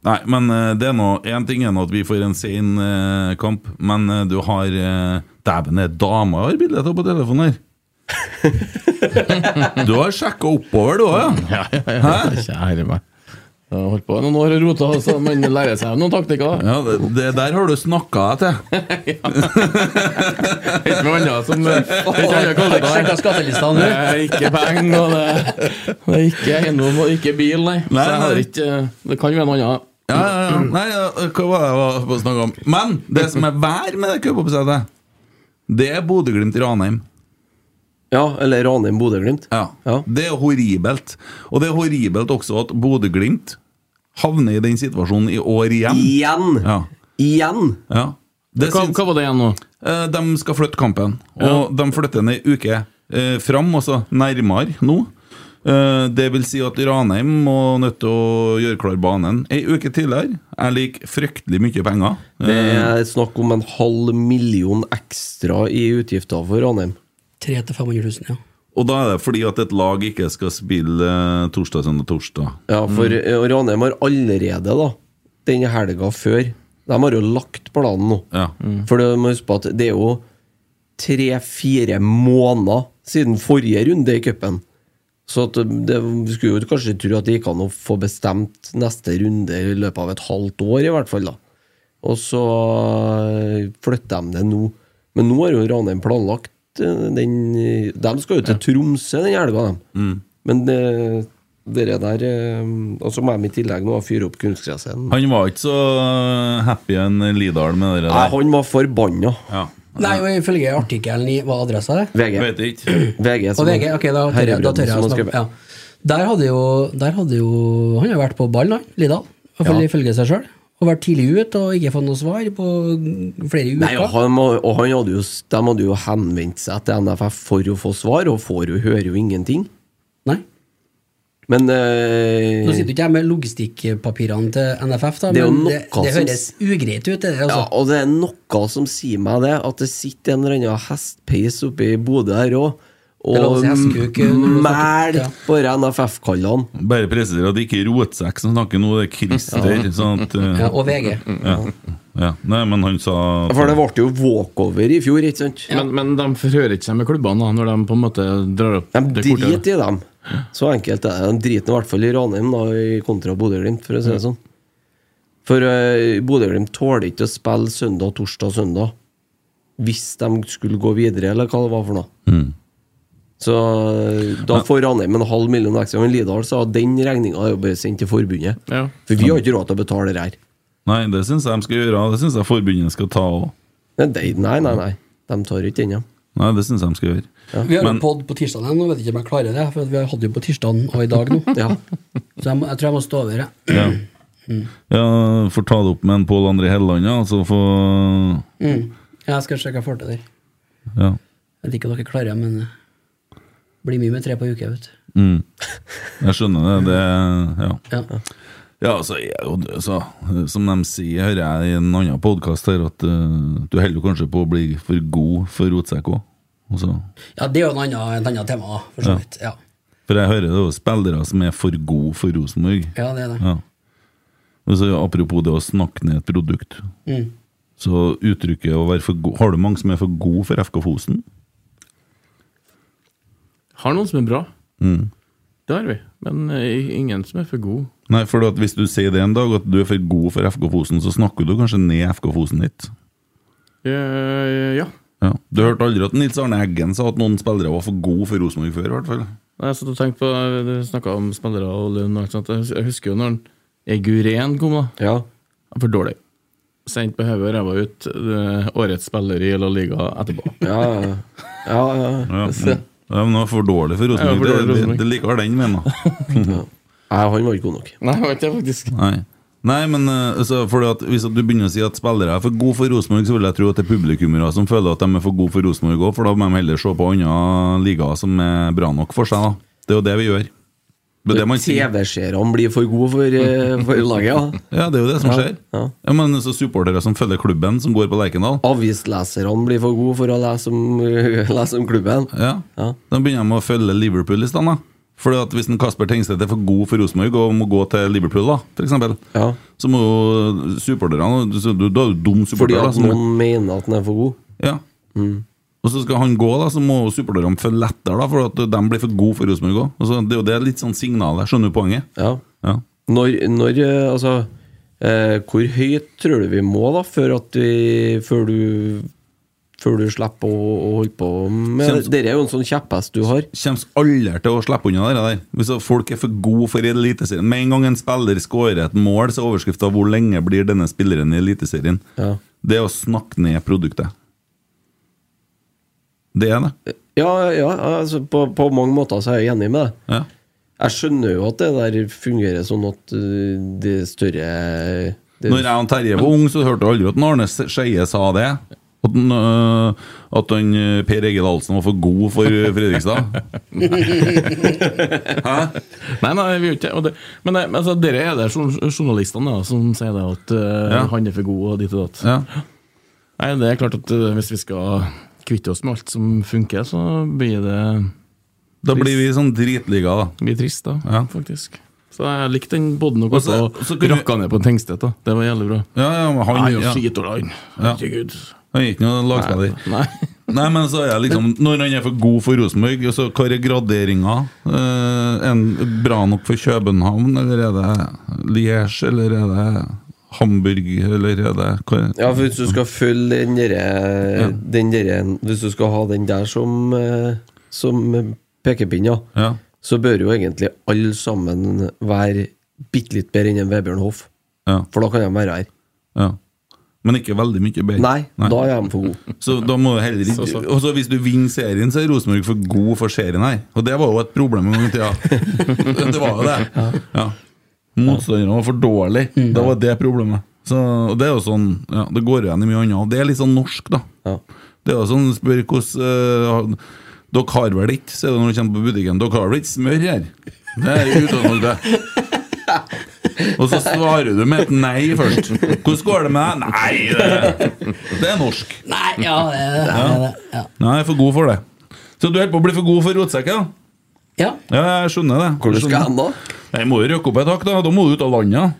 S4: Nei, men eh, det er nå En ting er nå at vi får en sen eh, kamp, men eh, du har eh, Dæven, er dama jeg har bilde av på telefonen her! Du har sjekka oppover, du òg, ja?
S7: Kjære meg. Jeg har holdt på noen år og rota, så man lærer seg noen taktikker. da.
S4: ja det, det der har du snakka deg til.
S7: Ikke noe annet som det er ikke annet
S3: Har du
S7: kallet
S3: sjekket skattelistene
S7: Det
S3: nå?
S7: er ikke penger, og det, det er ikke eiendom, og ikke bil, nei.
S4: Nei,
S7: Så jeg har
S4: nei.
S7: ikke Det kan være noe annet.
S4: Ja, ja, ja. Nei, ja, hva var det jeg var på å snakke om? Men det som er vær med det cupoppsettet, det er Bodø-Glimt i Ranheim.
S5: Ja, eller Ranheim Bodø-Glimt.
S4: Ja.
S5: Ja.
S4: Det er horribelt. Og det er horribelt også at Bodø-Glimt havner i den situasjonen i år igjen.
S5: Igjen!
S4: Ja.
S5: Igjen!
S4: ja. Det
S7: Hva,
S4: syns-
S7: hva var det igjen nå?
S4: Eh, De skal flytte kampen, og de flytter den ei uke eh, fram, altså nærmere nå. Eh, det vil si at Ranheim må nødt til å gjøre klar banen ei uke tidligere. Jeg liker fryktelig mye penger. Eh,
S5: Det er snakk om en halv million ekstra i utgifter for Ranheim.
S3: 300 000-500 000, ja.
S4: Og da er det fordi at et lag ikke skal spille eh, torsdag, søndag, torsdag.
S5: Ja, for eh, Ranheim har allerede, da, den helga før De har jo lagt planen nå.
S4: Ja.
S5: For du må huske på at det er jo tre-fire måneder siden forrige runde i cupen. Så at det, vi skulle jo kanskje tro at det gikk an å få bestemt neste runde i løpet av et halvt år, i hvert fall. da. Og så eh, flytter de det nå. Men nå har jo Ranheim planlagt eh, den De skal jo til Tromsø den helga, de. Men det, dere der eh, Og så må de i tillegg nå fyre opp kunstgresset.
S4: Han var ikke så eh, happy en Lidal med det
S5: Nei,
S4: der.
S5: han var forbanna.
S4: Ja.
S3: Nei, og ifølge artikkelen i Hva adressa er det?
S5: VG.
S4: Vet ikke.
S5: VG,
S3: Og VG, ok, da tør jeg, da tør jeg å snakke. Ja. Der hadde jo, der hadde jo Han har jo vært på ball, han, Lidal. I hvert fall
S5: Ja.
S3: ifølge seg sjøl. Og vært tidlig ut og ikke fått noe svar på flere
S5: Nei,
S3: uker.
S5: og han, må- og han hadde jo, de hadde jo henvendt seg til NFF for å få svar, og får jo, hører jo ingenting.
S3: Nei.
S5: Men
S3: Nå
S5: eh,
S3: sitter jo ikke jeg med logistikkpapirene til NFF, da,
S5: Det er jo
S3: men det,
S5: noe
S3: det
S5: som-
S3: høres ugreit ut. Det, der,
S5: ja,
S3: altså.
S5: og det er noe som sier meg det, at det sitter en eller annen hestpeis oppe i Bodø her òg,
S3: Det er lov å
S5: og
S3: si hestkuk, eh, når du snakker-
S5: mæl
S3: ja.
S5: bare NFF-kallene.
S4: Bare presiserer at det ikke er Rotsekk som snakker nå, det er Christer. Sånn at, eh,
S3: Ja, og VG.
S4: ja. Ja. Nei, men han sa at-
S5: For det ble jo walkover i fjor, ikke sant?
S7: Men, men de forhører ikke seg med klubbene da, når de på en måte drar opp
S5: De
S7: det kortet?
S5: driter i dem. Så enkelt er det. De driter i hvert fall i Ranheim da, i kontra Bodø-Glimt, for å si det sånn. For uh, Bodø-Glimt tåler ikke å spille søndag, torsdag, søndag hvis de skulle gå videre, eller hva det var for noe.
S7: Mm.
S5: Så eh, da får Ranheim en halv million ekstra. Men Lidal sa at den regninga er jo bare sendt til forbundet.
S7: Ja.
S5: For vi har ikke råd til å betale det her.
S4: Nei, det syns jeg de skal gjøre. og Det syns jeg forbundet skal ta òg.
S5: Nei, de- nei, nei. nei. De tar ikke den, ja.
S4: Nei, det syns jeg de skal gjøre.
S3: Vi har jo
S4: Men-
S3: pod på tirsdag, nå vet jeg ikke om jeg klarer det. For vi hadde jo på tirsdag og i dag nå.
S5: ja.
S3: Så jeg, må, jeg tror jeg må stå over, jeg.
S4: Ja. ja Får ta det opp med en Pål André Helleland, ja. Så få
S3: Mm. Jeg skal se hva jeg får til der.
S4: Ja.
S3: Jeg vet ikke om dere klarer det, men eh, blir mye med tre på uke, vet du.
S4: Mm. Jeg skjønner det. det ja.
S3: Ja.
S4: ja, så er jo det så, Som de sier, hører jeg i en annen podkast her, at eh, du holder jo kanskje på å bli for god for rotsekk Altså, òg.
S3: ja, det er jo en annen, et annet tema, da, for så
S4: Ja.
S3: vidt. Ja.
S4: For jeg hører det er jo spillere som er for gode for Rosenborg.
S3: ja, det er det.
S4: Ja. Og så Apropos det å snakke ned et produkt.
S3: Mm.
S4: Så uttrykket å være for god Har du mange som er for gode for FK Fosen?
S7: Har noen som er bra.
S4: Mm.
S7: Det har vi. Men eh, ingen som er for god.
S4: Nei, for at hvis du sier det en dag, at du er for god for FK Fosen, så snakker du kanskje ned FK Fosen litt.
S7: Eh, ja.
S4: Ja. Du hørte aldri at Nils Arne Eggen sa at noen spillere var for gode for Rosenborg før, i hvert fall.
S7: Nei, Jeg satt og tenkte på eh, Du snakka om spillere og lønn og alt sånt. Jeg hus- Jeg husker jo når Eguren kom, da.
S5: ja.
S7: Han var For dårlig. Sendt på hodet og ræva ut. eh, Årets spiller i La Liga etterpå.
S5: Ja, ja. ja, ja.
S4: Ja, mm. ja men det var for dårlig for
S7: Ja, for
S4: Rosenborg.
S7: dårlig for
S4: Det, det,
S7: Rosenborg.
S4: det liker den, mener jeg.
S7: Mm.
S5: Nei, han var ikke god nok.
S7: Nei, det var ikke det, faktisk.
S4: Nei. Nei, men eh, så fordi at hvis at du begynner å si at spillere er for gode for Rosenborg, så vil jeg tro at det er publikummere som føler at de er for gode for Rosenborg òg, for da må de heller se på andre ligaer som er bra nok for seg, da. Det er jo det vi gjør. Det er det man sier.
S5: TV-seerne blir for gode for, eh, for laget, ja.
S4: Ja, det er jo det som
S5: Ja,
S4: skjer. Ja,
S5: ja.
S4: Men så supportere som følger klubben, som går på Lerkendal
S5: Avisleserne blir for gode for å lese om, lese om klubben.
S4: ja.
S5: Ja.
S4: Da begynner de å følge Liverpool i stedet. da. Fordi at Hvis en Kasper Tengstedt er for god for Rosenborg og må gå til Liverpool, da, for eksempel,
S5: Ja.
S4: så må jo supporterne så Du du er jo dum
S5: Fordi
S4: supporter. da,
S5: at
S4: som-
S5: noen mener at den er for god.
S4: Ja. Og så skal han gå, da, så må jo supporterne følge etter, da, for at de blir for gode for Rosenborg òg. Altså, det er jo det litt sånn signalet. Skjønner du poenget?
S5: Ja.
S4: Ja.
S5: Når, når eh, Altså, eh, hvor høyt tror du vi må, da, før at vi Før du før du slipper å, å holde på med
S4: Kjem-
S5: Dette er jo en sånn kjepphest du har.
S4: Kommer aldri til å slippe unna det der. Hvis at folk er for gode for Eliteserien Med en gang en spiller skårer et mål, så er overskrifta 'Hvor lenge blir denne spilleren i Eliteserien?'
S5: Ja.
S4: Det er å snakke ned produktet. Det er det.
S5: Ja, ja altså, på, på mange måter så er jeg enig med deg.
S4: Ja.
S5: Jeg skjønner jo at det der fungerer sånn at øh, det større det,
S4: Når jeg og Terje var ung, så hørte jeg aldri at en Arne Skeie sa det. At, den, øh, at han, øh, Per Egil Ahlsen var for god for øh, Fredrikstad.
S7: Nei, nei, vi gjør ikke det. og det. Men det- men altså, dere er det jour- journalistene da, som sier det at eh,
S4: Ja.
S7: han er for god og ditt og datt.
S4: Ja.
S7: Nei, det er klart at eh, hvis vi skal kvitte oss med alt som funker, så blir det
S4: Da blir vi sånn dritliga, da.
S7: blir trist, da,
S4: Ja.
S7: faktisk. Så jeg likte den podden og
S4: Og så-
S7: godt,
S4: så kunne
S7: og
S4: vi-
S7: rakka ned på Tengstedt. da Det var jævlig bra.
S4: Ja, ja, men han,
S7: Nei,
S4: ja.
S7: ja. skitår, han.
S4: Ja.
S7: Herregud.
S4: han er ikke noen
S7: Nei,
S4: lagspiller.
S7: nei.
S4: Nei, men så er jeg liksom Når han er for god for Rosenborg, og så hva er graderinga? Eh, en bra nok for København, eller er det Liège, eller er det Hamburg, eller er det hva er
S5: Ja, for hvis du skal følge den derre Den derre Hvis du skal ha den der som øh, Som øh, pekepinn, ja,
S4: Ja.
S5: så bør jo egentlig alle sammen være bitte litt bedre enn en Vebjørn Hoff.
S4: Ja.
S5: For da kan de være her.
S4: ja. Men ikke veldig mye bedre.
S5: Nei, da er de for gode.
S4: Så da må du heller ikke Og så hvis du vinner serien, så er Rosenborg for god for serien her. Og det var jo et problem en gang i tida. Det var jo det. Ja. Mm. Motstanderne var for dårlig Det var det problemet. Så, og det er jo sånn ja, Det går igjen i mye annet. Og det er litt sånn norsk, da.
S5: Ja.
S4: Det er jo sånn Spør hvordan eh, Dere har vel ikke Sier du når du kommer på butikken Dere har vel ikke smør her? Det er utgangspunktet. Og så svarer du med et nei først. Hvordan går det med deg? Nei, det, det er norsk.
S3: Nei, ja, det er det. det, er det. Ja.
S4: Nei, jeg er for god for det. Så du holder på å bli for god for rotsekken?
S3: Ja.
S4: Ja, jeg skjønner det.
S5: Hvor du
S4: Jeg
S5: skal
S4: skjønner.
S5: hen da?
S4: Jeg må jo røkke opp et hakk, da. Da må du ut av landet.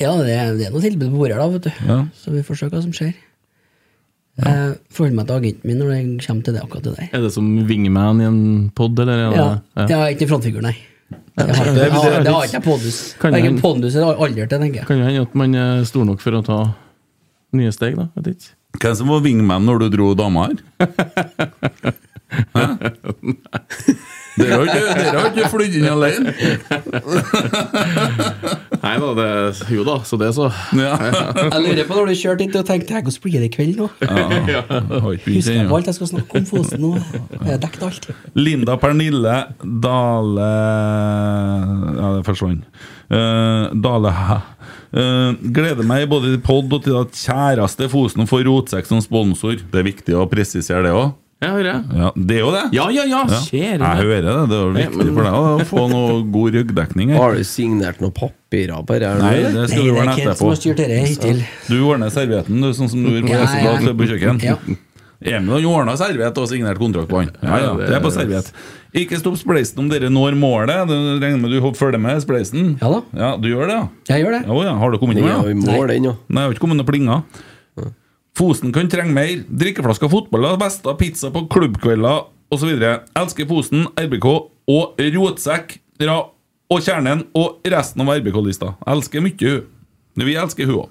S3: ja, det er, det er noe tilbud på bordet her, da, vet du.
S4: Ja.
S3: Så vi får se hva som skjer. Jeg forholder meg til agenten min når det kommer til det akkurat det der.
S7: Er det som wingman i en pod, eller? Er det,
S3: Ja,
S7: ja.
S3: Jeg er ikke frontfigur, nei. Jeg har,
S7: det er
S3: jeg har, det har
S7: litt-
S3: ikke jeg pondus.
S7: Kan
S3: Verken
S7: hende-
S3: pondus eller alder til, tenker jeg.
S7: Kan jo hende at man er stor nok for å ta nye steg, da. Vet ikke.
S4: Hvem som var wingman når du dro dama her? Hæ? Dere har ikke- dere har ikke flydd inn alene?
S7: Nei da, det Jo da, så det, så.
S4: Ja.
S3: Jeg lurer på når du kjørte hit og tenkte «Hæ, hvordan blir det i kveld nå?
S4: Jeg har ikke begynt
S3: Husker jeg på
S4: ennå.
S3: alt jeg skal snakke om Fosen nå? Jeg har dekket alt.
S4: Linda Pernille Dale Ja, det forsvant. Eh, Dale Eh, gleder meg både til pod og til at kjæreste Fosen får Rotsekk som sponsor. Det er viktig å presisere det òg.
S7: Ja, hører jeg.
S4: Ja, det er jo det.
S7: Ja, ja, ja!
S4: Ja.
S7: Kjære
S4: Jeg
S7: deg.
S4: hører det. Det er jo viktig for deg å få noe god ryggdekning. her.
S5: Har du signert noen papirer på dette?
S4: Nei,
S5: eller?
S4: det
S3: Nei,
S4: skal du
S3: det er
S4: ordne
S3: Kent som
S4: etterpå.
S3: har styrt dette hittil.
S4: Du ordner servietten, du, sånn som du gjorde på
S3: Ja, ja.
S4: Hessedal på kjøkken.
S3: Ja.
S4: Emil har ordna serviett og signert kontrakt på han. Ja, ja, det er på serviett. Ikke stopp spleisen om dere når målet. Du regner med du hopp- følger med spleisen?
S3: Ja da.
S4: Ja, du gjør det, ja?
S3: Jeg gjør det.
S4: Å ja, har du kommet med?
S5: Den er
S4: Ja?
S5: jo i mål, den, ja.
S4: Nei, jeg har ikke kommet noen plinger. Fosen kan trenge mer. Drikkeflasker, fotballer, vester, pizza på klubbkvelder osv. Elsker Fosen, RBK og rotsekk dra og kjernen og resten av RBK-lista. Elsker mye hun. Vi elsker hun òg.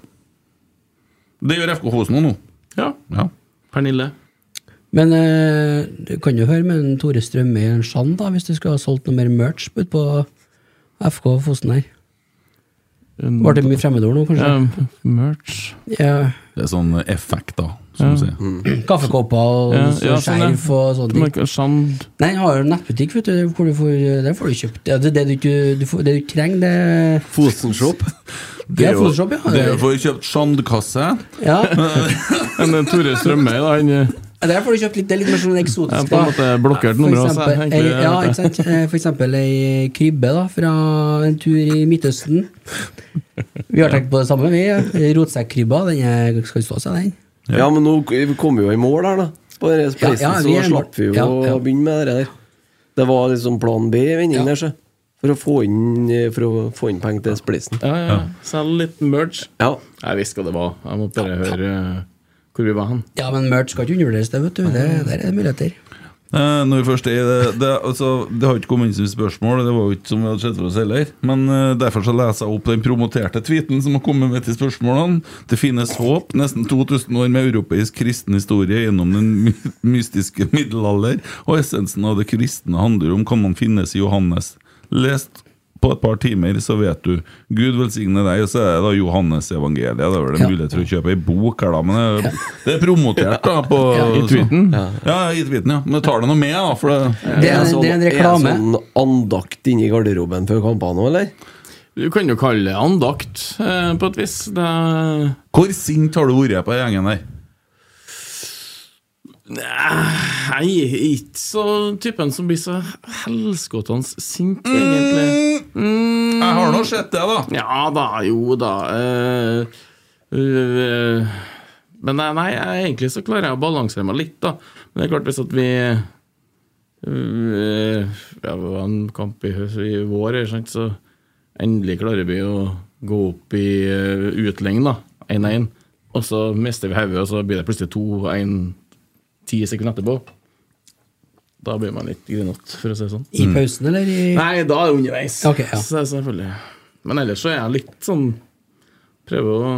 S4: Det gjør FK Fosen òg nå.
S7: Ja,
S4: Ja.
S7: Pernille.
S3: Men eh, du kan jo høre med en Tore Strømme i en Jean, da, hvis du skulle ha solgt noe mer merch ut på FK Fosen her. Var det mye fremmedord nå, kanskje?
S7: Um, merch
S3: Ja.
S4: Det er sånn effekt, da, som
S3: Mm.
S4: du sier.
S3: Kaffekopper og
S7: Ja, ja, sånn, ja.
S3: skjerf og sånne ting.
S7: Merk- Sand
S3: Nei, jeg har jo en nettbutikk, vet du, hvor du får, der får du kjøpt ja, det, det, du, ikke- du, får- det du ikke trenger, det
S5: Fosenshop.
S3: Det er Photoshop, ja.
S4: Dere får kjøpt sandkasse.
S3: ja.
S7: Men eh, Tore Strømøy, da, han eh,
S3: Der får du kjøpt litt, det er litt mer sånn
S7: er
S3: eksotisk.
S7: på en
S3: da.
S7: måte blokkert nummer også,
S3: eksempel-
S7: egentlig.
S3: ei- ja, ikke sant? Eh, For eksempel ei krybbe da, fra en tur i Midtøsten. Vi har tenkt på det samme, vi. Rotsekkrybba, den er- skal stå seg, den.
S5: Ja, men nå kom vi jo i mål her, da. På denne spleisen,
S3: Ja, ja, vi er
S5: så
S3: i
S5: da
S3: mål.
S5: slapp vi jo
S3: Ja, ja.
S5: å begynne med det der. Det var liksom plan B i vendingen
S3: Ja.
S5: der, så. For å få inn, eh, for å få inn penger til spleisen.
S7: Ja, ja. Selg litt merch.
S5: Ja.
S7: Jeg visste hva det var. Jeg må bare høre eh, hvor vi var hen.
S3: Ja, men merch skal ikke undervurderes, det, vet du. Det, der er det muligheter.
S4: Eh, Når vi først er i det det, altså, det har ikke kommet inn som spørsmål, det var jo ikke som vi hadde sett for oss heller. Men eh, derfor så leser jeg opp den promoterte tweeten som har kommet med til spørsmålene. Det finnes håp. Nesten 2000 år med europeisk kristen historie gjennom den my- mystiske middelalder. Og essensen av det kristne handler om kan man finnes i Johannes. Lest på et par timer, så vet du. Gud velsigne deg. Og så er det da Johannes evangeliet. Det er vel en
S3: Ja.
S4: mulighet for å kjøpe ei bok her, da. Men det er, det er promotert, da. På,
S7: I tweeten.
S4: ja, gitt viten, ja. Men tar det noe med, da? For det
S3: Det er, det er en reklame.
S5: Er det sånn andakt inni garderoben før kampene nå, eller?
S7: Du kan jo kalle det andakt, eh, på et vis. Det er
S4: Hvor sint har du vært på gjengen der?
S7: Nei, jeg er ikke så typen som blir så helskotans sint, egentlig.
S4: Jeg har nå sett det, da.
S7: Ja da, jo da. eh, eh, men nei, nei, jeg- egentlig så klarer jeg å balansere meg litt, da. Men det er klart, hvis at vi eh, ja, Det var en kamp i, høst- i vår, ikke sant, så endelig klarer vi å gå opp i uh, utligning, da. 1-1. Og så mister vi hodet, og så blir det plutselig 2-1 ti sekunder etterpå. Da blir man litt grinete, for å si det sånn.
S3: I pausen, eller? I,
S7: Nei, da er det underveis.
S3: Ok, ja.
S7: Så selvfølgelig. Men ellers så er jeg litt sånn Prøver å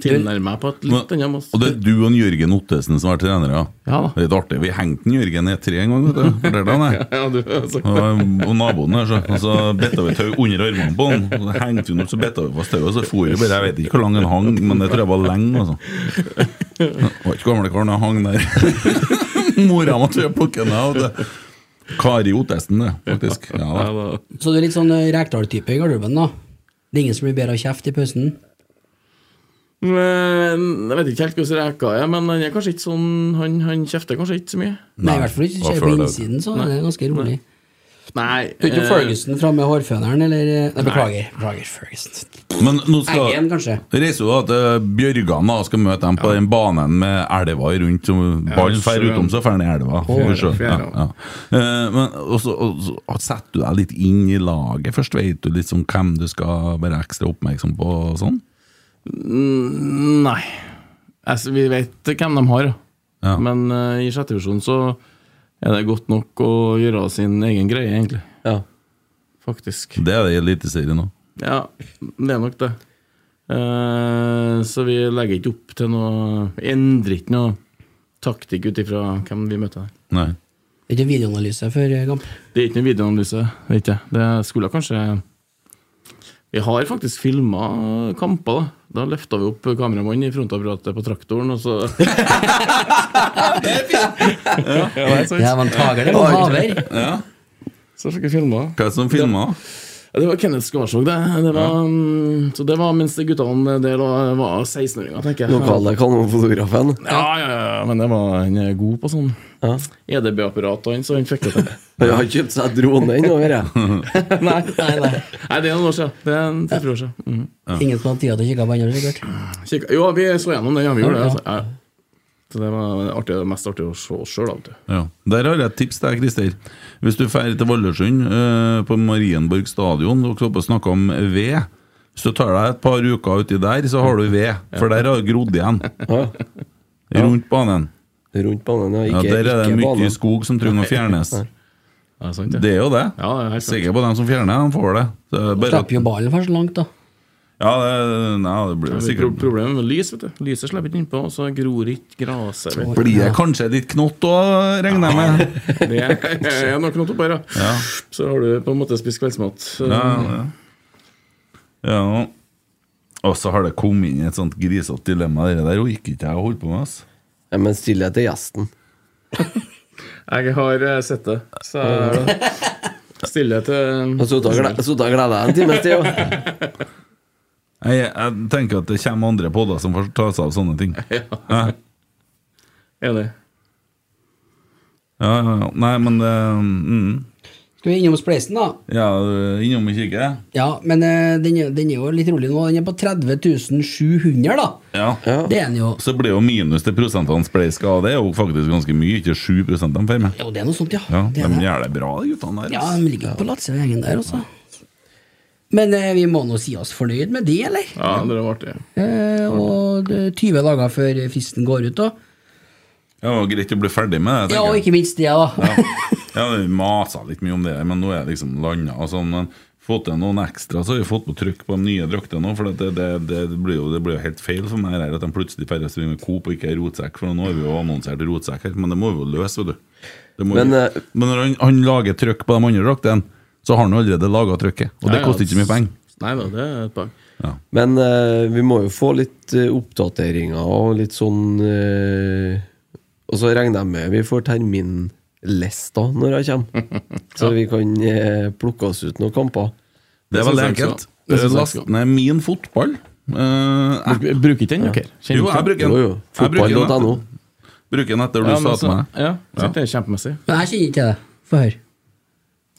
S7: tilnærme meg på et litt annet måte.
S4: Og det er du og Jørgen Ottesen som er trenere?
S7: Ja da.
S4: Det er litt artig. Vi hengte en Jørgen ned tre en gang, vet du. Fortalte han det?
S7: Ja, du har sagt det.
S4: Og og naboen der, så, og så bitta vi tau under armene på han. Og så hengte vi den opp, så bitta vi fast tauet, og så for vi bare. Jeg vet ikke hvor lang den hang, men det tror jeg var lenge, altså. Det var ikke gamle karen, han hang der. Mora måtte jo plukke den av. vet du. Kari Ottesen, det, faktisk. Ja, da.
S7: Ja, da.
S3: Så du er litt sånn eh, Rekdal-type i garderoben, da? Det er ingen som blir bedre av kjeft i pausen?
S7: Men, jeg vet ikke helt hvordan reka er, men han er kanskje ikke sånn Han, han kjefter kanskje ikke så mye.
S3: Nei, i hvert fall ikke
S4: hva
S3: Ser på
S4: føler du?
S3: innsiden, så er det ganske rolig.
S7: Nei.
S3: Du er ikke
S7: eh,
S3: Ferguson framme med hårføneren, eller eh, Nei, beklager. Beklager, Ferguson.
S4: Men nå skal
S3: Eggen, kanskje?
S4: Reiser jo da til Bjørgan da, skal møte dem på den banen med elva rundt. som Ballen fer
S7: sjøen.
S4: utom, så fer den i elva. For sjøen,
S7: fjæra.
S4: ja, ja. Eh, Men også, også, Setter du deg litt inn i laget først? Vet du liksom hvem du skal være ekstra oppmerksom på? og sånn?
S7: Nei. Altså, vi vet hvem de har,
S4: Ja.
S7: men eh, i sjette divisjon så er det godt nok å gjøre sin egen greie, egentlig.
S5: Ja.
S7: Faktisk.
S4: Det er det i Eliteserien òg.
S7: Ja, det er nok det. Eh, så vi legger ikke opp til noe Endrer ikke noe taktikk ut ifra hvem vi møter der.
S4: Nei.
S3: Det er ikke videoanalyse før eh, kamp.
S7: Det er ikke noe videoanalyse. Det, er ikke. det. det skulle kanskje Vi har faktisk filma kamper. Da Da løfta vi opp kameramannen i frontapparatet på traktoren, og så
S3: Det var en tager, det var en haver.
S7: Så fikk vi filma.
S4: Hva er det som filmer?
S7: Ja, det var Kenneth Skarsvåg, det. det var, mm, Så det var mens de guttene det var var 16-åringer, tenker jeg.
S5: Lokale kanonfotografen.
S7: Ja, ja, ja, men det var, han er god på sånn
S5: Ja.
S7: EDB-apparat, og han, så han fikk det til.
S5: Jeg har kjøpt seg drone ennå, hører jeg.
S7: nei, nei, nei. nei, det er noen år siden. Det er en tre-fire år siden. Mm.
S3: Ingen som hadde tida til å kikke på andre, sikkert.
S7: Kikka- Jo, vi så gjennom den, ja, vi gjorde det.
S3: Ja,
S7: Altså. Ja. Så det var artig, det mest artig å se oss sjøl, da. vet du.
S4: Ja. Der har jeg et tips til deg, Christer. Hvis du drar til Valdresund, eh, på Marienborg stadion, dere var på å snakke om ved. Hvis du tar deg et par uker uti der, så har du ved. For der har det grodd igjen. Rundt banen.
S5: Rundt banen, ja.
S4: Ja,
S5: Ikke,
S4: der er det
S5: ikke
S4: mye
S5: banen.
S4: skog som trenger å fjernes.
S7: Ja, det er sant,
S4: Det er jo det.
S7: Ja, det er helt sant.
S4: Sikker på dem som fjerner, de får det. det er bare at,
S3: Slipper jo ballen for så langt, da.
S4: ja, det, nei, det blir jo
S7: Det er pro-
S4: sikkert
S7: Problemet med lys, vet du. Lyset slipper ikke innpå, og så gror ikke gresset. vet du.
S4: Blir det kanskje litt knott òg, regner jeg med.
S7: Det er er nok noe opp her, ja.
S4: Ja,
S7: Så har du på en måte spist kveldsmat.
S4: ja,
S3: Mm.
S4: ja. ja. Og så har det kommet inn et sånt grisete dilemma, det der. Hun gikk ikke jeg og holdt på med, altså.
S5: Ja, men stille til gjesten.
S7: Jeg har eh, sett det, eh, så jeg stiller til
S5: Og så da gled- så da gleder jeg en times tid. ja.
S4: Jeg, jeg tenker at det kommer andre podder som får ta seg av sånne ting. Ja,
S7: Enig.
S4: ja, ja. Nei, men det mm,
S3: Skal vi innom spleisen, da?
S4: Ja, eh, innom og kikke.
S3: Ja, men eh, den er, den er jo litt rolig nå. Den er på 30 700, da.
S4: Ja.
S5: Ja.
S3: Det er den jo.
S4: Så blir jo minus til prosentene spleiska, og det er jo faktisk ganske mye. Ikke 7 de får med.
S3: Jo, det er noe sånt, ja.
S4: Ja,
S3: det
S4: de
S3: er det.
S4: gjør det bra, de guttene der.
S3: ja
S4: altså.
S3: de ligger på latsegjengen der også. Men eh, vi må nå si oss fornøyd med det, eller?
S6: Ja, det var artig.
S3: Eh, og det er 20 dager før fristen går ut, da.
S4: Ja, det var greit å bli ferdig med det.
S3: Ja, og
S4: tenker jeg.
S3: ikke minst det, da.
S4: Ja, vi masa litt mye om det, men nå er det liksom landa. Sånn, men fått til noen ekstra, så har vi fått på trykk på de nye draktene nå, For det, det, det, blir jo, det blir jo helt feil for meg her at de plutselig færre springer med Coop og ikke er rotsekk. For nå har vi jo annonsert rotsekk her, men det må vi jo løse, vet du. Det må
S5: Men,
S4: vi-
S5: eh,
S4: men når han, han lager trykk på de andre draktene, så har han jo allerede laga trykket. Og det
S6: Ja, ja,
S4: koster ikke mye penger.
S6: Nei da, det er et poeng.
S5: Men eh, vi må jo få litt eh, oppdateringer og litt sånn eh, Og så regner jeg med vi får terminlista når jeg kommer. Så vi kan eh, plukke oss ut noen kamper.
S4: Det er
S6: synes
S4: veldig
S6: jeg
S4: enkelt. Eh,
S6: skal. Det synes jeg
S4: Last
S6: skal.
S4: ned min fotball. Eh, app.
S7: Bruk- Bruker ikke den, dere?
S4: jo, jeg bruker den.
S5: Jo, jo.
S4: Jeg bruker den
S5: Fotball.no.
S4: etter- Bruker den etter du
S7: ja,
S4: sa
S7: men
S4: til
S7: så,
S4: meg.
S7: ja, så det er kjempemessig.
S3: Men jeg kjenner ikke til det. Få høre.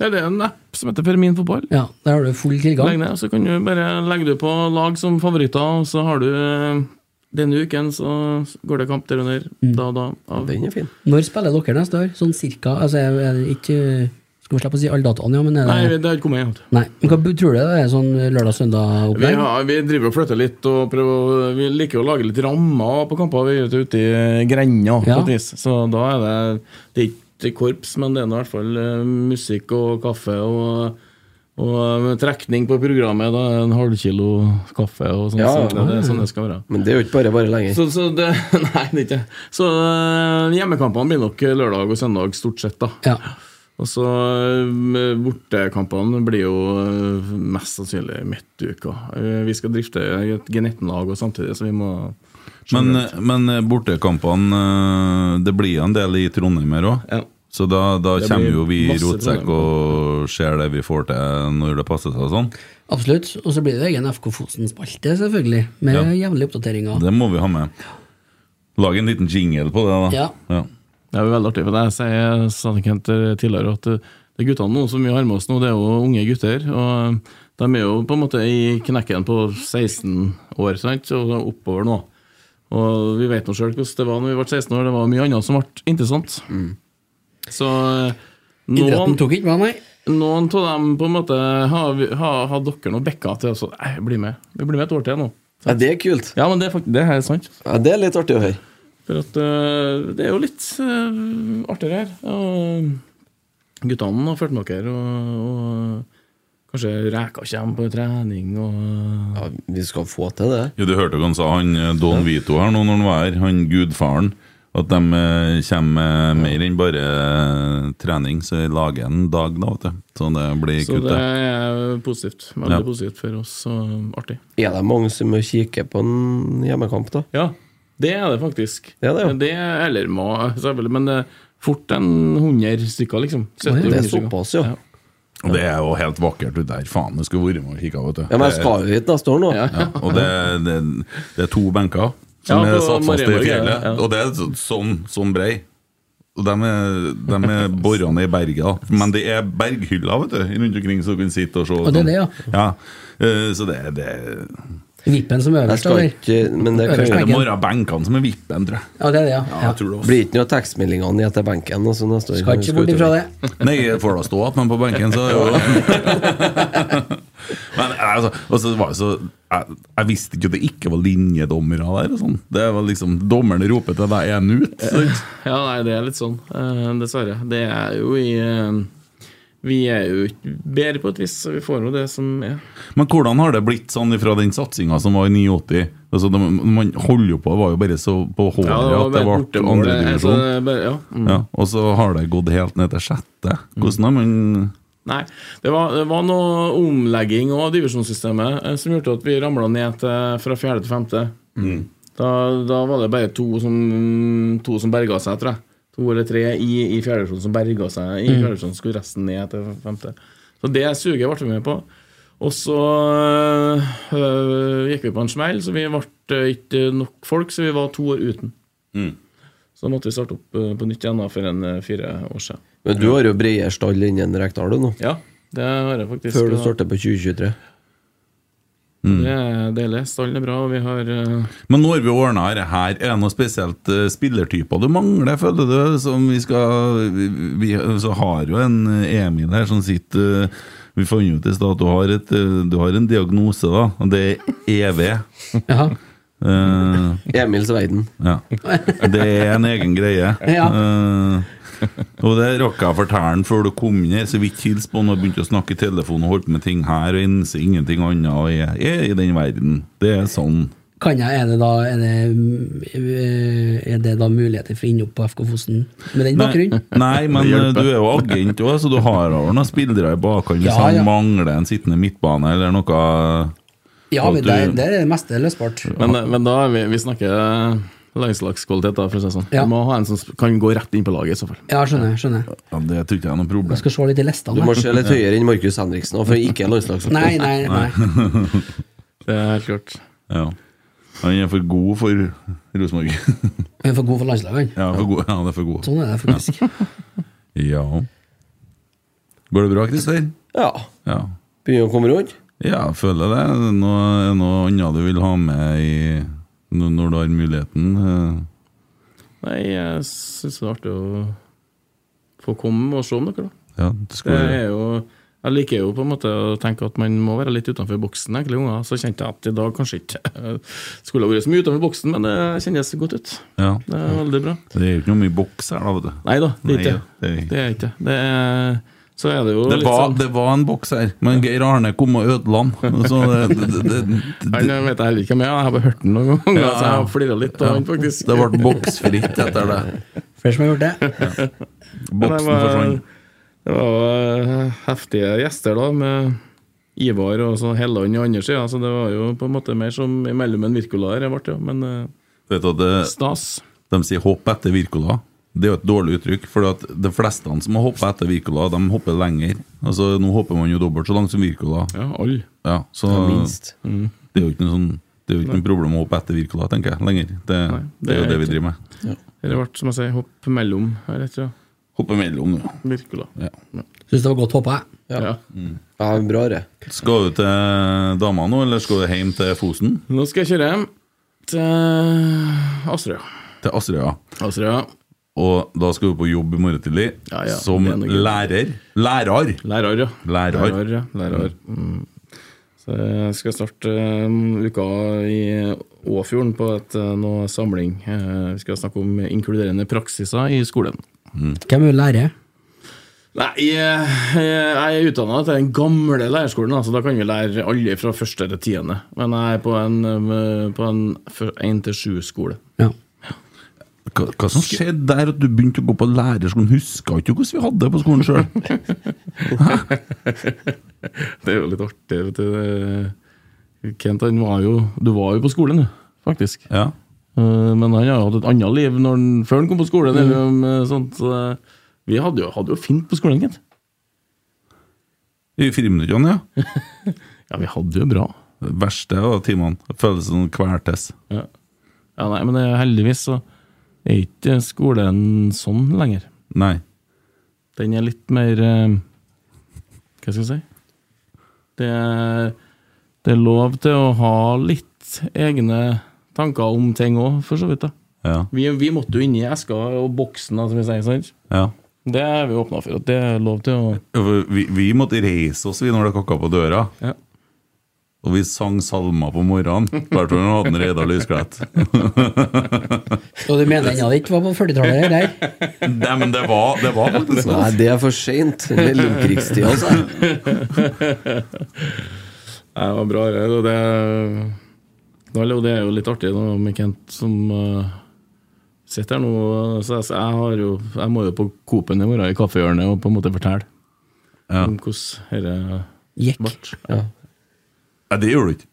S7: Ja, det er en app som heter Fermin fotball.
S3: Ja, der har du full
S7: Legg
S3: tilgang.
S7: ned, så kan du bare legge du på lag som favoritter, og så har du eh, denne uken så går det kamp der under. Da og da. Av.
S5: Den er fin.
S3: Når spiller dere neste år? Sånn cirka? Altså, er er det ikke Skal vi slippe å si alle datoene, ja, men er det
S7: Nei, det har ikke kommet igjen.
S3: Nei. Men hva bu- tror du det er sånn lørdag-søndag-opplegg?
S6: Vi, har, vi driver og flytter litt og prøver å- Vi liker å lage litt rammer på kamper. Vi er ute ute i grenda, på
S3: Ja.
S7: Ja.
S6: et vis. Så da er det Det er ikke korps, men det er nå i hvert fall eh, musikk og kaffe og og eh, trekning på programmet. Da, er det en halvkilo kaffe og sånn.
S5: Ja,
S6: så det, det er sånn det skal være.
S5: Men det er jo ikke bare bare lenger.
S6: Så, så det, nei, det er ikke Så øh, hjemmekampene blir nok lørdag og søndag, stort sett, da.
S3: Ja.
S6: Og så øh, bortekampene blir jo øh, mest sannsynlig midt i uka. Øh, Vi skal drifte et G19-lag og samtidig, så vi må
S4: Men, men eh, bortekampene eh, Det blir en del i Trondheim her òg.
S6: ja.
S4: Så da, da
S6: Det blir
S4: kommer jo vi i
S6: masse
S4: rotsekk og ser det vi får til når det passer seg og sånn.
S3: Absolutt. Og så blir det egen FK Fosen-spalte, selvfølgelig. Med jevnlige oppdateringer.
S4: Det må vi ha med. Lag en liten jingle på det, da.
S3: Ja.
S7: Det er jo veldig artig. for det Jeg sier- sa det Kent eh, tidligere at det det er guttene nå som vi har med oss nå, det er jo unge gutter. og eh, De er jo på en måte i knekken på 16 år sant? og oppover nå. Og Vi vet nå sjøl hvordan det var når vi ble 16 år. Det var mye annet som ble interessant.
S6: Mm.
S7: Så eh,
S3: Idretten
S7: noen
S3: tok ikke meg, nei.
S7: noen av dem på en måte har, vi- har, har dere noen bekker til? Så, nei, bli med. Vi blir med et år til nå.
S5: Ja, det er kult.
S7: Ja, men det er, fakt- det er sant.
S5: Ja, det er litt artig å høre.
S7: For at øh, det er jo litt øh, artigere her. Og guttene har fulgt med dere, og, og kanskje reka kommer på trening og
S5: Ja, vi skal få til det.
S4: Ja, du hørte jo hva han sa, han eh, Don Vito her nå når han var her, han gudfaren. At de eh, kommer med mer enn bare eh, trening, så jeg lager en dag, da, vet du. Så det blir
S7: Så
S4: kutt,
S7: det
S4: det.
S7: er positivt. Veldig
S4: Ja.
S7: positivt for oss, og artig.
S5: Er det mange som er og kikker på en hjemmekamp, da?
S7: Ja, det er det faktisk.
S5: Ja, det er jo.
S7: er- eller må, selvfølgelig, men det er fort en 100 stykker, liksom. 70
S5: Det er
S7: 100 stykker.
S5: såpass, ja.
S4: Og det er jo helt vakkert ute der. Faen, det skulle vært med og kikka, vet du.
S5: Ja, Men jeg skal jo hit neste år nå.
S7: Ja.
S4: Ja, og det, det, det er to benker som
S7: Ja,
S4: er
S7: på
S4: satt fast i
S7: Marienborg,
S4: fjellet.
S7: ja, ja.
S4: Og det er så- sånn, sånn brei. Og de er, de er borrene i berget. da. Men det er berghylla vet du, rundt omkring, så du kan sitte og se. sånn.
S3: Og det er det, ja.
S4: Eh, Så det, er- det, er-
S3: Vippen som
S5: Jeg
S3: øverst,
S5: skal
S3: eller?
S5: ikke Men det
S3: Øverst,
S5: kan
S4: det
S3: Benken.
S4: må være benkene som er vippen, tror jeg.
S3: Ja, det er det, ja.
S4: Ja,
S3: ja.
S4: jeg tror det også.
S5: blir ikke noe av tekstmeldingene i etter benken. Altså, neste år.
S3: Skal ikke bort ifra det.
S4: Nei, jeg får da stå igjen, men på benken så er jo Men altså, og så var det så jeg, jeg visste ikke at det ikke var linjedommere der og sånn. Det var liksom Dommerne roper til deg én ut. sant?
S7: Ja, nei, det er litt sånn, eh, dessverre. Det er jo i eh, Vi er jo ikke bedre på et vis, så vi får jo det som er.
S4: Men hvordan har det blitt sånn fra den satsinga som var i 89? Altså, de, man holder jo på, det var jo bare så på håret at det
S7: bare
S4: ble
S7: bortemål, det- altså,
S4: andredivisjon.
S7: det er bare- ja. Mm.
S4: Ja, og så har det gått helt ned til sjette. Hvordan har man
S7: Nei, det var, det var noe omlegging av divisjonssystemet eh, som gjorde at vi ramla ned til, fra fjerde til femte. Da, da var det bare to som, to som berga seg, tror jeg. To eller tre i, i fjerde divisjon som berga seg.
S5: Mm.
S7: I fjerde divisjon skulle resten ned til femte. Så det suget ble vi med på. Og så øh, gikk vi på en smell, så vi ble eh, ikke nok folk, så vi var to år uten. Mm. Så måtte vi starte opp øh, på nytt igjen da, for en øh, fire år siden.
S5: Men du har jo bredere stall innen Rekdal du, nå,
S7: Ja, det har jeg faktisk.
S5: før du
S7: Og
S5: starter på 2023.
S7: Det er deilig. Stallen er bra, og vi har eh,
S4: Men når vi ordna dette, her, er det noe spesielt eh, spillertyper du mangler, føler du? Som vi skal vi, vi, Så har jo en Emil her som sitter eh, Vi fant ut i stad at du har, et, eh, du har en diagnose, da. Og det er EV.
S3: Ja.
S4: Eh,
S5: Emils verden.
S4: ja. Det er en egen greie. Eh, og det rakk jeg å fortelle han før du kom inn her, så vi ikke hilste på han og begynte å snakke i telefonen og holdt på med ting her og innser ingenting annet og jeg er i den verden. Det er sånn.
S3: Kan jeg, er det da, er det, eh, er det da muligheter for innhopp på FK Fosen med den bakgrunnen?
S4: Nei, men eh, du er jo agent òg, så du har jo noen spillere i bakhånd hvis
S3: Ja,
S4: han
S3: ja.
S4: mangler en sittende midtbane eller noe.
S3: Ja,
S4: Og
S3: men
S4: du-
S3: der, der er det meste løsbart.
S7: Men, eh, men da, vi, vi snakker eh, landslagskvalitet, da, for å si det sånn.
S3: Ja.
S7: Du må ha en som s- kan gå rett inn på laget, i så fall.
S3: Ja, skjønner. skjønner
S4: Ja, det tror ikke jeg er noe problem.
S3: Jeg skal se litt i
S5: Du må
S3: listene.
S5: se litt høyere enn Markus Henriksen, og for ikke er
S3: Nei,
S5: landslagsspiller.
S3: nei, nei.
S7: Det er helt klart.
S4: Ja. Han er for god for Rosenborg.
S3: Vi er for god for landslaget.
S4: Ja, for god. ja, det er for god.
S3: Sånn er det faktisk.
S4: Ja. Går det bra, Christer?
S5: Ja.
S4: Ja.
S5: Begynner å komme rundt.
S4: ja, jeg føler det. Er det Noe, er det noe annet du vil ha med i, når når du har muligheten? Eh,
S7: Nei, jeg syns det er artig å få komme og se om dere, da.
S4: Ja, du skal
S7: Det er jo jeg liker jo på en måte å tenke at man må være litt utenfor boksen. egentlig, unger. Så kjente jeg at i dag kanskje ikke eh, skulle ha vært så mye utenfor boksen, men det kjennes godt ut.
S4: ja.
S7: Det er veldig bra.
S4: Det er jo ikke noe mye boks her, da. vet du
S7: Nei da, det er ikke
S4: Nei, det er ikke.
S7: det. Er ikke. det. er, så er det jo
S4: Det
S7: litt
S4: var,
S7: sånn
S4: det var en boks her, men Geir Arne kom og ødela den. Så det, det, det, det,
S7: Han vet jeg heller ikke hvem er, jeg har bare hørt den noen ganger,
S4: Ja,
S7: så jeg
S4: ja.
S7: har flira litt av han, faktisk.
S4: Det ble boksfritt etter det.
S3: Flere som har gjort det.
S7: Men det
S4: Boksen
S7: var-
S4: forsvant.
S7: Det var jo heftige gjester, da, med Ivar og så Helland i andre sida, så det var jo på en måte mer som imellom en Wirkola her, det ble, ja. men eh,
S4: Vet du at det,
S7: stas.
S4: de sier 'hopp etter Wirkola'? Det er jo et dårlig uttrykk, for at de fleste som har hoppet etter Wirkola, de hopper lenger. Altså, Nå hopper man jo dobbelt så langt som Wirkola.
S7: Ja, alle.
S4: Ja, så
S5: Minst.
S7: Mm.
S4: det er jo ikke noe sånn det er jo ikke noe problem å hoppe etter Wirkola, tenker jeg. Lenger. Det, det er
S7: det
S4: jo
S7: er
S4: det vi
S7: ikke-
S4: driver med.
S7: Det ble, som jeg sier, hopp mellom her, jeg tror.
S4: Hoppe mellom, nå.
S7: Virkola.
S4: Ja.
S3: Syns det var godt hoppa, jeg.
S7: Ja.
S5: Ja, bra, det.
S4: Skal du til dama nå, eller skal du hjem til Fosen?
S7: Nå skal jeg kjøre hjem til Asterøya.
S4: Til Asterøya?
S7: Asterøya.
S4: Og da skal du på jobb i morgen tidlig
S7: Ja, ja,
S4: som
S7: det er noe gøy.
S4: lærer. Lærer!
S7: Lærer, ja.
S4: Lærer.
S7: Lærer, ja. Lærer. Mm. Så jeg skal starte eh, uka i Åfjorden på et, eh, noe samling. Eh, Vi skal snakke om inkluderende praksiser i skolen.
S3: Hvem vil lære?
S7: Nei, jeg, jeg er utdanna til den gamle lærerskolen, så da kan vi lære alle fra første til tiende. Men jeg er på en, eh, på en f- en til sju-skole.
S3: Ja.
S4: Hva, hva som skjedde der at du begynte å gå på lærerskolen? Huska ikke du hvordan vi hadde det på skolen sjøl?
S7: Det er jo litt artig. vet du. Det- Kent, han var jo Du var jo på skolen, du, faktisk.
S4: Ja.
S7: Eh, Men han har jo hatt et annet liv når han, før han kom på skolen. Eller, om, eh, sånt. så, eh, Vi hadde jo, hadde jo fint på skolen, Kent.
S4: I friminuttene, ja.
S7: Ja, vi hadde jo bra.
S4: Det verste av timene. Følelsen av kvertes.
S7: Ja. ja, nei, men det, er heldigvis så er ikke skolen sånn lenger.
S4: Nei.
S7: Den er litt mer eh, Hva skal jeg si? Det er, det er lov til å ha litt egne tanker om ting òg, for så vidt. da.
S4: Ja.
S7: Vi, vi måtte jo inn i eska og boksen, da, som vi sier. sant?
S4: ja.
S7: Det er vi åpna for. at Det er lov til å
S4: Ja, for Vi, vi måtte reise oss vi når det kakka på døra.
S7: Ja.
S4: Og vi sang salmer på morgenen. Hvert fall når vi hadde en Reidar Lysklett.
S3: Og du mener ennå det ikke var på 40-tallet? eller?
S4: Nei, men det var, det var faktisk sånn.
S5: Nei, det er for seint. Mellomkrigstida, altså.
S7: Nei, det var bra. Det, og det, Nå er det jo- det er jo litt artig nå med Kent som eh, sitter her nå. Så jeg, så jeg, har jo, jeg må jo på Coop-en i morgen, i kaffehjørnet, og på en måte fortelle
S4: Ja.
S7: om hvordan dette
S3: Jekk.
S7: ble.
S4: Nei, det gjorde du ikke.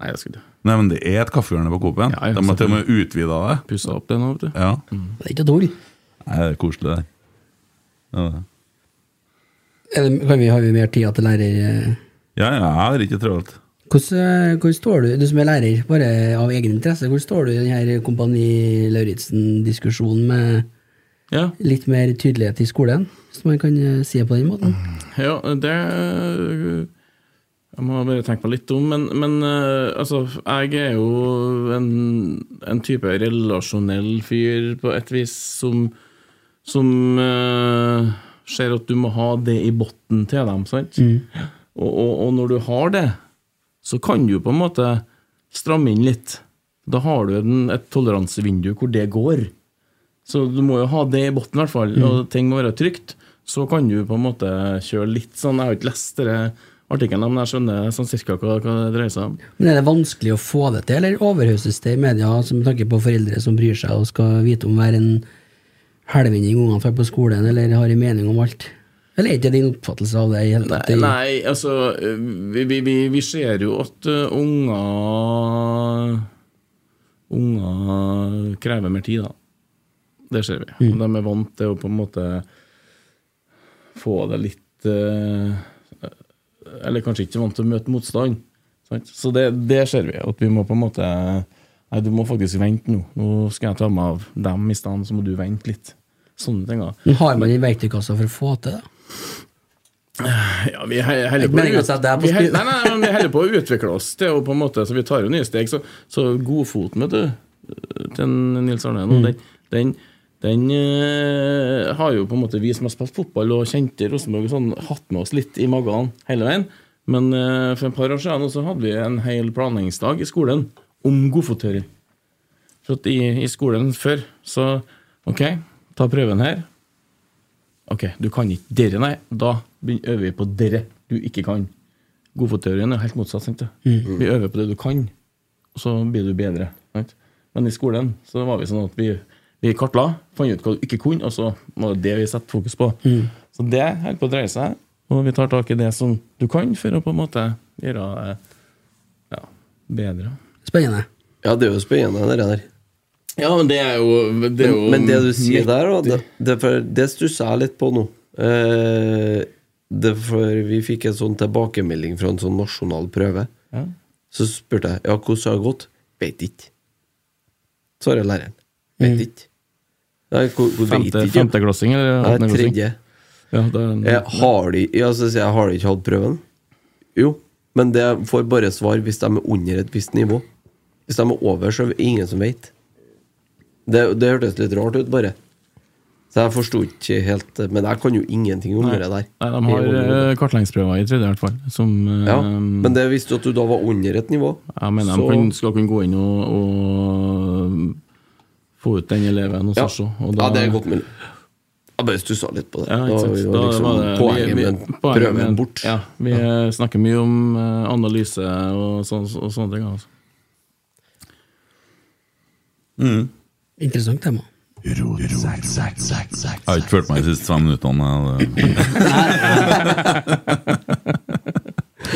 S7: Nei, jeg skulle
S4: Nei, men det er et kaffehjørne på Coop-en.
S7: Ja, ja,
S4: De har til og med utvida det.
S7: pussa opp det nå, vet du.
S4: Ja.
S3: Det er ikke tull.
S4: Nei, det er koselig der. Ja, det.
S3: Er det- Kan vi, har vi mer tid til lærer? eh?
S4: ja, ja, jeg har ikke travelt.
S3: Hvordan, eh, hvor står du, du som er lærer, bare av egen interesse, hvor står du i denne Kompani Lauritzen-diskusjonen med
S7: Ja,
S3: litt mer tydelighet i skolen? Hvis man kan eh, si det på den måten.
S7: ja det Jeg må bare tenke meg litt om, men, men eh, altså, jeg er jo en, en type relasjonell fyr på et vis som, som eh, ser at du må ha det i bunnen til dem, sant? Og, og, og når du har det, så kan du på en måte stramme inn litt. Da har du en, et toleransevindu hvor det går. Så du må jo ha det i bunnen, i hvert fall. Og ting må være trygt. Så kan du på en måte kjøre litt sånn Jeg har ikke lest denne artikkelen, men jeg skjønner sånn cirka hva, hva det dreier seg om.
S3: Men er det vanskelig å få det til, eller overhøstes det i media altså med tanke på foreldre som bryr seg og skal vite om hver en helvending ungene får på skolen, eller har en mening om alt? Eller er ikke det din oppfattelse av det? i hele tatt?
S7: Nei, nei altså eh, vi, vi, vi, vi ser jo at eh, unger Unger krever mer tid, da. Det ser vi. De er vant til å på en måte få det litt eh, Eller kanskje ikke vant til å møte motstand. Sant? Så det, det ser vi. At vi må på en måte Nei, du må faktisk vente nå. Nå skal jeg ta meg av dem i stedet, så må du vente litt. Sånne ting. da.
S3: Men Har man i verktøykassa for å få til det?
S7: Ja, vi he- holder
S3: Ikke
S7: på, å
S3: meningen å
S7: ut-
S3: sette deg på
S7: vi he-
S3: spill.
S7: nei, nei, men vi holder på å utvikle oss til å på en måte, så vi tar jo nye steg. Så, så godfoten, vet du, eh, til Nils Arne
S3: Mm.
S7: nå, den, den, den eh, har jo på en måte vi som har spilt fotball og kjente Rosenborg, og sånn, hatt med oss litt i magen hele veien. Men eh, for et par år siden nå så hadde vi en hel planleggingsdag i skolen om godfottøring. For at i, i skolen før, så OK, ta prøven her. Ok, du kan ikke dere, nei. Da begyn- øver vi på dere du ikke kan. Godfotteorien er helt motsatt. sant det?
S5: Mm.
S7: Vi øver på det du kan, og så blir du bedre. Sant? Men i skolen så var vi sånn at vi, vi kartla, fant ut hva du ikke kunne, og så var det det vi satte fokus på.
S5: Mm.
S7: Så det holder på å dreie seg, og vi tar tak i det som du kan, for å på en måte gjøre det ja, bedre.
S3: Spennende.
S5: Ja, det er jo spennende, det der.
S7: Ja, men det er jo Det,
S5: Men,
S7: er jo
S5: men det du sier der, da, det,
S7: nyttig.
S5: det, er for, det stusser jeg litt på nå. Eh, det er for vi fikk en sånn tilbakemelding fra en sånn nasjonal prøve.
S7: Ja.
S5: Så spurte jeg ja, hvordan har det gått. Veit ikke. Svarer læreren. Veit ikke. Nei, hvor, hvor vet
S7: Mm. Femte,
S5: ikke.
S7: femteklassing eller
S5: Nei,
S7: åttendeklassing?
S5: tredje.
S7: Ja, det er en-
S5: Jeg Eh, har de ja, så sier jeg, har de ikke hatt prøven? Jo, men det får bare svar hvis de er under et visst nivå. Hvis de er over, så er det ingen som vet. Det, det hørtes litt rart ut, bare. Så jeg forsto ikke helt Men jeg kan jo ingenting om det der.
S7: Nei, de har eh, kartleggingsprøver i tredje, i hvert fall. Som eh,
S5: ja, Men det visste du at du da var under et nivå.
S7: jeg mener
S5: så-
S7: de kan, skal kunne gå inn og, og få ut den eleven hos
S5: ja.
S7: oss også. og
S5: ja, det er godt mulig. Jeg bare stussa litt på det.
S7: Ja,
S5: da
S7: ikke
S5: var
S7: sant.
S5: jo
S7: Da
S5: liksom
S7: var det-
S5: poenget
S7: vi- vi-
S5: med
S7: poenget
S5: prøven
S7: med-
S5: bort.
S7: Ja, vi eh, snakker mye om eh, analyse og, sånn- og sånne ting. Altså.
S3: Interessant tema.
S4: Jeg har ikke følt meg de siste fem minuttene. jeg, det-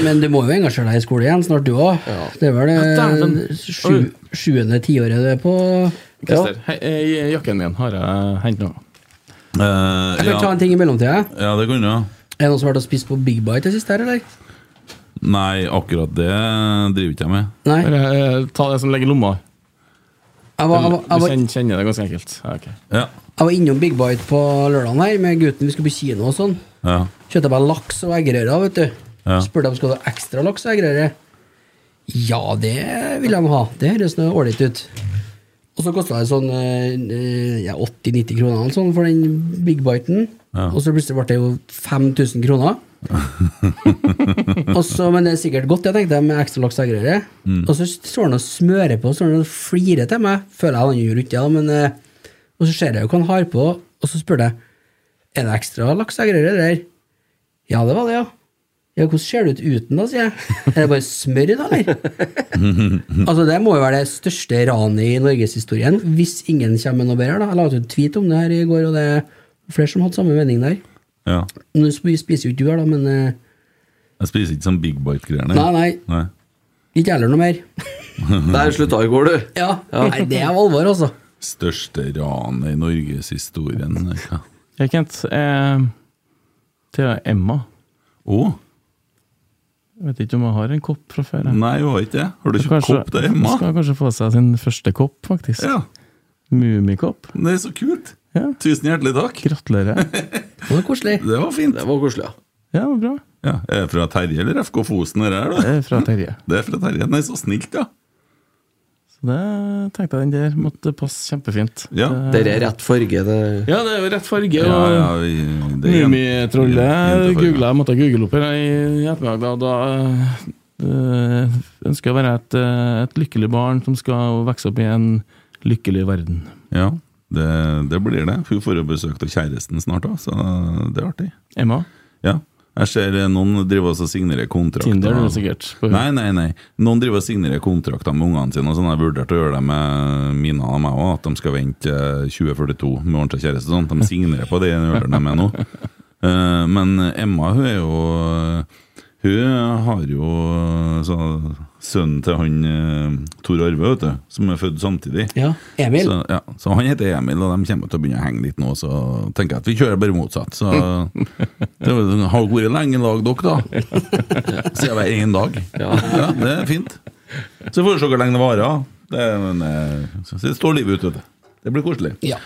S3: Men du må jo engasjere deg i skole igjen snart, du òg. Det er vel
S7: dæven.
S3: det sju, sjuende tiåret du er på.
S7: Christer, hei, eh, jakken min har jeg hentet nå.
S4: Eh,
S3: Jeg kan ta
S4: ja.
S3: en ting i mellomtida.
S4: ja, det kunne jeg.
S3: Er det noen som har vært og spist på Big Bite det siste her, eller?
S4: Nei, akkurat det driver ikke jeg med.
S3: Nei. Jeg
S7: Bare, eh, Ta det som ligger i lomma.
S3: var, jeg, var,
S7: Du
S3: jeg, var,
S7: kjenner, kjenner det ganske enkelt. Ja, ok.
S4: Ja,
S3: jeg var innom Big Bite på lørdagen her med gutten. Vi skulle på kino og sånn.
S4: ja.
S3: Kjøpte meg laks og eggerøre, vet du.
S4: Ja.
S3: Spurte om skal du ha ekstra laks og eggerøre. Ja, det vil de ha. Det høres nå ålreit ut. Og så kosta det sånn eh, ja, 80-90 kroner eller sånn for den big biten.
S4: Ja.
S3: Og så plutselig ble det jo 5000 kroner. og så, men det er sikkert godt, jeg tenkte jeg, med ekstra laks og eggerøre.
S4: Mm.
S3: Og så står han og smører på, står han og flirer til meg. Føler jeg han gjorde ikke, ja, men eh, Og så ser jeg jo hva han har på, og så spør jeg er det ekstra laks og eggerøre der. Ja, det var det, ja. Ja, Hvordan ser det ut uten, da, sier jeg. Er det bare smør i dag, eller? altså, Det må jo være det største ranet i norgeshistorien, hvis ingen kommer med noe bedre. da. Jeg la ut en tweet om det her i går, og det er flere som hadde samme mening der.
S4: ja.
S3: Nå sp- spiser jo ikke du her, da, men eh,
S4: Jeg spiser ikke sånn Big Bite-greier.
S3: Nei, nei,
S4: nei.
S3: ikke heller noe mer.
S5: Der slutta i går, du.
S3: ja, Nei, det er alvor, altså.
S4: Største ranet i norgeshistorien. Å!
S7: Jeg Kent, eh, til Emma.
S4: Oh,
S7: Jeg vet ikke om jeg har en kopp fra før. jeg.
S4: nei, hun har ikke det. Har du
S7: Skal
S4: ikke
S7: kanskje-
S4: kopp til Emma?
S7: Skal kanskje få seg sin første kopp, faktisk.
S4: Ja,
S7: Mummikopp.
S4: Det er så kult!
S7: Ja.
S4: Tusen hjertelig takk.
S7: Gratulerer.
S3: Det var koselig.
S4: Det var fint.
S5: Det var koselig, ja.
S7: Ja, men bra.
S4: Ja, er det fra Terje eller FK Fosen? Det, her, da?
S7: Det er fra Terje.
S4: det er fra Terje. Nei, så snilt, ja.
S7: Så Så det tenkte jeg den der måtte passe kjempefint.
S4: Ja.
S5: Det er rett farge. Det
S7: Ja, det er jo rett farge.
S4: Ja,
S7: og-
S4: ja, vi- det er
S7: Mummitrollet
S4: jente- jente-
S7: googla jeg, måtte google opp her i i ettermiddag. Da, da øh, ønsker jeg å være et, øh, et lykkelig barn som skal vokse opp i en lykkelig verden.
S4: Ja, det, det blir det. Hun får jo besøk av kjæresten snart òg, så det er artig.
S7: Emma?
S4: Ja. Jeg ser eh, noen driver også og signerer kontrakter.
S7: Tinder, du er sikkert. på
S4: Nei, nei, nei. Noen driver og signerer kontrakter med ungene sine. og sånn. Jeg vurderte å gjøre det med mine og meg òg, at de skal vente eh, 2042 med ordentlig kjæreste. og Sånn. De signerer på det de gjør det med nå. Eh, Men Emma, hun er jo Hun har jo så, sønnen til han eh, Tor Arve, vet du, som er født samtidig.
S3: Ja, Emil.
S4: Så, ja. så han heter Emil, og de kommer til å begynne å henge litt nå. Så tenker jeg at vi kjører bare motsatt. Så det var sånn, har vært lenge i lag, dere, da. Sier jeg hver en dag. Ja. det er fint. Så får vi se hvor lenge det varer. Det, er- men, eh, så det står livet ut, vet du. Det blir koselig.
S3: Ja.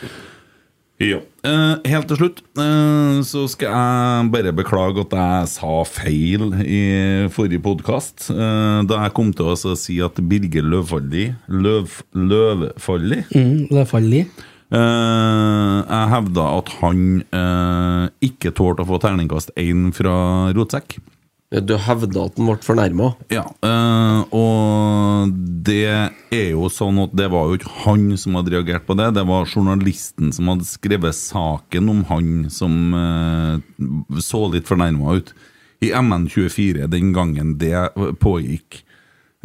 S4: Ja. Eh, helt til slutt eh, så skal jeg bare beklage at jeg sa feil i forrige podkast. da jeg kom til å så si at Birger Løvfaldi Løv, Løvfaldi
S3: Mm, det faller i.
S4: Eh, jeg hevda at han eh, ikke tålte å få terningkast én fra Rotsekk.
S5: Ja, Du hevda at den ble fornærma.
S4: Ja, eh, og det er jo sånn at det var jo ikke han som hadde reagert på det, det var journalisten som hadde skrevet saken om han som eh, så litt fornærma ut. I MN24 den gangen det pågikk.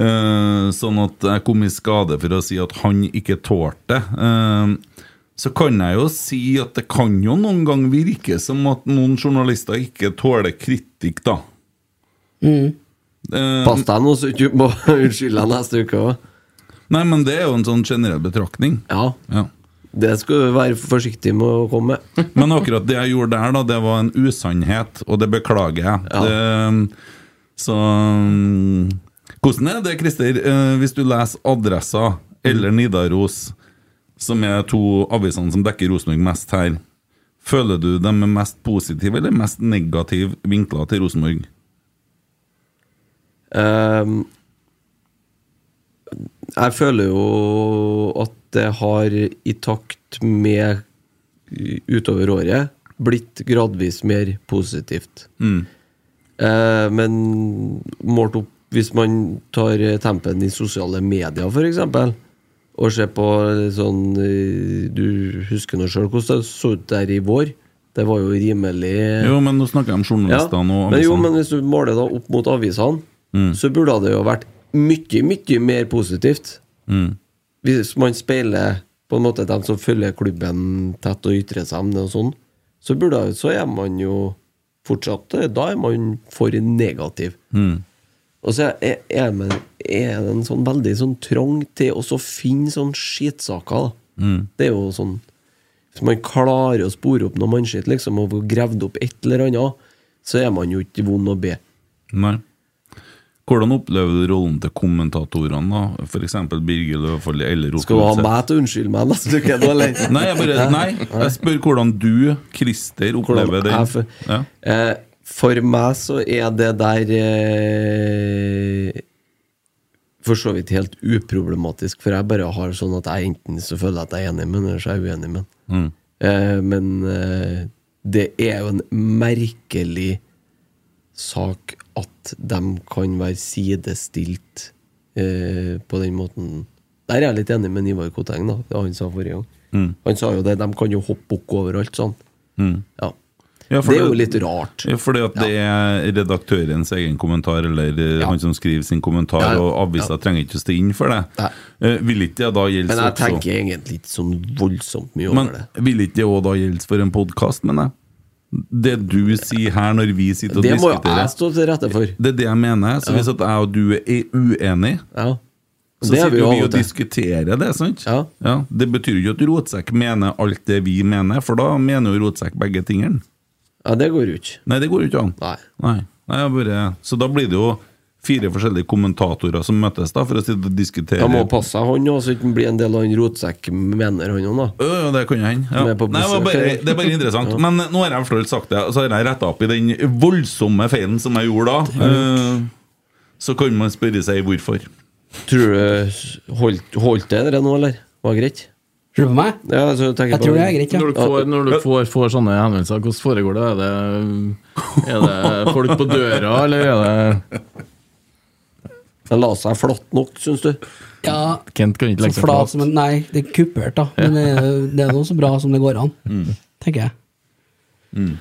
S4: Eh, sånn at jeg kom i skade for å si at han ikke tålte det. Eh, så kan jeg jo si at det kan jo noen gang virke som at noen journalister ikke tåler kritikk, da. Eh,
S5: Pass deg nå, så du ikke må unnskylde deg neste uke òg.
S4: Nei, men det er jo en sånn generell betraktning.
S5: Ja,
S4: Ja.
S5: det skal du være forsiktig med å komme med.
S4: Men akkurat det jeg gjorde der, da, det var en usannhet, og det beklager jeg. Det, um, så mm, Hvordan er det, Christer, eh, hvis du leser Adressa eller Nidaros, som er to avisene som dekker Rosenborg mest her, føler du dem er mest positive eller mest negative vinkler til Rosenborg?
S5: Ehm, jeg føler jo at det har, i takt med utover året, blitt gradvis mer positivt. Eh, men målt opp hvis man tar tempen i sosiale medier, f.eks., og ser på sånn eh, Du husker nå sjøl hvordan det så ut der i vår? Det var jo rimelig
S4: Jo, men nå snakker jeg om journalistene og
S5: men, jo,
S4: avisene.
S5: men hvis du måler da opp mot avisene, så burde det jo vært mye, mye mer positivt. Hvis man speiler på en måte dem som følger klubben tett og ytrer seg om det og sånn, så, burde, så er man jo fortsatt Da er man for negativ. Og så er, er, man, er det en sånn veldig sånn trang til også å finne sånn skitsaker. Da. Det er jo sånn hvis man klarer å spore opp noe mannskitt liksom, og få gravd opp et eller annet, så er man jo ikke vond å be.
S4: Nei. Hvordan opplever du rollen til kommentatorene, da? F.eks. Birger Løvfalli eller Rosenborg?
S5: Skal du ha
S4: Sett?
S5: meg til å unnskylde meg neste uke, da, eller?
S4: Nei, jeg bare, nei, jeg spør hvordan du, Christer,
S5: Hvordan
S4: opplever
S5: jeg
S4: den.
S5: for,
S4: Ja.
S5: eh, for meg så er det der eh, For så vidt helt uproblematisk, for jeg bare har sånn at jeg enten så føler jeg at jeg er enig med den, eller så er jeg uenig med den. Eh, men eh, det er jo en merkelig sak at de kan være sidestilt eh, på den måten. Der er jeg litt enig med Ivar Koteng, da, det han sa forrige gang. Han sa jo det, de kan jo hoppe bukk overalt sånn. Ja.
S4: Ja, for
S5: det er jo litt rart.
S4: Ja, Fordi at det er redaktørens egen kommentar, eller eh, han som skriver sin kommentar,
S5: Ja, ja.
S4: og avisa trenger ikke å stå inn for det.
S5: Nei.
S4: Eh, Vil ikke det da gjelde
S5: Men jeg
S4: også-
S5: tenker egentlig ikke sånn voldsomt mye
S4: Men
S5: over det.
S4: vil ikke det òg da gjelde for en podkast, mener jeg? Det du sier her når vi sitter og
S5: Det må jo
S4: diskuterer,
S5: jeg stå til rette for.
S4: det er det jeg mener. Så hvis at jeg og du er uenige
S5: Ja.
S4: Så
S5: Det er
S4: sitter
S5: vi
S4: jo
S5: jo
S4: vi
S5: av
S4: og
S5: og til.
S4: diskuterer det, sant?
S5: Ja.
S4: Det betyr jo ikke at Rotsekk mener alt det vi mener, for da mener jo Rotsekk begge tingene.
S5: Ja, det går jo ikke.
S4: Nei, det går jo ikke an.
S5: Nei.
S4: Nei. Nei, jeg bare, så da blir det jo fire forskjellige kommentatorer som møtes da, for å sitte og diskutere.
S5: Da må passe seg han òg, så ikke han blir en del av han rotsekken, mener han òg, da.
S4: Øh, ja, det kan jo hende. Ja.
S5: Som er på
S4: Nei, det, var
S5: besøk,
S4: bare,
S5: eller?
S4: det er bare interessant. Men nå har jeg forstått sagt det, og så har jeg retta opp i den voldsomme feilen som jeg gjorde da. Eh, Så kan man spørre seg hvorfor.
S5: Tror du Holdt, holdt det dere nå, eller? Var det greit?
S3: Tror du på meg?
S5: Ja, altså, jeg tenker
S3: Jeg
S5: på-
S3: tror det er greit, ja.
S7: Når du får, når du får, får sånne henvendelser, hvordan foregår det? Er det, er det folk på døra, eller er det
S5: Den la seg flott nok, syns du?
S3: ja
S7: Kent kan ikke legge
S3: så
S7: seg
S3: flat
S7: flat.
S3: som en Nei, det er kupert, da. Men det, er- det er nå så bra som det går an, tenker jeg.
S7: Vel,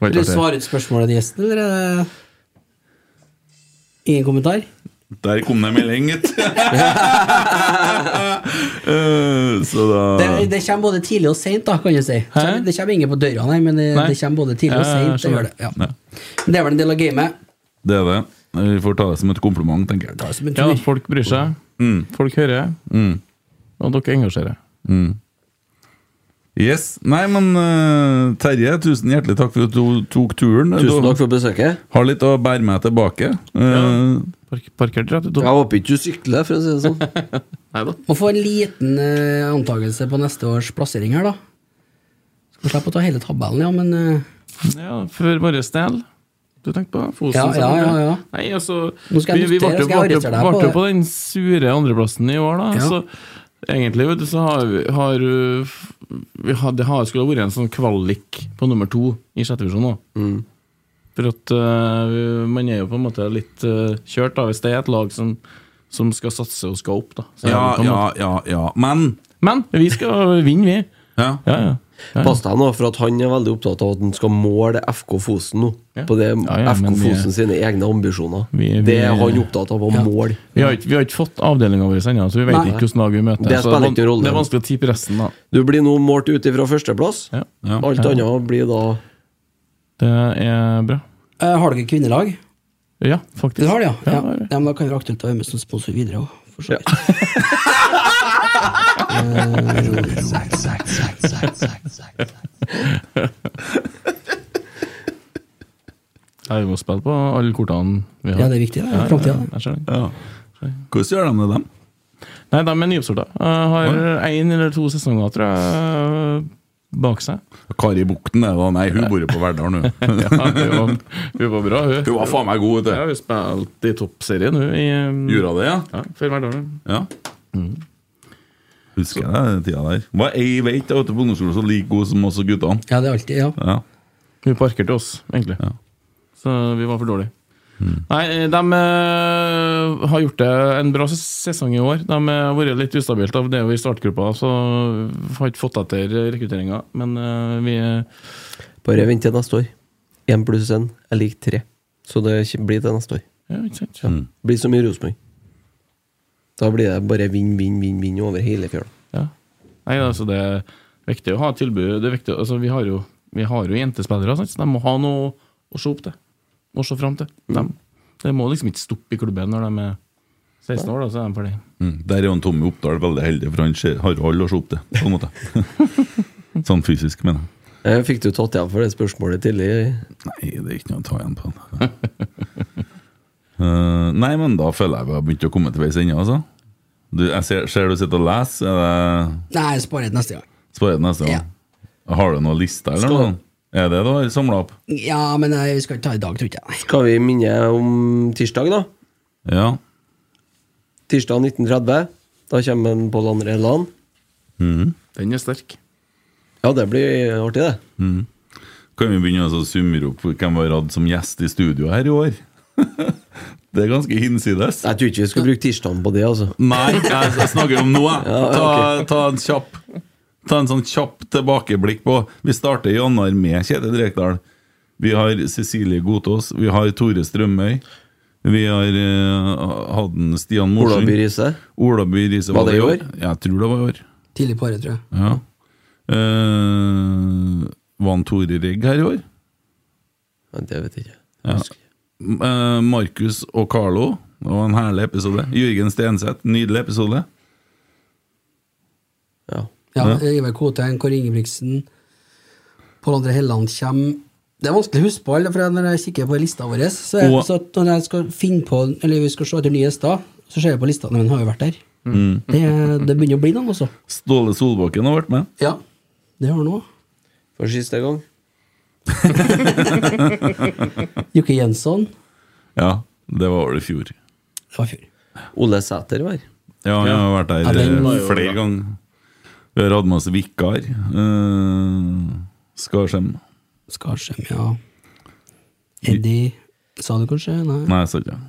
S3: Vil du
S7: artig.
S3: svare ut spørsmålet til gjesten, eller er det Ingen kommentar?
S4: Der kom det en melding, gitt. Eh, Så da
S3: Det, det kommer både tidlig og seint, da, kan du si.
S7: Ah. Hæ?
S3: Det kommer ingen på døra, nei, men det,
S7: Nei.
S3: det kommer både tidlig og
S7: Ja, jeg
S3: seint. Det, gjør det.
S4: Ja.
S3: Ja. Men det er vel en del av gamet.
S4: Det er det. Vi får ta det som et kompliment, tenker jeg. Mm.
S3: Ta det som en
S7: Ja,
S3: tur.
S7: folk bryr seg. Folk hører. Og dere engasjerer.
S4: Yes. Nei, men eh, Terje, tusen hjertelig takk for at du tok turen.
S5: Tusen
S4: Du
S5: takk for besøket.
S4: har litt å bære med tilbake. Eh,
S7: Park, parkert rett
S5: Jeg
S7: utover.
S5: håper ikke du sykler, for å si det sånn.
S3: Må få en liten eh, antakelse på neste års plassering her, da. Skal slippe å ta hele tabellen, ja, men eh,
S7: Ja, for vår del. Du tenkte på Fosen?
S3: Ja, ja, ja, ja.
S7: Nei, altså,
S3: Nå skal jeg
S7: vi, vi
S3: notere,
S7: varte jo
S3: skal jeg arrestere deg på
S7: varte jo
S3: det.
S7: på den sure andreplassen i år, da.
S3: Ja.
S7: Så egentlig, vet du, så har, vi- har uh, f- vi har, Det har skulle ha vært en sånn kvalik på nummer to i sjette divisjon nå.
S3: Mm.
S7: For at uh, vi- man er jo på en måte litt uh, kjørt, da, hvis det er et lag som, som skal satse og skal opp, da. Så er
S4: ja,
S7: det på en
S4: ja,
S7: måte-
S4: ja, ja. Men
S7: Men vi skal vinne, vi.
S4: ja.
S7: Ja, ja. ja.
S5: Pass deg nå, for at han er veldig opptatt av at han skal måle FK Fosen nå.
S7: Ja.
S5: På det
S7: Ja, ja,
S5: FK
S7: men vi-
S5: Fosen sine egne ambisjoner.
S7: Vi- vi-
S5: det er han opptatt av å måle.
S7: Vi har, ikke, vi har ikke fått avdelinga vår ennå, så vi vet
S3: Nei.
S7: ikke hvordan lag vi møter.
S5: Det
S7: så
S5: spiller
S7: van-
S5: ikke rolle.
S7: det er vanskelig å tippe resten, da.
S5: Du blir nå målt ut ifra førsteplass.
S7: Ja.
S5: Alt
S7: Ja.
S5: annet blir da
S7: Det er bra.
S3: eh, har dere kvinnelag?
S7: Ja, faktisk.
S3: Dere har det, ja? Ja,
S7: Ja, det har vi.
S3: ja men Da kan det være aktuelt å være med som sponsor videre òg, for så vidt.
S7: Ja, vi må spille på alle kortene vi har.
S3: Ja, det er viktig, det er fremtiden, det.
S7: jeg skjønner det.
S4: ja. Hvordan gjør de det, dem?
S7: Nei, de er nyoppstarta. Eh, Har én eller to sesonger, tror jeg, eh, bak seg.
S4: Kari Bukten, det da. Nei, hun bor jo på Verdal nå.
S7: Ja, hun var, hun var bra, hun.
S4: Hun var faen meg god,
S7: Ja,
S4: vet du.
S7: hun spilte i toppserien, hun. I, eh,
S4: Gjorde hun det, ja?
S7: ja, før Verdalen.
S4: Ja. Husker jeg den tida der. Var ei veit ute på ungdomsskolen som like god som oss og guttene.
S3: Ja, det er alltid, ja.
S4: Ja.
S7: Hun parkerte oss, egentlig.
S4: Ja.
S7: Så vi var for dårlige. Nei, de eh, har gjort det en bra ses- sesong i år. De eh, har vært litt ustabilt av det i startgruppa, så har ikke fått etter rekrutteringa. Men eh, vi
S5: Bare vent til neste år. Én pluss én er lik tre. Så det ikke- blir til neste år.
S7: ja, ikke sant?
S5: Det blir som i Rosenborg. Da blir det bare vinn, vinn, vinn vinn over hele fjøla.
S7: Ja. Nei, altså det er viktig å ha et tilbud. Det er viktig, altså vi har jo, vi har jo jentespillere, sant? så de må ha noe å se opp til. Å se fram til. De, det må liksom ikke stoppe i klubben når de er 16 år. Da, så er de ferdig.
S4: Mm. Der er jo en Tommy Oppdal veldig heldig, for han ser- har all å se opp til, på en måte. sånn fysisk, mener jeg.
S5: Eh, Fikk du tatt igjen for det spørsmålet tidlig?
S4: Nei, det er ikke noe å ta igjen på. Eh, nei, men da føler jeg vi har begynt å komme til veis ende, altså. Du, jeg ser, ser du sitter og leser. Er det
S3: Nei, jeg sparer det neste gang.
S4: Spør jeg neste gang. Har du noen liste, eller
S5: Skal-
S4: noe? Er det det du har samla opp?
S3: Ja, men jeg skal ikke ta i dag, tror jeg. ikke, Nei.
S5: Skal vi minne om tirsdag, da?
S4: Ja.
S5: Tirsdag 19.30. Da kommer en Pål André Land.
S7: Den er sterk.
S5: Ja, det blir artig, det.
S4: Kan vi begynne å summere opp hvem vi har hatt som gjest i studio her i år? det er ganske hinsides.
S5: Jeg tror ikke vi skal bruke tirsdagen på det, altså.
S4: Nei, jeg snakker om noe. Ta, ta en kjapp Ta en sånn kjapp tilbakeblikk på Vi starter i januar med Kjetil Rekdal. Vi har Cecilie Godtås, vi har Tore Strømøy. Vi har eh, hatt en Stian Morsund.
S5: Olaby Riise.
S4: Olaby Riise.
S5: Var det i år?
S4: Jeg tror det var i år.
S3: Tidlig på året, tror jeg.
S4: Ja. Eh, var han Tore Rigg her i år?
S5: Ja, det vet jeg ikke.
S4: Ja. Eh, Markus og Carlo. Det var en herlig episode. Jørgen Stenseth, nydelig episode.
S5: Ja.
S3: Ja,
S4: Ja.
S3: Ivar Kotein, Kåre Ingebrigtsen, Pål André Helland kommer. Det er vanskelig å huske på alle, for når jeg kikker på lista vår, så, er,
S4: Og-
S3: så at når jeg skal finne på, eller vi skal se etter nye gjester, så ser jeg på lista når den har jo vært der. Det, det begynner å bli noen, altså.
S4: Ståle Solbakken har vært med.
S3: Ja, det har nå.
S5: For siste gang.
S3: Jokke Jensson,
S4: Ja, det var vel i fjor.
S3: det var i fjor.
S5: Ole Sæter var.
S4: Ja, jeg har vært der
S3: den
S4: eh,
S6: var jo
S4: flere
S6: bra.
S4: ganger. Vi har hatt med oss vikar. eh, Skarsheim.
S3: Skarsheim, ja. Eddie Sa du kanskje? Nei.
S4: Nei, jeg sa ikke det.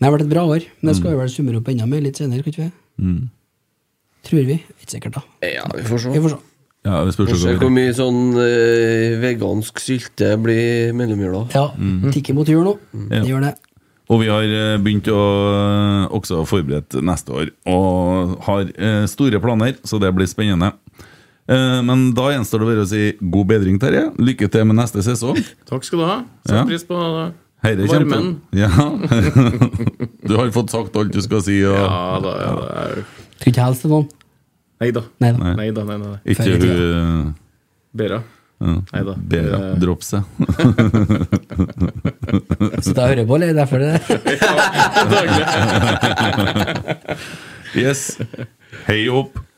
S3: Det har vært et bra år, men det skal vi vel summere opp enda mer litt senere, kan ikke vi?
S4: Mm.
S3: Tror vi. Ikke sikkert, da.
S5: Ja, vi får se.
S3: Vi får se.
S4: Ja, det spørs jo
S5: Kanskje
S4: hva vi
S5: hvor mye sånn eh, vegansk sylte blir mellomjula.
S3: Ja. Tikker mot jul nå. Det gjør det.
S4: Og vi har eh, begynt å eh, også forberede neste år, og har eh, store planer, så det blir spennende. Eh, Men da gjenstår det bare å si god bedring, Terje. Lykke til med neste sesong.
S6: Takk skal du ha.
S4: Ja.
S6: Sett pris på det.
S4: Herre
S6: Varmen.
S4: kjempe- Ja. Du har fått sagt alt du skal si, og
S6: Ja da. Ja, da. er jo-
S3: Skulle ikke hilse til noen.
S6: Nei da.
S3: Nei da.
S6: Nei da, nei da. nei.
S4: ikke
S3: Ferdig,
S4: hun eh,
S6: Bera. Nei da.
S4: Bera
S6: Eh,
S4: Dropse.
S3: Så da hører jeg på, eller? Derfor er det
S4: Yes. Hei opp.